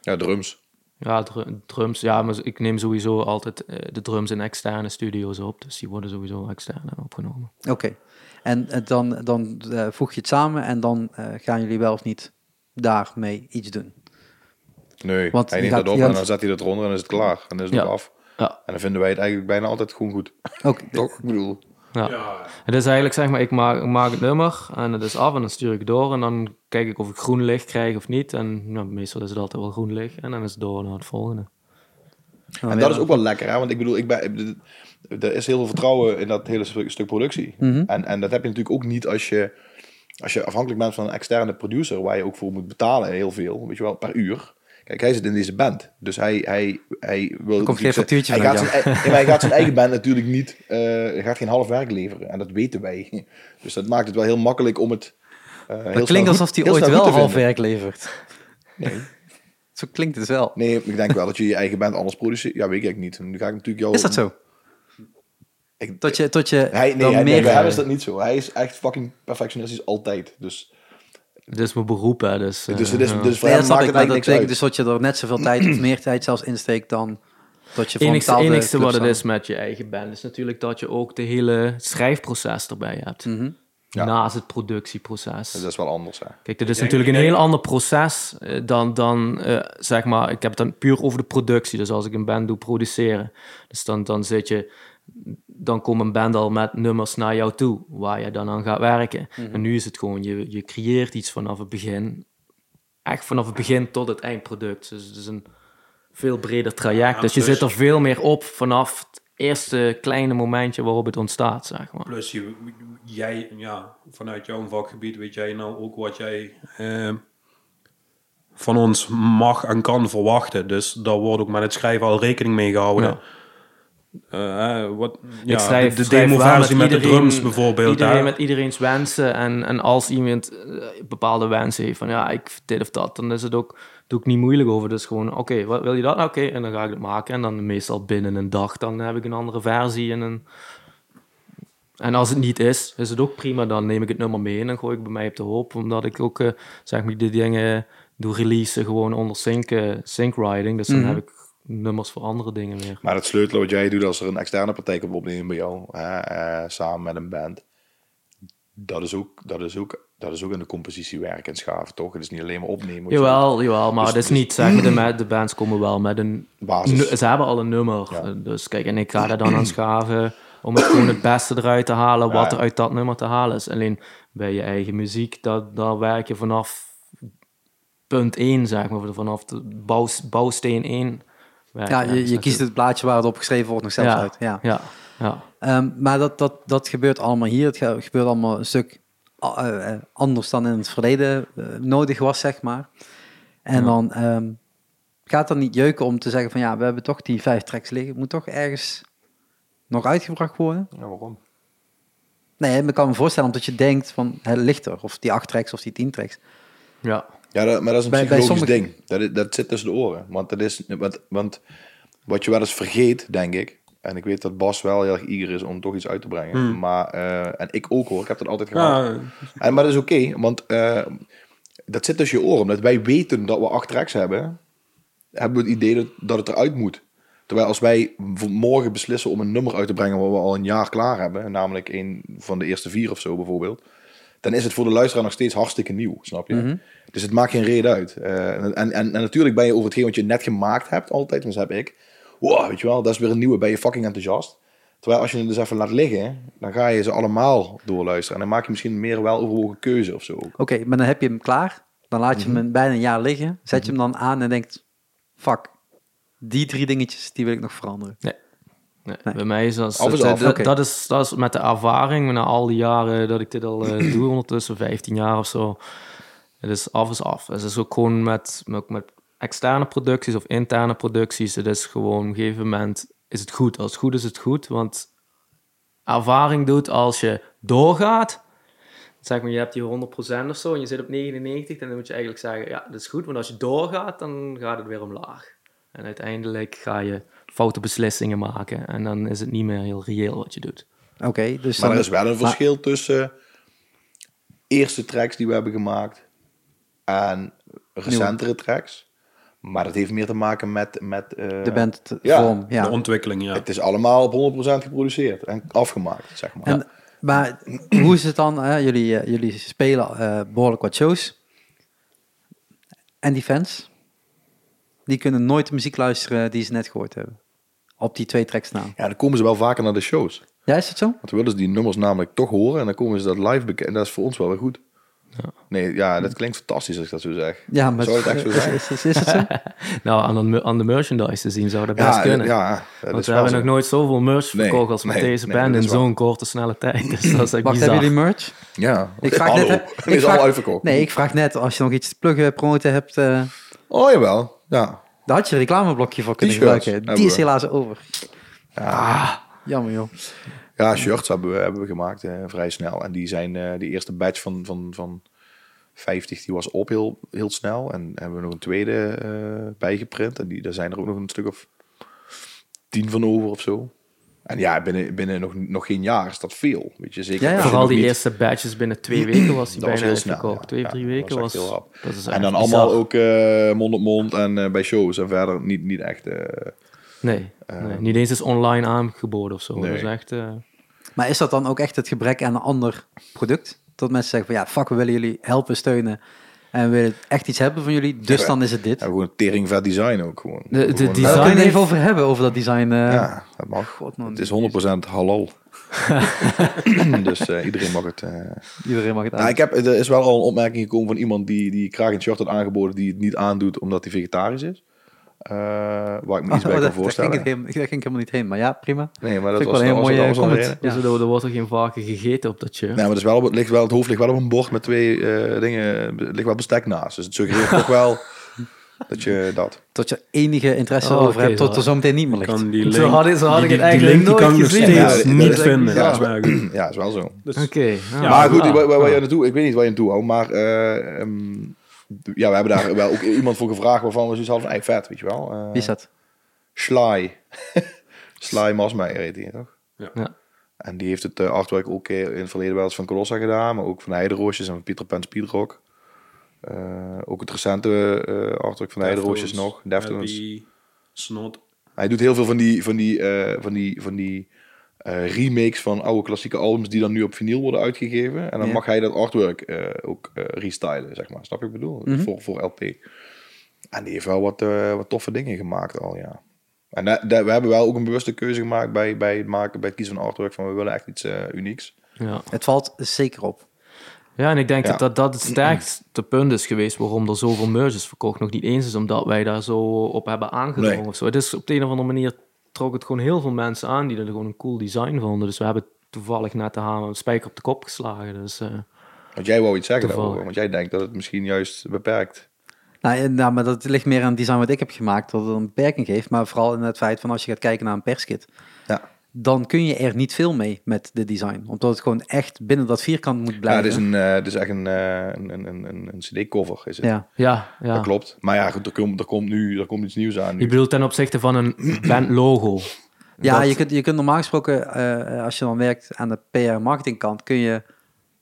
Speaker 1: Ja, drums.
Speaker 3: Ja, dru- drums, ja, maar ik neem sowieso altijd eh, de drums in externe studio's op, dus die worden sowieso extern opgenomen.
Speaker 2: Oké. En eh, dan, dan eh, voeg je het samen en dan eh, gaan jullie wel of niet daarmee iets doen.
Speaker 1: Nee,
Speaker 2: Want
Speaker 1: hij
Speaker 2: die
Speaker 1: neemt
Speaker 2: gaat-
Speaker 1: dat op
Speaker 2: die
Speaker 1: en
Speaker 2: gaat-
Speaker 1: dan zet hij dat eronder en is het klaar. En dan is het
Speaker 3: Ja.
Speaker 1: ook af.
Speaker 3: Ja.
Speaker 1: En dan vinden wij het eigenlijk bijna altijd gewoon goed.
Speaker 2: Ook,
Speaker 1: Toch? Ik bedoel,
Speaker 3: Ja. Het is eigenlijk zeg maar, ik maak, ik maak het nummer en het is af en dan stuur ik door en dan kijk ik of ik groen licht krijg of niet. En nou, meestal is het altijd wel groen licht en dan is het door naar het volgende.
Speaker 1: En dat is ook wel lekker, hè? want ik bedoel, ik ben, ik- er is heel veel vertrouwen in dat hele stuk stuk productie.
Speaker 2: Mhm.
Speaker 1: en, en dat heb je natuurlijk ook niet als je, als je afhankelijk bent van een externe producer, waar je ook voor moet betalen heel veel, weet je wel, per uur. Kijk, hij zit in deze band, dus hij, hij, hij wil...
Speaker 2: komt geen factuurtje
Speaker 1: hij
Speaker 2: van
Speaker 1: gaat, zijn, ei- nee, maar hij gaat zijn eigen band natuurlijk niet, eh, hij gaat geen half werk leveren, en dat weten wij. Dus dat maakt het wel heel makkelijk om het... eh, heel snel
Speaker 2: dat klinkt
Speaker 1: goed-
Speaker 2: alsof hij
Speaker 1: heel
Speaker 2: ooit
Speaker 1: snel goed
Speaker 2: wel
Speaker 1: te
Speaker 2: half
Speaker 1: vinden.
Speaker 2: werk levert.
Speaker 1: Nee.
Speaker 2: Zo klinkt het dus wel.
Speaker 1: Nee, ik denk wel dat je je eigen band anders produceert. Ja, weet ik eigenlijk niet. Nu ga ik natuurlijk jou...
Speaker 2: Is dat zo?
Speaker 1: Ik-
Speaker 2: Tot je, tot je
Speaker 1: Hij, nee,
Speaker 2: dan
Speaker 1: hij, nee,
Speaker 2: meer...
Speaker 1: bij hem is dat niet zo. Hij is echt fucking perfectionistisch altijd. Dus,
Speaker 3: Dit is mijn beroep, hè. Dus, eh,
Speaker 1: dus, dus,
Speaker 3: ja.
Speaker 1: dus voor
Speaker 2: Nee, dat
Speaker 1: hem
Speaker 2: snap
Speaker 1: maakt
Speaker 2: ik,
Speaker 1: het
Speaker 2: maar dat
Speaker 1: eigenlijk niks
Speaker 2: betekent
Speaker 1: uit.
Speaker 2: dus dat je er net zoveel tijd of meer tijd zelfs insteekt dan dat je voor
Speaker 3: enigste,
Speaker 2: een bepaalde
Speaker 3: enigste
Speaker 2: club
Speaker 3: wat
Speaker 2: staat.
Speaker 3: het is met je eigen band is natuurlijk dat je ook de hele schrijfproces erbij hebt.
Speaker 1: Ja.
Speaker 3: Naast het productieproces.
Speaker 2: dus-
Speaker 1: Dat is wel anders, hè.
Speaker 3: Kijk, dit is natuurlijk een heel ander proces eh, dan, dan eh, zeg maar, ik heb het dan puur over de productie. Dus als ik een band doe produceren, dus dan, dan zit je, dan komt een band al met nummers naar jou toe, waar je dan aan gaat werken. En nu is het gewoon, je, je creëert iets vanaf het begin, echt vanaf het begin tot het eindproduct. Dus het is een veel breder traject. dus je
Speaker 4: plus-
Speaker 3: zit er veel meer op vanaf het eerste kleine momentje waarop het ontstaat, zeg maar.
Speaker 4: Plus, je, jij, ja, vanuit jouw vakgebied weet jij nou ook wat jij eh, van ons mag en kan verwachten. Dus daar wordt ook met het schrijven al rekening mee gehouden.
Speaker 3: Ja.
Speaker 4: Eh, eh, wat, ja,
Speaker 3: ik schrijf,
Speaker 4: de, de
Speaker 3: schrijf wel
Speaker 4: demoversie met, de
Speaker 3: iedereen-
Speaker 4: drums bijvoorbeeld.
Speaker 3: Iedereen
Speaker 4: hè.
Speaker 3: met iedereen's wensen. En, en als iemand eh, bepaalde wensen heeft van ja, ik dit of dat, dan is het ook, doe ik niet moeilijk over. Dus gewoon, oké, wat wil je dat? Nou, Oké, en dan ga ik het maken. En dan meestal binnen een dag, dan heb ik een andere versie. En, een, en als het niet is, is het ook prima. Dan neem ik het nummer mee en dan gooi ik bij mij op de hoop. Omdat ik ook, eh, zeg maar, die dingen doe releasen gewoon onder sync, eh, sync riding. Dus dan
Speaker 4: Mhm.
Speaker 3: heb ik nummers voor andere dingen weer.
Speaker 1: Maar het sleutelen wat jij doet als er een externe partij komt opnemen bij jou, hè, eh, samen met een band, dat is ook, dat is ook, dat is ook in de compositie werken en schaven, toch? Het is niet alleen maar opnemen. wat je
Speaker 3: Jawel, jawel, maar
Speaker 1: Dus-
Speaker 3: dat is niet zeg
Speaker 2: mm.
Speaker 3: maar, de, ma- de bands komen wel met een
Speaker 1: Basis.
Speaker 3: nu- Ze hebben al een nummer,
Speaker 1: Ja.
Speaker 3: eh, dus kijk, en ik ga daar dan aan schaven om het gewoon het beste eruit te halen,
Speaker 1: Ja, ja.
Speaker 3: wat er uit dat nummer te halen is. Alleen bij je eigen muziek, dat, daar werk je vanaf punt 1, zeg maar, vanaf de bouw, bouwsteen 1 werkt.
Speaker 2: Ja, je,
Speaker 3: dus
Speaker 2: je
Speaker 3: dat
Speaker 2: kiest
Speaker 3: doe-
Speaker 2: het plaatje waar het op geschreven wordt nog zelf uit. Ja.
Speaker 3: ja, ja.
Speaker 2: Ehm, maar dat, dat, dat gebeurt allemaal hier. Het ge- gebeurt allemaal een stuk a- eh, eh, anders dan in het verleden eh, nodig was, zeg maar. En
Speaker 3: Ja.
Speaker 2: dan ehm, gaat dat niet jeuken om te zeggen van ja, we hebben toch die vijf tracks liggen. Het moet toch ergens nog uitgebracht worden.
Speaker 1: Ja, waarom?
Speaker 2: Nee, ik kan me voorstellen omdat je denkt van het ligt er. Of die acht tracks of die tien tracks.
Speaker 3: ja.
Speaker 1: Ja, dat, maar dat is een
Speaker 2: Bij- bij
Speaker 1: psychologisch
Speaker 2: sommige-
Speaker 1: ding. Dat, is- dat zit tussen de oren. Want, dat is, want, want wat je wel eens vergeet, denk ik... En ik weet dat Bas wel heel erg eager is om toch iets uit te brengen.
Speaker 2: Hmm.
Speaker 1: Maar, eh, en ik ook hoor, ik heb dat altijd gehad.
Speaker 2: eh.
Speaker 4: Ja,
Speaker 1: En, maar dat is oké, want eh, dat zit tussen je oren. Omdat wij weten dat we acht tracks hebben, hebben we het idee dat, dat het eruit moet. Terwijl als wij v- morgen beslissen om een nummer uit te brengen wat we al een jaar klaar hebben, namelijk een van de eerste vier of zo bijvoorbeeld, dan is het voor de luisteraar nog steeds hartstikke nieuw, snap je? Dus het maakt geen reden uit. Eh, en, en, en natuurlijk ben je over hetgeen wat je net gemaakt hebt altijd, want dat heb ik, wow, weet je wel, dat is weer een nieuwe, ben je fucking enthousiast. Terwijl als je het dus even laat liggen, dan ga je ze allemaal doorluisteren. En dan maak je misschien een meer wel overwogen keuze of zo ook.
Speaker 2: Oké, maar dan heb je hem klaar. Dan laat je
Speaker 1: Mhm.
Speaker 2: hem bijna een jaar liggen. Zet je hem dan aan en denkt, fuck, die drie dingetjes, die wil ik nog veranderen.
Speaker 3: Nee,
Speaker 2: Nee.
Speaker 3: Bij mij is dat,
Speaker 1: Af is
Speaker 3: dat,
Speaker 1: af,
Speaker 3: dat-
Speaker 2: oké.
Speaker 3: dat is, dat is met de ervaring, na al die jaren dat ik dit al eh, doe, ondertussen 15 jaar of zo. Het is af is af. Het is ook gewoon met, met, met externe producties of interne producties. Het is gewoon op een gegeven moment is het goed. Als het goed is, het goed. Want ervaring doet als je doorgaat. Zeg maar, je hebt die 100% of zo en je zit op 99, dan moet je eigenlijk zeggen, ja, dat is goed. Want als je doorgaat, dan gaat het weer omlaag. En uiteindelijk ga je foute beslissingen maken. En dan is het niet meer heel reëel wat je doet.
Speaker 2: Oké, dus
Speaker 1: Maar
Speaker 2: dan...
Speaker 1: er is wel een
Speaker 2: maar-
Speaker 1: verschil tussen eerste tracks die we hebben gemaakt en recentere tracks. Maar dat heeft meer te maken met... met eh,
Speaker 2: de band
Speaker 1: ja,
Speaker 2: vorm, ja.
Speaker 4: de ontwikkeling, ja.
Speaker 1: Het is allemaal op 100% geproduceerd en afgemaakt, zeg maar.
Speaker 2: En, Maar hoe is het dan? hè? Jullie, eh, jullie spelen eh, behoorlijk wat shows. En die fans, die kunnen nooit de muziek luisteren die ze net gehoord hebben. Op die twee tracks na.
Speaker 1: Ja, dan komen ze wel vaker naar de shows.
Speaker 2: Ja, is het zo?
Speaker 1: Want dan willen ze die nummers namelijk toch horen en dan komen ze dat live bekend. En dat is voor ons wel weer goed. Nee, ja, dat klinkt fantastisch als ik dat zo zeg.
Speaker 2: Ja, maar
Speaker 1: Zou het echt zo
Speaker 2: is,
Speaker 1: zijn?
Speaker 2: is, is- is het zo?
Speaker 3: Nou, aan de, mu- aan de merchandise te zien zou dat best
Speaker 1: Ja,
Speaker 3: kunnen.
Speaker 1: ja, dat
Speaker 3: Want
Speaker 1: is
Speaker 3: we
Speaker 1: wel
Speaker 3: hebben
Speaker 1: zo.
Speaker 3: nog nooit zoveel merch
Speaker 1: Nee,
Speaker 3: verkocht als met
Speaker 1: nee,
Speaker 3: deze
Speaker 1: nee,
Speaker 3: band
Speaker 1: dat
Speaker 3: in
Speaker 1: is waar.
Speaker 3: zo'n korte, snelle tijd. Dus dat is
Speaker 2: Wacht,
Speaker 3: echt bizar.
Speaker 2: hebben jullie merch?
Speaker 1: Ja,
Speaker 2: Ik vraag
Speaker 1: Hallo,
Speaker 2: net, hè,
Speaker 1: het
Speaker 2: ik
Speaker 1: is
Speaker 2: vraag-
Speaker 1: al uitverkocht.
Speaker 2: Nee, ik vraag net, als je nog iets te pluggen, promoten hebt, eh
Speaker 1: Oh, jawel. Ja.
Speaker 2: daar had je een reclameblokje voor kunnen
Speaker 1: T-shirts
Speaker 2: gebruiken. Die
Speaker 1: hebben
Speaker 2: is
Speaker 1: we.
Speaker 2: helaas over. Ah, jammer joh.
Speaker 1: ja, shirts hebben we, hebben we gemaakt eh, vrij snel. En die zijn, eh die eerste batch van, van, van 50, die was op heel, heel snel. En hebben we nog een tweede eh, bijgeprint. En die, daar zijn er ook nog een stuk of tien van over of zo. En ja, binnen, binnen nog, nog geen jaar is dat veel. Weet je, zeker
Speaker 2: Ja, ja.
Speaker 1: als je
Speaker 3: Vooral
Speaker 1: nog
Speaker 3: die
Speaker 1: niet-
Speaker 3: eerste badges binnen twee weken was die
Speaker 1: Dat was
Speaker 3: bijna
Speaker 1: heel snel,
Speaker 3: uitverkocht.
Speaker 1: ja.
Speaker 3: Twee,
Speaker 1: Ja,
Speaker 3: drie
Speaker 1: dat
Speaker 3: weken
Speaker 1: was
Speaker 3: was...
Speaker 1: echt heel rap.
Speaker 3: dat is
Speaker 1: En
Speaker 3: echt
Speaker 1: dan
Speaker 3: bizar.
Speaker 1: allemaal ook eh, mond op mond en eh, bij shows en verder niet, niet echt. eh,
Speaker 3: Nee, nee, niet eens is online aangeboden of zo.
Speaker 1: nee.
Speaker 3: Dat is echt... eh,
Speaker 2: Maar is dat dan ook echt het gebrek aan een ander product? Dat mensen zeggen van ja, fuck, we willen jullie helpen, steunen. En we willen echt iets hebben van jullie, dus
Speaker 1: Ja,
Speaker 2: dan is het dit.
Speaker 1: ja, gewoon een teringvet design ook gewoon.
Speaker 3: De- de
Speaker 1: Gewoon- eh,
Speaker 2: Daar
Speaker 3: design-
Speaker 2: kunnen we het
Speaker 3: heeft-
Speaker 2: even over hebben, over dat design. eh.
Speaker 1: Ja, dat mag.
Speaker 2: God, man.
Speaker 1: het is 100% halal. dus eh, iedereen mag het. eh.
Speaker 2: Iedereen mag het aan.
Speaker 1: Nou, ik heb, er is wel al een opmerking gekomen van iemand die, die graag een shirt had aangeboden die het niet aandoet omdat hij vegetarisch is. Eh, waar ik me iets bij kan
Speaker 2: Oh, dat, daar ging
Speaker 1: voorstellen.
Speaker 2: ik helemaal- daar ging ik helemaal niet heen, maar ja, prima.
Speaker 1: Nee, maar dat
Speaker 2: Vind ik
Speaker 1: was,
Speaker 2: wel een
Speaker 1: dat was,
Speaker 2: mooie
Speaker 1: dat was wel een
Speaker 2: comment.
Speaker 1: reden.
Speaker 3: dus er, er wordt er geen varken gegeten op dat shirt.
Speaker 1: Nee, maar het, is wel op, het, ligt wel, het hoofd ligt wel op een bord met twee eh, dingen. Er ligt wel bestek naast. Dus het suggereert toch wel dat je dat.
Speaker 2: Tot je enige interesse
Speaker 3: Oh,
Speaker 2: over
Speaker 3: oké,
Speaker 2: hebt, tot
Speaker 3: zo.
Speaker 2: er zo meteen niet meer ligt.
Speaker 4: Kan die link,
Speaker 3: Zo had ik- zo had ik
Speaker 4: die-
Speaker 3: het
Speaker 4: die
Speaker 3: eigenlijk
Speaker 4: link, die
Speaker 3: nooit
Speaker 4: kan ik nog
Speaker 3: gezien.
Speaker 4: steeds
Speaker 1: Ja,
Speaker 4: niet
Speaker 1: dat is-
Speaker 4: vinden.
Speaker 1: ja,
Speaker 4: Ja,
Speaker 1: dat is-
Speaker 4: maar goed.
Speaker 1: Ja, is wel zo.
Speaker 4: Dus-
Speaker 3: Oké.
Speaker 4: Ja.
Speaker 1: maar goed,
Speaker 3: ah.
Speaker 1: waar, waar, waar je naartoe, ik weet niet waar je naartoe wou, maar eh, ehm, ja, we hebben daar wel ook iemand voor gevraagd waarvan we zoiets hadden van, hey, vet, weet je wel. Eh,
Speaker 2: Wie is dat?
Speaker 1: Sly. Sly Masmeijer heet die, toch?
Speaker 3: Ja.
Speaker 1: En die heeft het eh, artwork ook eh, in het verleden wel eens van Colossa gedaan, maar ook van Heideroosjes en van Pieter Pan Speedrock. Eh, ook het recente eh, artwork van Heideroosjes nog, Deftones.
Speaker 4: Happy, Snot.
Speaker 1: Hij doet heel veel van die, van die, eh, van die, van die eh, remakes van oude klassieke albums die dan nu op vinyl worden uitgegeven. En dan
Speaker 2: Ja.
Speaker 1: mag hij dat artwork eh, ook eh, restylen, zeg maar. Snap je wat ik bedoel?
Speaker 2: Mhm.
Speaker 1: voor, voor LP. En die heeft wel wat, eh, wat toffe dingen gemaakt al, ja. En dat- dat- we hebben wel ook een bewuste keuze gemaakt bij, bij, het maken, bij het kiezen van artwork. Van we willen echt iets eh, unieks.
Speaker 3: Ja.
Speaker 2: Het valt zeker op.
Speaker 3: Ja, en ik denk
Speaker 1: Ja.
Speaker 3: dat, dat dat het sterkste punt is geweest waarom er zoveel merges verkocht. Nog niet eens is omdat wij daar zo op hebben aangedrongen
Speaker 1: Nee.
Speaker 3: of zo. Het is op de een of andere manier trok het gewoon heel veel mensen aan die er gewoon een cool design vonden. Dus we hebben toevallig net de hamer een spijker op de kop geslagen. Dus eh,
Speaker 1: Want jij wou iets zeggen
Speaker 3: Toevallig.
Speaker 1: daarover, want jij denkt dat het misschien juist beperkt.
Speaker 2: Nou, eh, nou, maar dat ligt meer aan het design wat ik heb gemaakt, dat het een beperking geeft. Maar vooral in het feit van als je gaat kijken naar een perskit,
Speaker 1: Ja,
Speaker 2: dan kun je er niet veel mee met dit design. Omdat het gewoon echt binnen dat vierkant moet
Speaker 1: ja
Speaker 2: blijven.
Speaker 1: het, is een, eh, het is echt een, eh, een, een, een, een- een cd-cover, is het.
Speaker 2: Ja.
Speaker 3: ja, ja.
Speaker 1: Dat klopt. Maar ja, goed, er komt, er komt nu er komt iets nieuws aan.
Speaker 3: Je
Speaker 1: Nu.
Speaker 3: bedoelt ten opzichte van een bandlogo.
Speaker 2: Ja,
Speaker 3: Dat-
Speaker 2: je, kunt, je kunt normaal gesproken, eh, als je dan werkt aan de PR-marketingkant, kun je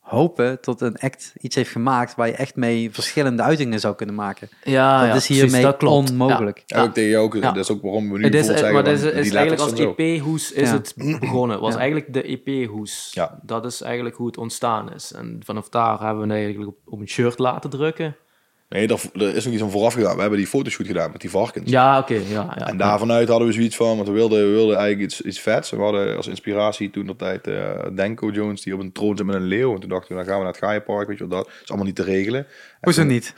Speaker 2: hopen dat een act iets heeft gemaakt waar je echt mee verschillende uitingen zou kunnen maken.
Speaker 3: Ja,
Speaker 2: dat
Speaker 3: ja,
Speaker 2: is
Speaker 3: precies,
Speaker 2: hiermee
Speaker 3: dat klopt.
Speaker 2: onmogelijk.
Speaker 1: En ook tegen jou, ook,
Speaker 3: Ja.
Speaker 1: dat is ook waarom we nu
Speaker 3: Het is,
Speaker 1: bijvoorbeeld
Speaker 3: eh,
Speaker 1: zeggen
Speaker 3: maar het is,
Speaker 1: van,
Speaker 3: is
Speaker 1: die
Speaker 3: eigenlijk
Speaker 1: letters
Speaker 3: als
Speaker 1: zijn zo.
Speaker 3: EP-hoes is
Speaker 2: Ja.
Speaker 3: het begonnen. was
Speaker 2: Ja.
Speaker 3: eigenlijk de EP-hoes.
Speaker 1: Ja.
Speaker 3: Dat is eigenlijk hoe het ontstaan is. En vanaf daar hebben we het eigenlijk op, op een shirt laten drukken.
Speaker 1: Nee, er, er is nog iets aan vooraf gedaan. We hebben die fotoshoot gedaan met die varkens.
Speaker 3: Ja, oké. ja, ja.
Speaker 1: En daarvanuit hadden we zoiets van, want we wilden, we wilden eigenlijk iets, iets vets. We hadden als inspiratie toen dat tijd eh, Denko Jones die op een troon zit met een leeuw. En toen dachten we, dan gaan we naar het Gaaienpark, weet je wel, dat is allemaal niet te regelen.
Speaker 2: Hoezo niet?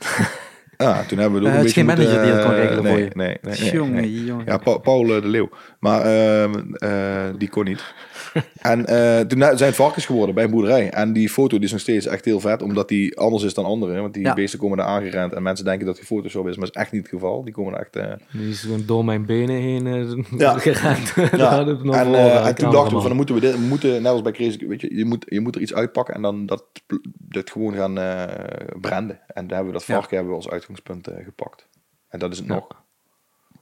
Speaker 1: Ja, toen hebben we
Speaker 2: Eh,
Speaker 1: er ook
Speaker 2: het
Speaker 1: een
Speaker 2: is
Speaker 1: beetje
Speaker 2: geen manager die dat kan
Speaker 1: eh,
Speaker 2: regelen
Speaker 1: nee,
Speaker 2: voor je.
Speaker 1: Nee, nee, nee,
Speaker 2: Jongen,
Speaker 1: nee.
Speaker 2: jongen.
Speaker 1: Ja, Pa- Paul eh, de Leeuw. Maar ehm, eh, die kon niet. En eh, toen zijn het varkens geworden bij een boerderij. En die foto die is nog steeds echt heel vet, omdat die anders is dan anderen. Want die
Speaker 2: Ja.
Speaker 1: beesten komen daar aangerend en mensen denken dat die Photoshop is, maar dat is echt niet het geval. Die komen er echt... eh,
Speaker 3: Die is gewoon door mijn benen heen eh,
Speaker 1: Ja.
Speaker 3: gerend.
Speaker 1: Ja.
Speaker 3: Daar heb ik nog
Speaker 1: en,
Speaker 3: voor,
Speaker 1: eh,
Speaker 3: eh,
Speaker 1: en toen
Speaker 3: cameraman.
Speaker 1: dachten we van, dan moeten we dit, we moeten, net als bij Crazy, weet je, je moet, je moet er iets uitpakken en dan dat, dat gewoon gaan eh branden. En daar hebben we dat
Speaker 2: Ja.
Speaker 1: varken hebben we als uitgangspunt eh, gepakt. En dat is het
Speaker 3: Ja.
Speaker 1: nog.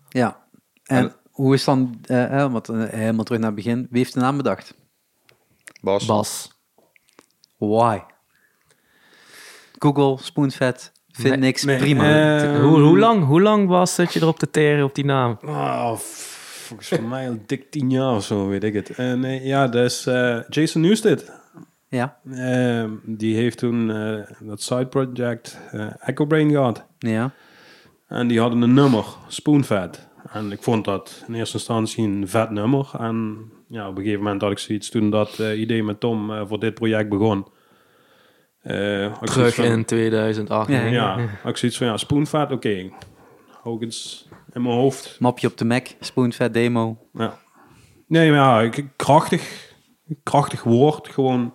Speaker 2: Ja. En
Speaker 1: En-
Speaker 2: hoe is dan, eh, eh, want eh, helemaal terug naar het begin, wie heeft de naam bedacht?
Speaker 1: Bas,
Speaker 3: Bas.
Speaker 2: Why? Google, Spoonvet, vind
Speaker 3: Nee,
Speaker 2: niks,
Speaker 4: nee,
Speaker 2: prima.
Speaker 4: eh,
Speaker 3: hoe, hoe, lang, hoe lang was dat je erop te teren op die naam?
Speaker 4: Ah, f- volgens mij al dik tien jaar of zo, weet ik het. En eh, ja, dat is eh, Jason Newsted.
Speaker 2: ja,
Speaker 4: Ehm, die heeft toen eh, dat side project eh, Echo Brain gehad.
Speaker 2: ja.
Speaker 4: En die hadden een nummer, Spoonvet. En ik vond dat in eerste instantie een vet nummer. En ja, op een gegeven moment had ik zoiets toen dat eh, idee met Tom eh, voor dit project begon. Eh, had ik zoiets
Speaker 3: Terug
Speaker 4: van-
Speaker 3: in 2008.
Speaker 2: Ja,
Speaker 3: nee.
Speaker 4: Ja, had ik zoiets van ja, Spoonvet, oké. Hou ik eens in mijn hoofd.
Speaker 2: Mapje op de Mac, Spoonvet demo.
Speaker 4: Ja. Nee, maar ja, k- krachtig. Krachtig woord. Gewoon,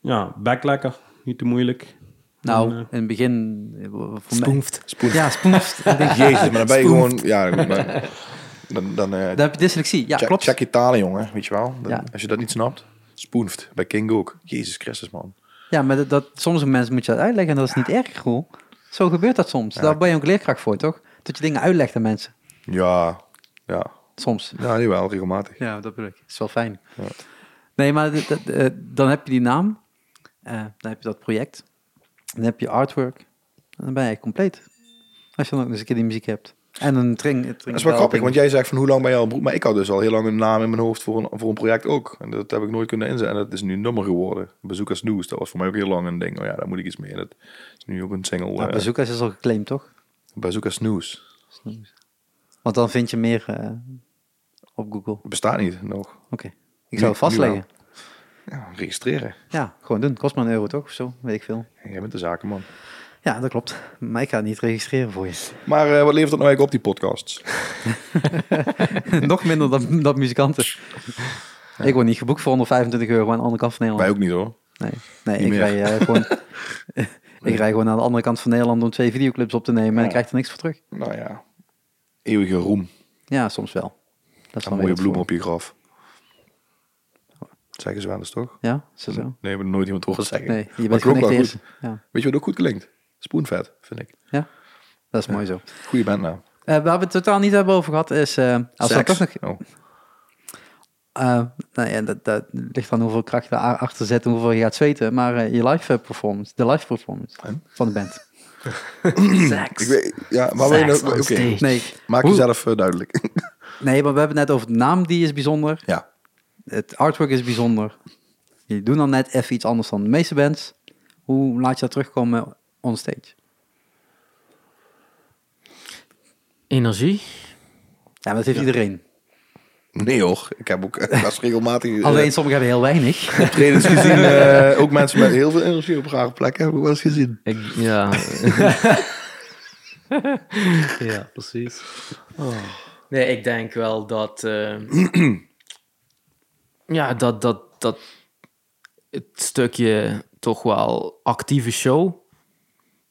Speaker 4: ja, bek lekker. Niet te moeilijk.
Speaker 2: Nou,
Speaker 4: En, eh,
Speaker 2: in het begin... eh, voor mij-
Speaker 3: Spoonft.
Speaker 2: Ja, eh, spoonft. Dan denk ik,
Speaker 1: Jezus, maar dan ben je gewoon... Ja, goed, maar dan, dan, eh,
Speaker 2: Dan heb je dyslexie. Ja,
Speaker 1: check,
Speaker 2: klopt.
Speaker 1: check je talen, jongen. Weet je wel? Dan-
Speaker 2: Ja.
Speaker 1: Als je dat niet snapt, spoenft. Bij King ook. Jezus Christus, man.
Speaker 2: Ja, maar dat, dat- soms aan mensen moet je dat uitleggen en dat is niet erg, Roel. Zo gebeurt dat soms. Daar ben je ook leerkracht voor, toch? Dat je dingen uitlegt aan mensen.
Speaker 1: Ja, ja.
Speaker 2: Soms.
Speaker 1: Ja, jawel, regelmatig.
Speaker 2: Ja, dat bedoel ik. is wel fijn. Nee, maar dat- dat, eh, dan heb je die naam. eh, dan heb je dat project. Dan heb je artwork. En dan ben je compleet. Als je dan ook nog eens een keer die muziek hebt. En een tring.
Speaker 1: Dat is wel grappig, want jij zegt van hoe lang ben je al broek? Maar ik had dus al heel lang een naam in mijn hoofd voor een, voor een project ook. En dat heb ik nooit kunnen inzetten. En dat is nu een nummer geworden. Bezoekers Nieuws, dat was voor mij ook heel lang een ding. Oh ja, daar moet ik iets mee. En Dat is nu ook een single. eh,
Speaker 2: bezoekers is al geclaimd, toch?
Speaker 1: Bezoekers Nieuws.
Speaker 2: Want dan vind je meer eh, op Google. Oké.
Speaker 1: Bestaat niet nog.
Speaker 2: Ik zou
Speaker 1: Nu-
Speaker 2: het vastleggen.
Speaker 1: Ja, registreren.
Speaker 2: Ja, gewoon doen. Kost maar een euro, toch? Of zo, weet ik veel.
Speaker 1: Jij bent de zakenman.
Speaker 2: Ja, dat klopt. Maar ik ga het niet registreren voor je.
Speaker 1: Maar eh, wat levert dat nou eigenlijk op, die podcasts?
Speaker 2: Nog minder dan, dan muzikanten. Ik word niet geboekt voor 125 euro aan de andere kant van
Speaker 1: Wij
Speaker 2: Nederland.
Speaker 1: ook niet hoor.
Speaker 2: Nee, nee
Speaker 1: Niet
Speaker 2: ik,
Speaker 1: meer.
Speaker 2: rij, eh, gewoon, ik rij gewoon aan de andere kant van Nederland om twee videoclips op te nemen en ik krijg er niks voor terug.
Speaker 1: Nou ja, eeuwige roem.
Speaker 2: Ja, soms wel. Dat is
Speaker 1: Een
Speaker 2: weer
Speaker 1: mooie
Speaker 2: dat
Speaker 1: bloem
Speaker 2: voor-
Speaker 1: op je graf. Dat zeggen ze wel eens toch?
Speaker 2: Ja, is dat zo?
Speaker 1: Nee, we nooit iemand horen zeggen.
Speaker 2: Nee, je
Speaker 1: Maar
Speaker 2: bent gewoon
Speaker 1: klopt
Speaker 2: echt de
Speaker 1: wel
Speaker 2: eerste.
Speaker 1: goed.
Speaker 2: Ja,
Speaker 1: Weet je wat ook goed klinkt? Spoenvet, vind ik.
Speaker 2: ja, dat is mooi zo.
Speaker 1: Goeie bandnaam.
Speaker 2: Eh, waar we het totaal niet hebben over gehad is... eh, als we dat
Speaker 1: Seks.
Speaker 2: toch nog,
Speaker 1: Oh.
Speaker 2: eh, nou ja, dat, dat ligt aan hoeveel kracht erachter zit en hoeveel je gaat zweten. Maar eh, je live eh, performance, de live performance
Speaker 1: En?
Speaker 2: van de band.
Speaker 1: Ik weet, ja, maar we,
Speaker 3: Seks
Speaker 1: oké.
Speaker 3: on stage.
Speaker 2: Nee,
Speaker 1: Maak
Speaker 2: Hoe-
Speaker 1: jezelf eh, duidelijk.
Speaker 2: Nee, maar we hebben het net over de naam, die is bijzonder.
Speaker 1: ja.
Speaker 2: Het artwork is bijzonder. Jullie doen dan net even iets anders dan de meeste bands. Hoe laat je dat terugkomen on stage?
Speaker 3: Energie.
Speaker 2: Ja, maar dat heeft iedereen.
Speaker 1: Nee hoor, ik heb ook eh, best regelmatig eh,
Speaker 2: Alleen sommigen hebben heel weinig.
Speaker 1: optredens gezien. eh, ook mensen met heel veel energie op rare plekken heb ik wel eens gezien.
Speaker 3: Ik, ja. ja, precies. Nee, ik denk wel dat. eh, ja, dat, dat, dat. Het stukje toch wel actieve show.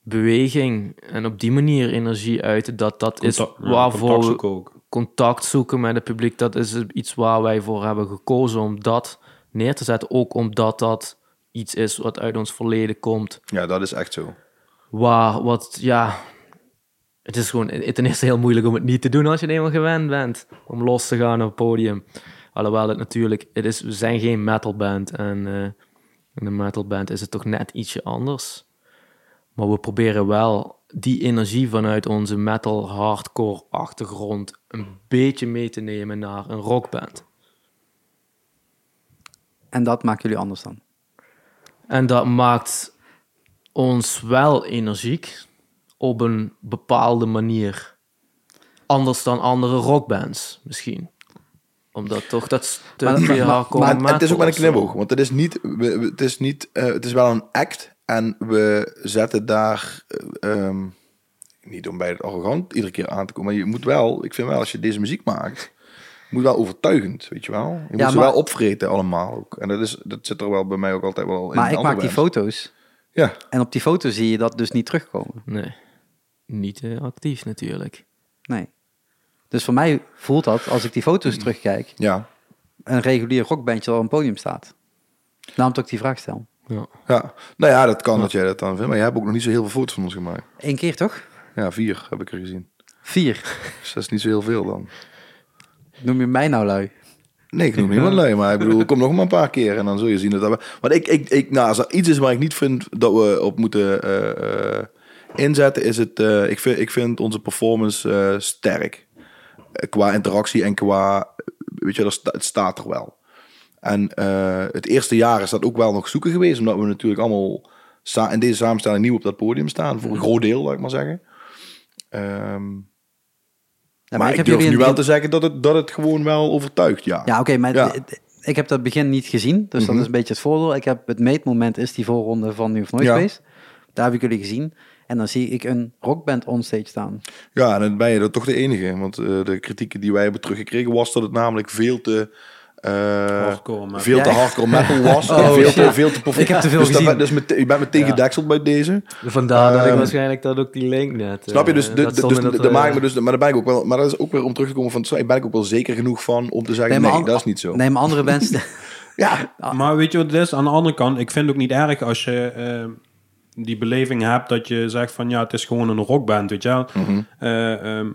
Speaker 3: Beweging en op die manier energie uiten, dat, dat is
Speaker 4: Contact- ja,
Speaker 3: waarvoor
Speaker 4: contact
Speaker 3: we
Speaker 4: zoeken ook.
Speaker 3: contact zoeken met het publiek, dat is iets waar wij voor hebben gekozen om dat neer te zetten. Ook omdat dat iets is wat uit ons verleden komt
Speaker 1: Ja, dat is echt zo.
Speaker 3: waar wat, ja... Het is gewoon ten eerste heel moeilijk om het niet te doen als je het eenmaal gewend bent. Om los te gaan op het podium. Alhoewel het natuurlijk... Het is, we zijn geen metalband. En eh in een metalband is het toch net ietsje anders. Maar we proberen wel die energie vanuit onze metal hardcore achtergrond... een beetje mee te nemen naar een rockband.
Speaker 2: En dat maken jullie anders dan.
Speaker 3: En dat maakt ons wel energiek op een bepaalde manier. Anders dan andere rockbands misschien. Omdat toch dat
Speaker 2: Maar- maar-
Speaker 3: stukje
Speaker 2: maar-
Speaker 3: hardcore
Speaker 1: Maar het is ook met
Speaker 3: metal
Speaker 1: een
Speaker 3: of zo.
Speaker 1: knipoog, want het is niet, we- we- het is niet, eh, het is wel een act en we zetten daar eh, ehm, niet om bij het arrogant iedere keer aan te komen, maar je moet wel, ik vind wel, als je deze muziek maakt, moet wel overtuigend, weet je wel. Je moet ze
Speaker 2: maar-
Speaker 1: wel opvreten allemaal ook. En dat is, dat zit er wel bij mij ook altijd wel in.
Speaker 2: Maar ik
Speaker 1: andere
Speaker 2: maak die
Speaker 1: bands.
Speaker 2: foto's.
Speaker 1: Ja,
Speaker 2: En op die foto's zie je dat dus niet terugkomen.
Speaker 3: Nee, niet eh, actief natuurlijk.
Speaker 2: Nee. Dus voor mij voelt dat, als ik die foto's
Speaker 1: Mm-hmm.
Speaker 2: terugkijk,
Speaker 1: ja,
Speaker 2: een regulier rockbandje dat op een podium staat. Daarom dat ik die vraag stel.
Speaker 3: Ja.
Speaker 1: ja. Nou ja, dat kan dat jij dat dan vindt, maar jij hebt ook nog niet zo heel veel foto's van ons gemaakt.
Speaker 2: Eén keer toch?
Speaker 1: Ja, vier heb ik er gezien.
Speaker 2: Vier.
Speaker 1: Dus dat is niet zo heel veel dan.
Speaker 2: Noem je mij nou lui?
Speaker 1: Nee, ik noem niemand lui, maar ik bedoel, kom nog maar een paar keer en dan zul je zien dat dat... we- Want ik, ik, ik, nou, als er iets is waar ik niet vind dat we op moeten eh, eh, inzetten, is het... eh, ik, vind, ik vind onze performance eh, sterk. Eh, Qua interactie en qua... Weet je, dat sta- het staat er wel. En eh, het eerste jaar is dat ook wel nog zoeken geweest, omdat we natuurlijk allemaal sa- in deze samenstelling nieuw op dat podium staan. Voor een groot deel, laat ik maar zeggen. Ehm,
Speaker 2: Ja,
Speaker 1: maar ik,
Speaker 2: heb
Speaker 1: durf
Speaker 2: jullie
Speaker 1: nu
Speaker 2: in
Speaker 1: wel
Speaker 2: het
Speaker 1: te zeggen dat het, dat het gewoon wel overtuigt, ja.
Speaker 2: Ja, oké, maar
Speaker 1: Ja. Mhm.
Speaker 2: d- d- ik heb dat begin niet gezien, dus dat is een beetje het voordeel. Ik heb het meetmoment is die voorronde van Nu of Nooit
Speaker 1: Ja.
Speaker 2: geweest. Daar heb ik jullie gezien. En dan zie ik een rockband onstage staan.
Speaker 1: Ja, en dan ben je dat toch de enige. Want eh, de kritieken die wij hebben teruggekregen was dat het namelijk veel te... eh,
Speaker 4: Hardcore metal.
Speaker 1: veel te
Speaker 2: Ja.
Speaker 1: hardcore metal was.
Speaker 2: Oh,
Speaker 1: en veel,
Speaker 2: shit.
Speaker 1: te, veel te perform-
Speaker 2: Ik heb te veel
Speaker 1: dus dat
Speaker 2: gezien. eh,
Speaker 1: ben- dus met, je bent meteen gedekseld bij deze.
Speaker 3: Vandaar dat ik
Speaker 1: Ehm,
Speaker 3: waarschijnlijk dat ook die link net...
Speaker 1: Snap je? Dus,
Speaker 3: eh,
Speaker 1: de,
Speaker 3: dat
Speaker 1: de-
Speaker 3: stond
Speaker 1: dus
Speaker 3: in dat,
Speaker 1: de- daar
Speaker 3: eh,
Speaker 1: maak ik me dus, maar daar ben ik ook wel. Maar dat is ook weer om terug te komen van. Daar ben ik ook wel zeker genoeg van om te zeggen. Nee,
Speaker 2: maar an-
Speaker 1: dat is niet zo.
Speaker 2: Nee, maar andere mensen...
Speaker 1: Ja,
Speaker 4: Maar weet je wat het is? Aan de andere kant, ik vind het ook niet erg als je eh, die beleving hebt dat je zegt van ja, het is gewoon een rockband, weet je wel. Eh, ehm,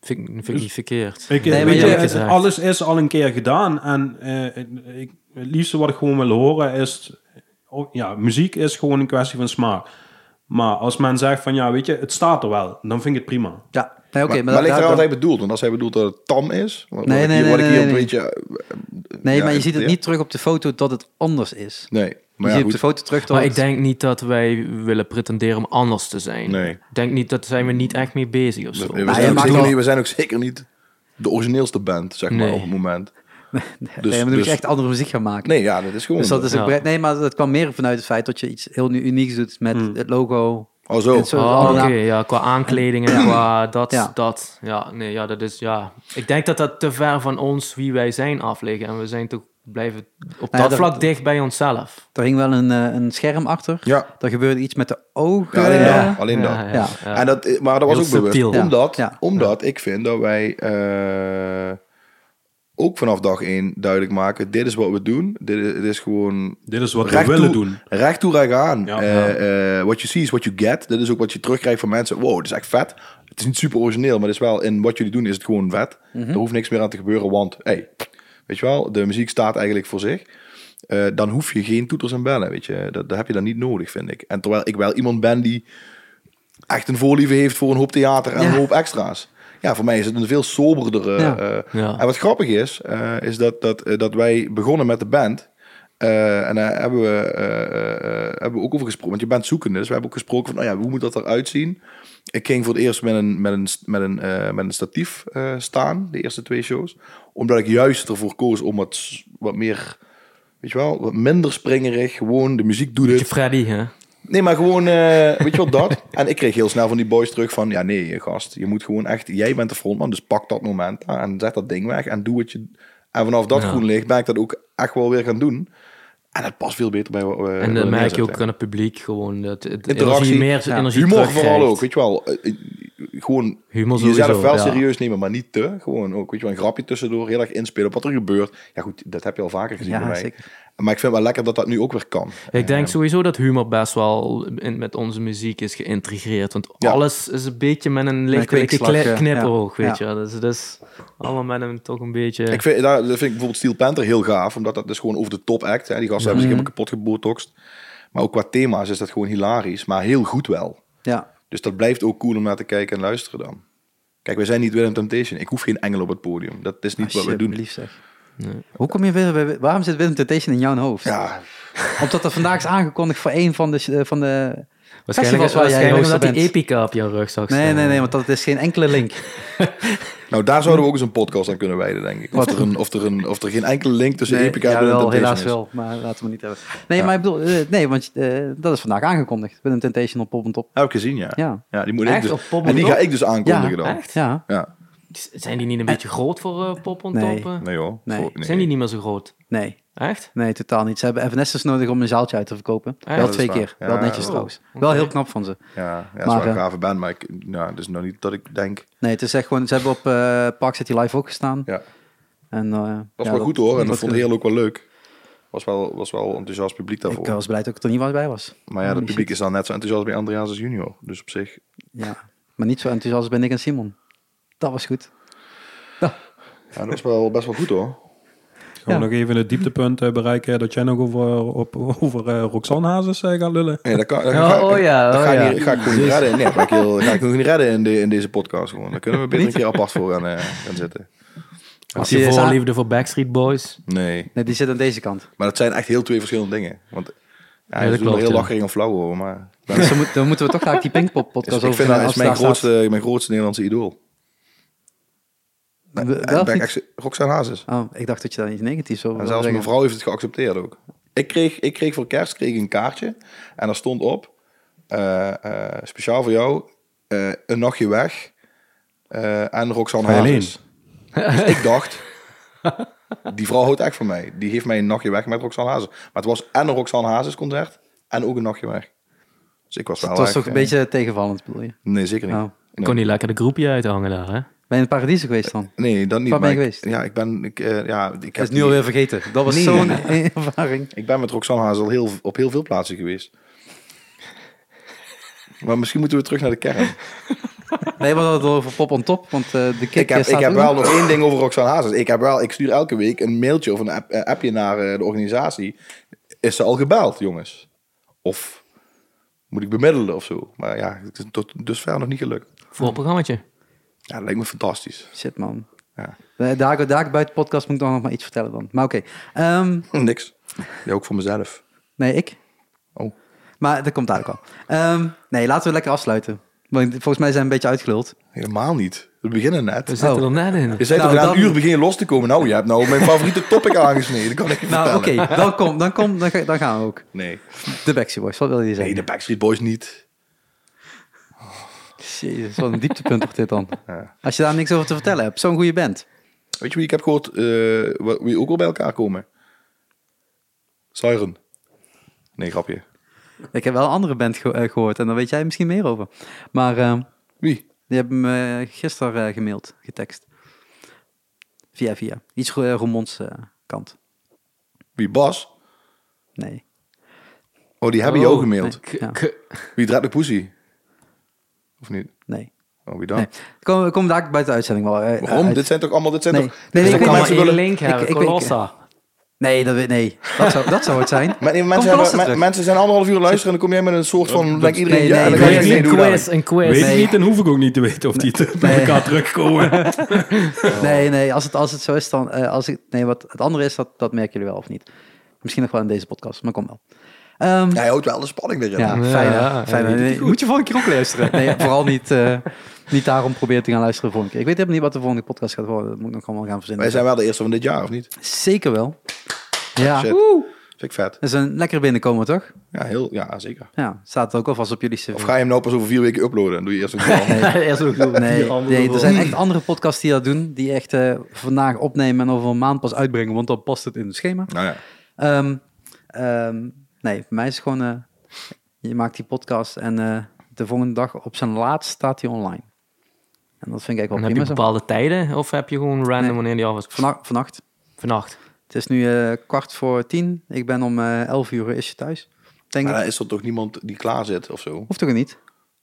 Speaker 3: Vind, ik- vind ik niet verkeerd.
Speaker 4: ik, eh,
Speaker 2: Nee, maar
Speaker 4: weet je,
Speaker 2: eerlijk
Speaker 4: het-
Speaker 3: gezegd.
Speaker 4: alles is al een keer gedaan en eh, ik, het liefste wat ik gewoon wil horen is, oh, ja, muziek is gewoon een kwestie van smaak. Maar als men zegt van ja, weet je, het staat er wel, dan vind ik het prima.
Speaker 2: Ja, nee, oké,
Speaker 1: maar,
Speaker 2: maar,
Speaker 1: maar ligt
Speaker 2: dat- daar-
Speaker 1: eraan wat
Speaker 2: daar-
Speaker 1: hij bedoelt. Want als hij bedoelt dat het tam is. Wat,
Speaker 2: Nee,
Speaker 1: wat
Speaker 2: nee,
Speaker 1: ik hier, wat
Speaker 2: nee,
Speaker 1: ik hier
Speaker 2: nee,
Speaker 1: een
Speaker 2: nee.
Speaker 1: beetje. eh,
Speaker 2: Nee,
Speaker 1: ja,
Speaker 2: maar je ziet het
Speaker 1: ja.
Speaker 2: niet terug op de foto dat het anders is.
Speaker 1: Nee,
Speaker 2: Je
Speaker 1: maar ja,
Speaker 2: ziet op de
Speaker 1: goed.
Speaker 2: foto terug dat
Speaker 3: Maar ik
Speaker 2: het-
Speaker 3: denk niet dat wij willen pretenderen om anders te zijn.
Speaker 1: Nee.
Speaker 3: Ik denk niet, dat zijn we niet echt mee bezig of zo.
Speaker 1: We,
Speaker 2: je
Speaker 1: zijn ook
Speaker 2: maakt
Speaker 1: zeker
Speaker 2: wel-
Speaker 1: niet, we zijn ook zeker niet de origineelste band, zeg maar,
Speaker 3: Nee.
Speaker 1: op het moment.
Speaker 2: nee,
Speaker 1: dus-
Speaker 2: maar dan moet je
Speaker 1: dus-
Speaker 2: echt andere muziek gaan maken.
Speaker 1: Nee, ja, dat is gewoon. eh,
Speaker 2: Dus dat
Speaker 1: zo.
Speaker 2: is ook
Speaker 3: Ja.
Speaker 2: bre- Nee, maar dat kwam meer vanuit het feit dat je iets heel nu- unieks doet met
Speaker 3: Hmm.
Speaker 2: het logo.
Speaker 1: Oh, zo.
Speaker 2: En zo-
Speaker 3: Oh,
Speaker 2: alle
Speaker 3: oké,
Speaker 2: naam-
Speaker 3: ja, qua aankleding en qua dat,
Speaker 2: Ja.
Speaker 3: dat. Ja, nee, ja, dat is, ja. Ik denk dat dat te ver van ons, wie wij zijn, af liggen. En we zijn toch blijven op
Speaker 2: Nou ja,
Speaker 3: dat
Speaker 2: dat-
Speaker 3: vlak dicht bij onszelf.
Speaker 2: Er hing wel een, eh, een scherm achter.
Speaker 1: Ja.
Speaker 2: Er gebeurde iets met de ogen.
Speaker 1: Ja, alleen dat. Alleen dat.
Speaker 3: Ja, ja,
Speaker 2: eh, Ja.
Speaker 3: ja.
Speaker 1: En dat, eh, maar dat was
Speaker 3: Heel
Speaker 1: ook bewust.
Speaker 3: subtiel.
Speaker 2: Ja,
Speaker 1: Omdat,
Speaker 2: ja.
Speaker 1: omdat ik vind dat wij eh, ook vanaf dag één duidelijk maken... dit is wat we doen. Dit is, dit is gewoon...
Speaker 4: Dit is Dus wat we
Speaker 1: recht
Speaker 4: willen
Speaker 1: toe-
Speaker 4: doen.
Speaker 1: Recht toe, recht aan.
Speaker 4: Ja.
Speaker 1: Eh, eh, what you see is what you get. Dat is ook wat je terugkrijgt van mensen. Wow, dit is echt vet. Het is niet super origineel, maar het is wel... in wat jullie doen is het gewoon vet.
Speaker 4: Mhm.
Speaker 1: Er hoeft niks meer aan te gebeuren, want... Hey, weet je wel, de muziek staat eigenlijk voor zich. Eh, dan hoef je geen toeters en bellen, weet je. Dat, dat heb je dan niet nodig, vind ik. En terwijl ik wel iemand ben die echt een voorliefde heeft voor een hoop theater en
Speaker 2: Ja.
Speaker 1: een hoop extra's. Ja, voor mij is het een veel soberdere.
Speaker 2: Ja.
Speaker 1: eh,
Speaker 3: Ja.
Speaker 1: En wat grappig is, eh, is dat, dat, eh, dat wij begonnen met de band. Eh, en daar hebben we, eh, eh, eh, hebben we ook over gesproken. Want je bent zoekende, dus we hebben ook gesproken van, nou ja, hoe moet dat eruit zien? Ik ging voor het eerst met een, met een, met een, eh, met een statief eh, staan, de eerste twee shows. Omdat ik juist ervoor koos om wat, wat meer, weet je wel, wat minder springerig. Gewoon, de muziek doet
Speaker 3: Beetje
Speaker 1: het.
Speaker 3: Freddy, hè?
Speaker 1: Nee, maar gewoon, eh, weet je wel, dat. En ik kreeg heel snel van die boys terug van, ja nee, gast, je moet gewoon echt, jij bent de frontman, dus pak dat moment aan en zet dat ding weg en doe wat je... En vanaf dat
Speaker 3: Ja.
Speaker 1: groen licht ben ik dat ook echt wel weer gaan doen. En dat past veel beter bij wat we- wat
Speaker 3: En dan
Speaker 1: we
Speaker 3: merk je
Speaker 1: neerzetten.
Speaker 3: ook aan het publiek gewoon dat het
Speaker 1: Interactie,
Speaker 3: energie, meer
Speaker 2: ja.
Speaker 3: energie
Speaker 1: Humor
Speaker 3: terugkrijgt.
Speaker 1: vooral ook, weet je wel. Eh, eh, Gewoon
Speaker 3: Humor
Speaker 1: jezelf
Speaker 3: sowieso,
Speaker 1: wel
Speaker 3: ja.
Speaker 1: serieus nemen, maar niet te. Gewoon ook, weet je wel, een grapje tussendoor, heel erg inspelen op wat er gebeurt. Ja goed, dat heb je al vaker gezien
Speaker 2: Ja,
Speaker 1: bij mij.
Speaker 2: zeker.
Speaker 1: Maar ik vind wel lekker dat dat nu ook weer kan.
Speaker 3: Ik denk sowieso dat humor best wel in- met onze muziek is geïntegreerd. Want
Speaker 1: Ja.
Speaker 3: alles is een beetje met een
Speaker 2: een
Speaker 3: lichte
Speaker 2: kwinkslag, ja.
Speaker 3: kle- knipoog,
Speaker 2: Ja.
Speaker 3: weet je. wel. Dus het is allemaal met een toch een beetje...
Speaker 1: Ik vind, daar, dat vind ik bijvoorbeeld Steel Panther heel gaaf, omdat dat dus gewoon over de top act. Hè. Die gasten
Speaker 2: Mhm.
Speaker 1: hebben zich helemaal kapot gebotoxt. Maar ook qua thema's is dat gewoon hilarisch, maar heel goed wel.
Speaker 2: Ja,
Speaker 1: Dus dat blijft ook cool om naar te kijken en luisteren dan. Kijk, wij zijn niet Willem Temptation. Ik hoef geen engel op het podium. Dat is
Speaker 2: Ah,
Speaker 1: niet wat we doen.
Speaker 2: alsjeblieft zeg. Hoe kom je weer bij, waarom zit Willem Temptation in jouw hoofd?
Speaker 1: Ja,
Speaker 2: Omdat er vandaag is aangekondigd voor één van de, eh, van de
Speaker 3: waarschijnlijk
Speaker 2: festivals waar jij
Speaker 3: waarschijnlijk
Speaker 2: host
Speaker 3: omdat die
Speaker 2: bent.
Speaker 3: epica op jouw rugzak staat.
Speaker 2: Nee, nee, nee, want dat is geen enkele link.
Speaker 1: Dus nou daar zouden we ook eens een podcast aan kunnen wijden, denk ik. Of
Speaker 2: Wat?
Speaker 1: er, een, of, er een, of er geen enkele link tussen
Speaker 2: Nee,
Speaker 1: Epica en Willem
Speaker 2: jawel,
Speaker 1: Temptation
Speaker 2: helaas
Speaker 1: is.
Speaker 2: wel, maar laten we niet hebben. Nee, maar ik bedoel, eh, nee, want eh, dat is vandaag aangekondigd. Willem Temptation op Pop en Top.
Speaker 1: Heb ik gezien, ja.
Speaker 2: Ja.
Speaker 1: die moet ik
Speaker 3: Echt?
Speaker 1: dus-
Speaker 3: Op Pop
Speaker 1: en die
Speaker 3: en
Speaker 1: ga
Speaker 3: Top?
Speaker 1: ik dus aankondigen dan.
Speaker 3: echt?
Speaker 2: Ja,
Speaker 1: Ja,
Speaker 3: Zijn die niet een beetje groot voor eh pop on
Speaker 2: Nee.
Speaker 3: top? eh?
Speaker 1: nee joh.
Speaker 2: Nee.
Speaker 1: Voor-
Speaker 3: Zijn die niet meer zo groot?
Speaker 2: nee,
Speaker 3: Echt?
Speaker 2: nee, totaal niet. Ze hebben Evanescence nodig om een zaaltje uit te verkopen.
Speaker 3: Ja,
Speaker 2: wel
Speaker 3: dat
Speaker 1: is
Speaker 2: twee
Speaker 1: waar.
Speaker 2: keer,
Speaker 1: Ja,
Speaker 2: wel netjes
Speaker 1: oh,
Speaker 2: trouwens.
Speaker 3: oké.
Speaker 2: Wel heel knap van ze.
Speaker 1: Ja, ja dat
Speaker 2: Maar,
Speaker 1: is wel een
Speaker 2: eh,
Speaker 1: gave band, maar ik, nou, dat is nog niet dat ik denk...
Speaker 2: Nee, het is echt gewoon, ze hebben op eh, Park City Live ook gestaan.
Speaker 1: Ja.
Speaker 2: En, eh, ja,
Speaker 1: was wel goed hoor. En dat vond
Speaker 2: goed.
Speaker 1: heel ook wel leuk. Was wel, was wel enthousiast publiek daarvoor.
Speaker 2: Ik was blij dat ik er niet bij was.
Speaker 1: maar ja, het publiek is dan net zo enthousiast bij Andreas als junior. Dus op zich.
Speaker 2: Ja, maar niet zo enthousiast als bij Nick en Simon. Dat was goed.
Speaker 1: Ja, dat was wel best wel goed hoor.
Speaker 4: Gaan we
Speaker 2: Ja.
Speaker 4: nog even het dieptepunt eh, bereiken dat jij nog over, eh, op, over eh, Roxanne Hazes eh, gaat lullen?
Speaker 1: Nee, dat kan, dat
Speaker 3: Oh,
Speaker 1: ga,
Speaker 3: oh ja,
Speaker 1: dat
Speaker 3: oh
Speaker 1: ga, ik
Speaker 3: ja.
Speaker 1: niet- ga ik gewoon niet redden. Nee, dat ga ik, heel, dat ga ik gewoon niet redden in, de, in deze podcast. Gewoon. Daar kunnen we beter een keer apart voor gaan, eh, gaan zitten.
Speaker 3: Als
Speaker 2: die
Speaker 3: je
Speaker 2: is aan-
Speaker 3: voorliefde voor Backstreet Boys?
Speaker 1: Nee.
Speaker 2: Nee, die zit aan deze kant.
Speaker 1: Maar dat zijn echt heel twee verschillende dingen. Want ja,
Speaker 3: dat
Speaker 1: dat is wel
Speaker 3: klopt,
Speaker 1: heel
Speaker 3: ja.
Speaker 1: lacherig en flauw hoor. Maar dat
Speaker 2: Dus dan, moet- dan moeten we toch graag die Pinkpop
Speaker 1: is,
Speaker 2: podcast
Speaker 1: ik
Speaker 2: over
Speaker 1: vind dat is mijn,
Speaker 2: afstaan staat.
Speaker 1: grootste, mijn grootste Nederlandse idool.
Speaker 2: Wel
Speaker 1: En ik
Speaker 2: of
Speaker 1: ben
Speaker 2: niet?
Speaker 1: echt Roxanne Hazes.
Speaker 2: Oh, ik dacht dat je daar iets negatiefs over
Speaker 1: En
Speaker 2: wilde
Speaker 1: zelfs
Speaker 2: zeggen.
Speaker 1: mijn vrouw heeft het geaccepteerd ook. Ik kreeg, ik kreeg voor kerst kreeg ik een kaartje. En daar stond op, eh, eh, speciaal voor jou, eh, een nachtje weg. eh, en Roxanne
Speaker 4: Ga je alleen?
Speaker 1: Hazes. Dus ik dacht, die vrouw houdt echt van mij. Die geeft mij een nachtje weg met Roxanne Hazes. Maar het was en een Roxanne Hazes concert en ook een nachtje weg. Dus ik was wel
Speaker 2: Het was
Speaker 1: echt,
Speaker 2: toch een
Speaker 1: eh,
Speaker 2: beetje tegenvallend, bedoel je?
Speaker 1: Nee, zeker niet.
Speaker 2: Oh.
Speaker 3: Ik
Speaker 1: Nee.
Speaker 3: kon niet lekker de groepje uithangen daar, hè?
Speaker 2: Ben je in Paradiso geweest dan?
Speaker 1: Nee, dat niet.
Speaker 2: Waar ben je
Speaker 1: maar ik-
Speaker 2: geweest?
Speaker 1: Ja, ik ben... Ik, eh, ja, ik heb
Speaker 2: Dat is nu
Speaker 1: die-
Speaker 2: alweer vergeten. Dat was
Speaker 1: Nee.
Speaker 2: zo'n ervaring.
Speaker 1: Ik ben met Roxanne Hazel heel, op heel veel plaatsen geweest. Maar misschien moeten we terug naar de kern.
Speaker 2: Nee, we hadden het over pop on top, want eh, de kick
Speaker 1: Ik heb,
Speaker 2: staat
Speaker 1: ik heb
Speaker 2: ook
Speaker 1: wel
Speaker 2: nog.
Speaker 1: nog één ding over Roxanne Hazes. Ik, heb wel, ik stuur elke week een mailtje of een app- eh, appje naar eh, de organisatie. Is ze al gebeld, jongens? Of moet ik bemiddelen of zo? Maar ja, het is tot dusver nog niet gelukt.
Speaker 3: Voor een programmaatje.
Speaker 1: Ja, dat lijkt me fantastisch.
Speaker 2: Shit, man.
Speaker 1: Ja.
Speaker 2: Eh, Daar, daar buiten podcast moet ik nog maar iets vertellen dan. Maar oké. Ehm,
Speaker 1: Niks. Ja, ook voor mezelf.
Speaker 2: nee, ik.
Speaker 1: Oh.
Speaker 2: Maar dat komt dadelijk al. Ehm, nee, laten we lekker afsluiten. Want volgens mij zijn we een beetje uitgeluld.
Speaker 1: Helemaal niet. We beginnen net.
Speaker 3: We zitten
Speaker 2: Oh.
Speaker 3: er net in.
Speaker 1: Je zei
Speaker 2: Nou,
Speaker 1: toch na
Speaker 2: dan-
Speaker 1: een uur begin je los te komen. Nou, je hebt nou mijn favoriete topic aangesneden. Dat kan ik je
Speaker 2: Nou,
Speaker 1: vertellen.
Speaker 2: oké. dan kom, dan kom, dan, ga- dan gaan we ook.
Speaker 1: Nee.
Speaker 2: De Backstreet Boys, wat wil je
Speaker 1: nee,
Speaker 2: zeggen?
Speaker 1: de Backstreet Boys niet.
Speaker 2: Jezus, wat een dieptepunt wordt dit dan.
Speaker 1: Ja.
Speaker 2: Als je daar niks over te vertellen hebt. Zo'n goede band.
Speaker 1: Weet je wie ik heb gehoord, eh, wa- wie ook wel bij elkaar komen? Siren. Nee, grapje.
Speaker 2: Ik heb wel een andere band ge- eh, gehoord en daar weet jij misschien meer over. Maar ehm,
Speaker 1: Wie?
Speaker 2: die hebben me eh, gisteren eh, gemaild, getekst. Via via. Iets ro- eh, Roermonds eh, kant.
Speaker 1: Wie, Bas?
Speaker 2: Nee.
Speaker 1: Oh, die hebben
Speaker 3: Oh,
Speaker 1: jou gemaild.
Speaker 3: k-
Speaker 2: Ja.
Speaker 3: k-
Speaker 1: Wie draait de pussy? Of niet?
Speaker 2: Nee.
Speaker 1: Oh, wie dan?
Speaker 2: nee. Kom, kom daar bij de uitzending wel. eh,
Speaker 1: Waarom?
Speaker 2: uit.
Speaker 1: Dit zijn toch allemaal... Dit zijn
Speaker 2: Nee.
Speaker 1: toch,
Speaker 2: Nee,
Speaker 1: dit
Speaker 2: nee,
Speaker 1: zijn
Speaker 2: ik
Speaker 1: toch
Speaker 2: weet
Speaker 3: maar
Speaker 1: mensen
Speaker 2: niet.
Speaker 1: willen...
Speaker 3: één link
Speaker 2: Ik-
Speaker 3: hebben,
Speaker 2: ik- ik-
Speaker 3: Colossa.
Speaker 2: Nee, dat, weet- nee. Dat, zou, dat zou het zijn.
Speaker 1: Maar nee,
Speaker 2: Kom
Speaker 1: mensen, hebben,
Speaker 2: Colossa
Speaker 1: men-
Speaker 2: terug.
Speaker 1: mensen zijn anderhalf uur luisteren en dan kom jij met een soort van... Denk iedereen,
Speaker 2: nee,
Speaker 1: ja,
Speaker 2: nee,
Speaker 1: dan
Speaker 2: nee,
Speaker 1: ga je
Speaker 2: nee,
Speaker 1: nee,
Speaker 3: een
Speaker 1: doe dat.
Speaker 3: quiz, een quiz.
Speaker 4: Weet ik
Speaker 2: Nee.
Speaker 4: niet en hoef ik ook niet te weten of die te, bij
Speaker 2: Nee.
Speaker 4: elkaar terugkomen.
Speaker 2: Nee, nee. Als het, als het zo is, dan... eh, als ik, nee, wat het andere is, dat, dat merken jullie wel of niet. Misschien nog wel in deze podcast, maar kom wel. Eh, Ehm,
Speaker 1: Hij houdt wel de spanning erin.
Speaker 2: ja,
Speaker 3: Ja,
Speaker 2: fijn.
Speaker 3: ja,
Speaker 2: hè? fijn hè?
Speaker 3: die- die-
Speaker 2: Nee, moet je volgende keer ook luisteren. Nee, vooral niet, eh, niet daarom proberen te gaan luisteren de volgende keer. Ik weet helemaal niet wat de volgende podcast gaat worden. Dat moet ik nog allemaal gaan verzinnen.
Speaker 1: Wij zijn wel de eerste van dit jaar, of niet?
Speaker 2: Zeker wel. Ja,
Speaker 1: Shit.
Speaker 2: dat
Speaker 1: Vind ik vet.
Speaker 2: is een lekker binnenkomen, toch?
Speaker 1: Ja, heel, ja, zeker.
Speaker 2: Ja, staat ook alvast op jullie cv.
Speaker 1: Of ga je hem nou pas over vier weken uploaden en doe je eerst een keer
Speaker 2: Nee.
Speaker 3: Eerst ook nog
Speaker 2: Nee,
Speaker 3: vier andere
Speaker 2: nee, er
Speaker 3: voor.
Speaker 2: zijn echt andere podcasts die dat doen. Die echt eh, vandaag opnemen en over een maand pas uitbrengen. Want dan past het in het schema.
Speaker 1: Nou ja,
Speaker 2: Ehm, ehm, nee, voor mij is het gewoon... eh, je maakt die podcast en eh, de volgende dag op zijn laatst staat hij online. En dat vind ik eigenlijk wel
Speaker 3: En heb je
Speaker 2: prima zo.
Speaker 3: bepaalde tijden of heb je gewoon random
Speaker 2: Nee.
Speaker 3: wanneer die af is?
Speaker 2: Vannacht, vannacht.
Speaker 3: Vannacht.
Speaker 2: Het is nu eh, kwart voor tien. Ik ben om eh elf uur is je thuis. Denk
Speaker 1: maar
Speaker 2: ik.
Speaker 1: dan is er toch niemand die klaar zit of zo?
Speaker 2: Hoeft toch niet?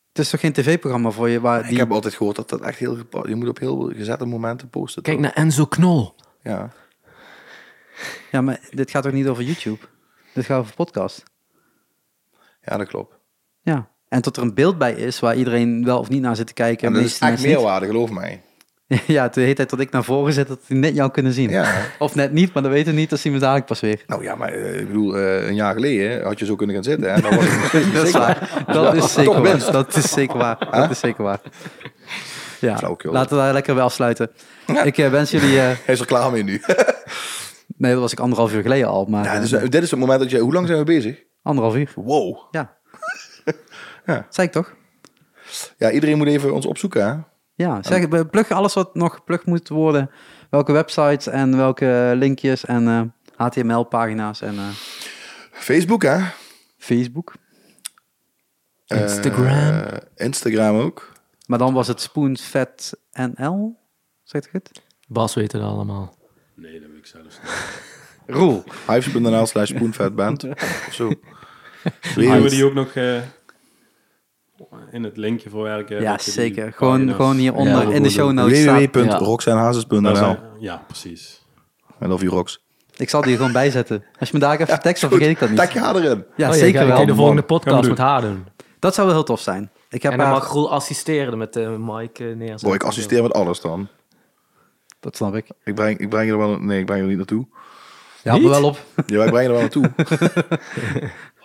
Speaker 2: Het is toch geen tv-programma voor je waar die...
Speaker 1: Ik heb altijd gehoord dat dat echt heel... gepa- Je moet op heel gezette momenten posten.
Speaker 3: Kijk naar Enzo Knol.
Speaker 1: Ja.
Speaker 2: Ja, maar dit gaat toch niet over YouTube? Dit gaat over podcast.
Speaker 1: ja, dat klopt.
Speaker 2: Ja. En tot er een beeld bij is waar iedereen wel of niet naar zit te kijken.
Speaker 1: En dat
Speaker 2: en
Speaker 1: is
Speaker 2: meeste
Speaker 1: echt
Speaker 2: mensen
Speaker 1: meerwaarde, geloof mij.
Speaker 2: niet. Ja, de hele tijd dat ik naar voren zet, dat die net jou kunnen zien.
Speaker 1: Ja.
Speaker 2: Of net niet, maar dat weten we niet. Dat zien we dadelijk pas weer.
Speaker 1: Nou ja, maar eh, ik bedoel, eh, een jaar geleden had je zo kunnen gaan zitten. Hè? Dan was het nog steeds
Speaker 2: Dat is
Speaker 1: zeker.
Speaker 2: waar. Dat is zeker
Speaker 1: Toch
Speaker 2: waar.
Speaker 1: winst.
Speaker 2: Dat is zeker waar. Dat is zeker waar. Ja,
Speaker 1: Flauwekul.
Speaker 2: laten we daar lekker bij afsluiten. Ik eh, wens jullie... eh,
Speaker 1: Hij is er klaar mee nu.
Speaker 2: nee, dat was ik anderhalf uur geleden al, maar...
Speaker 1: Ja, dus,
Speaker 2: eh,
Speaker 1: eh, dit is het moment dat je... Hoe lang zijn we bezig?
Speaker 2: anderhalf uur.
Speaker 1: Wow.
Speaker 2: Ja.
Speaker 1: Ja.
Speaker 2: Zeg ik toch?
Speaker 1: Ja, iedereen moet even ons opzoeken, hè?
Speaker 2: Ja, zeg, we pluggen alles wat nog geplukt moet worden. Welke websites en welke linkjes en eh, HTML-pagina's en eh,
Speaker 1: Facebook, hè?
Speaker 2: Facebook.
Speaker 3: Instagram.
Speaker 1: Eh, Instagram ook.
Speaker 2: Maar dan was het SpoonFat NL, zeg ik het?
Speaker 3: Bas weet het allemaal.
Speaker 4: Nee, dat weet ik zelfs
Speaker 1: Roel. Hives.nl slash spoonfatband. Of zo.
Speaker 4: Zullen we
Speaker 1: Zoiets.
Speaker 4: die ook nog eh, in het linkje verwerken?
Speaker 2: ja,
Speaker 4: Dat je die
Speaker 2: zeker. Gewoon,
Speaker 4: pagina's-
Speaker 2: gewoon
Speaker 3: Ja,
Speaker 2: hieronder
Speaker 3: we
Speaker 2: in de
Speaker 3: doen
Speaker 2: show notes staat.
Speaker 4: Daar
Speaker 1: www.roxanhazes.nl
Speaker 4: zijn- Nou, eh, Ja, precies.
Speaker 1: I love you, Rox.
Speaker 2: Ik zal die er gewoon bijzetten. Als je me daar even tekst, dan vergeet ik dat niet.
Speaker 1: Tak je haar erin.
Speaker 2: Ja,
Speaker 3: Oh,
Speaker 2: zeker
Speaker 3: ga- ga
Speaker 2: wel.
Speaker 3: je de volgende
Speaker 4: Gaan we
Speaker 3: podcast
Speaker 4: doen.
Speaker 3: met haar doen.
Speaker 2: Dat zou wel heel tof zijn. Ik heb
Speaker 3: en dan
Speaker 2: haar-
Speaker 3: mag Roel assisteren met eh Mike eh, neerzetten.
Speaker 1: Boy, ik assisteer met alles dan.
Speaker 2: Dat snap ik.
Speaker 1: Ik breng, ik breng je er wel... Nee, ik breng je er niet naartoe.
Speaker 2: Ja, me wel op.
Speaker 1: Ja, ik breng je er wel naartoe.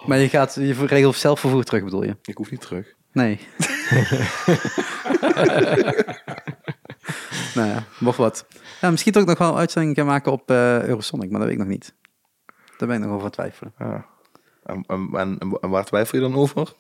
Speaker 2: Maar je gaat je regelt zelfvervoer terug, bedoel je?
Speaker 1: Ik hoef niet terug.
Speaker 2: Nee. nou ja, mocht wat. Ja, misschien toch nog wel een uitzending gaan maken op eh, Eurosonic, maar dat weet ik nog niet. Daar ben ik nog over aan het twijfelen.
Speaker 1: Ja. En, en, en, en waar twijfel je dan over?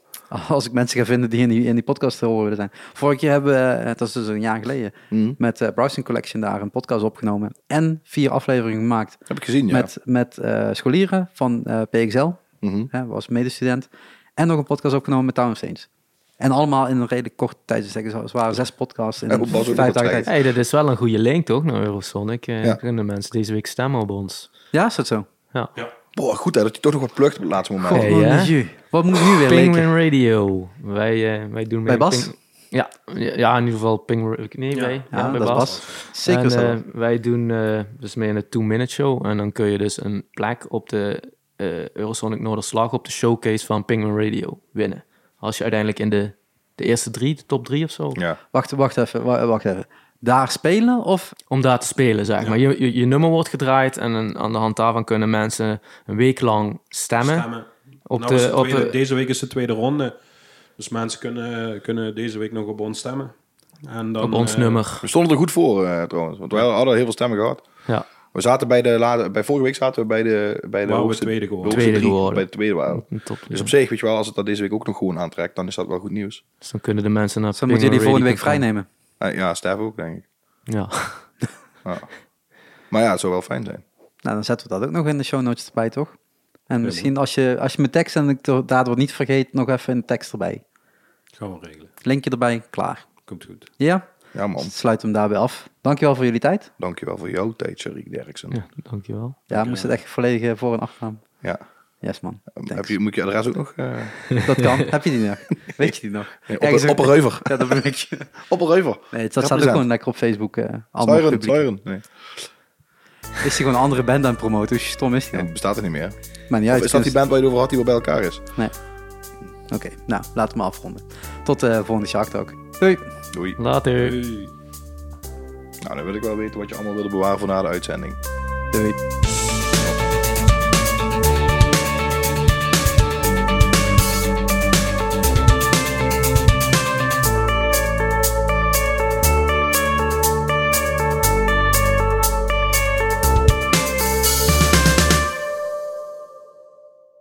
Speaker 2: Als ik mensen ga vinden die in die, in die podcast te horen willen zijn. Vorige keer hebben we, eh, dat is dus een jaar geleden, met eh, Browsing Collection daar een podcast opgenomen. En vier afleveringen gemaakt
Speaker 1: Heb ik gezien, ja.
Speaker 2: met, met eh, scholieren van eh, PXL,
Speaker 1: Mhm.
Speaker 2: hè, was medestudent. En nog een podcast opgenomen met Town Saints. En allemaal in een redelijk korte tijdsbestek. Dus het waren zes podcasts in
Speaker 1: En op Bas ook nog
Speaker 2: vijf dagen
Speaker 1: optreden.
Speaker 2: tijd.
Speaker 3: Hey, dat is wel een goede link toch naar Eurosonic. Eh,
Speaker 1: Ja.
Speaker 3: Kunnen mensen deze week stemmen op ons?
Speaker 2: Ja, is dat zo?
Speaker 3: Ja.
Speaker 1: Boah, goed hè, dat je toch nog wat plukt op het laatste moment.
Speaker 2: God,
Speaker 3: Hey,
Speaker 2: wat
Speaker 3: hè?
Speaker 2: een jeu. Wat moet ik nu weer leken?
Speaker 3: Penguin Radio. Wij, eh, wij doen
Speaker 2: Bij
Speaker 3: mee-
Speaker 2: Bas?
Speaker 3: Ping- ja, ja, in ieder geval Penguin Nee,
Speaker 4: Ja.
Speaker 3: wij.
Speaker 2: Ja,
Speaker 3: Ja, bij
Speaker 2: dat is
Speaker 3: Bas.
Speaker 2: Bas. Zeker
Speaker 3: en,
Speaker 2: zo.
Speaker 3: eh, wij doen eh, dus mee in de 2-minute show. En dan kun je dus een plek op de eh Eurosonic Noorderslag op de showcase van Penguin Radio winnen. Als je uiteindelijk in de, de eerste drie, de top drie of zo.
Speaker 1: Ja.
Speaker 2: Wacht, wacht even, wa- wacht even. Daar spelen of...
Speaker 3: Om daar te spelen, zeg maar. Je, je, je nummer wordt gedraaid en een- aan de hand daarvan kunnen mensen een week lang stemmen.
Speaker 4: Stemmen.
Speaker 3: Op
Speaker 4: Nou
Speaker 3: de-
Speaker 4: is de
Speaker 3: op
Speaker 4: tweede-
Speaker 3: de-
Speaker 4: Deze week is de tweede ronde. Dus mensen kunnen, kunnen deze week nog op ons stemmen. En dan,
Speaker 3: Op ons
Speaker 4: eh,
Speaker 3: nummer.
Speaker 1: We stonden er goed voor eh, trouwens, want we hadden heel veel stemmen gehad.
Speaker 3: Ja.
Speaker 1: We zaten bij de lade, bij vorige week zaten we bij de bij de
Speaker 4: Waren we
Speaker 1: hoogste-
Speaker 4: tweede geworden.
Speaker 1: hoogste
Speaker 3: Tweede
Speaker 1: drie,
Speaker 3: geworden.
Speaker 1: Bij de tweede waren. we.
Speaker 3: Top,
Speaker 1: Dus
Speaker 3: ja.
Speaker 1: op zich, weet je wel, als het dat deze week ook nog gewoon aantrekt, dan is dat wel goed nieuws.
Speaker 3: Dus dan kunnen de mensen naar
Speaker 2: Dus dan moeten jullie volgende week vrij
Speaker 3: penguinradio.com.
Speaker 2: nemen.
Speaker 1: Eh, ja, Stef ook denk ik.
Speaker 3: Ja.
Speaker 1: Ja. Maar ja, het zou wel fijn zijn.
Speaker 2: Nou, dan zetten we dat ook nog in de show notes erbij, toch? En misschien als je, als je mijn tekst en ik de- daardoor niet vergeet, nog even een tekst erbij.
Speaker 4: Gaan we regelen.
Speaker 2: Linkje erbij, klaar.
Speaker 4: Komt goed.
Speaker 2: Ja?
Speaker 1: Ja man,
Speaker 2: Dus sluit hem daarbij af. Dankjewel voor jullie tijd.
Speaker 1: dankjewel voor jouw tijd, Sharik Derksen. Ja.
Speaker 3: ja, dankjewel.
Speaker 2: Ja, moest het echt volledig eh, voor en achternaam. Yes, man.
Speaker 1: Eh, Heb
Speaker 2: Thanks.
Speaker 1: je, moet ik je adres ook nog? eh
Speaker 2: Dat kan. Heb je die nog? Weet je die nog?
Speaker 1: nee, Opper-
Speaker 2: Ergens ook-
Speaker 1: Opperheuver.
Speaker 2: Ja, dat ben ik.
Speaker 1: Opperheuver.
Speaker 2: Nee, dat staat ook gewoon lekker op Facebook. eh allemaal
Speaker 1: Zuiren,
Speaker 2: publiek.
Speaker 1: zuiren. Nee,
Speaker 2: Is hij gewoon een andere band aan het promoten? Hoe stom is hij
Speaker 1: Ja,
Speaker 2: nou?
Speaker 1: bestaat er niet meer.
Speaker 2: Maar niet
Speaker 1: Of
Speaker 2: uit.
Speaker 1: is dat die band waar je het over had die wel bij elkaar is?
Speaker 2: Nee. Oké, nou, laten we maar afronden. Tot de volgende Shark ook. Doei!
Speaker 1: Doei.
Speaker 3: Later.
Speaker 4: Hey.
Speaker 1: Nou, dan wil ik wel weten wat je allemaal wilde bewaren voor na de uitzending.
Speaker 2: Doei.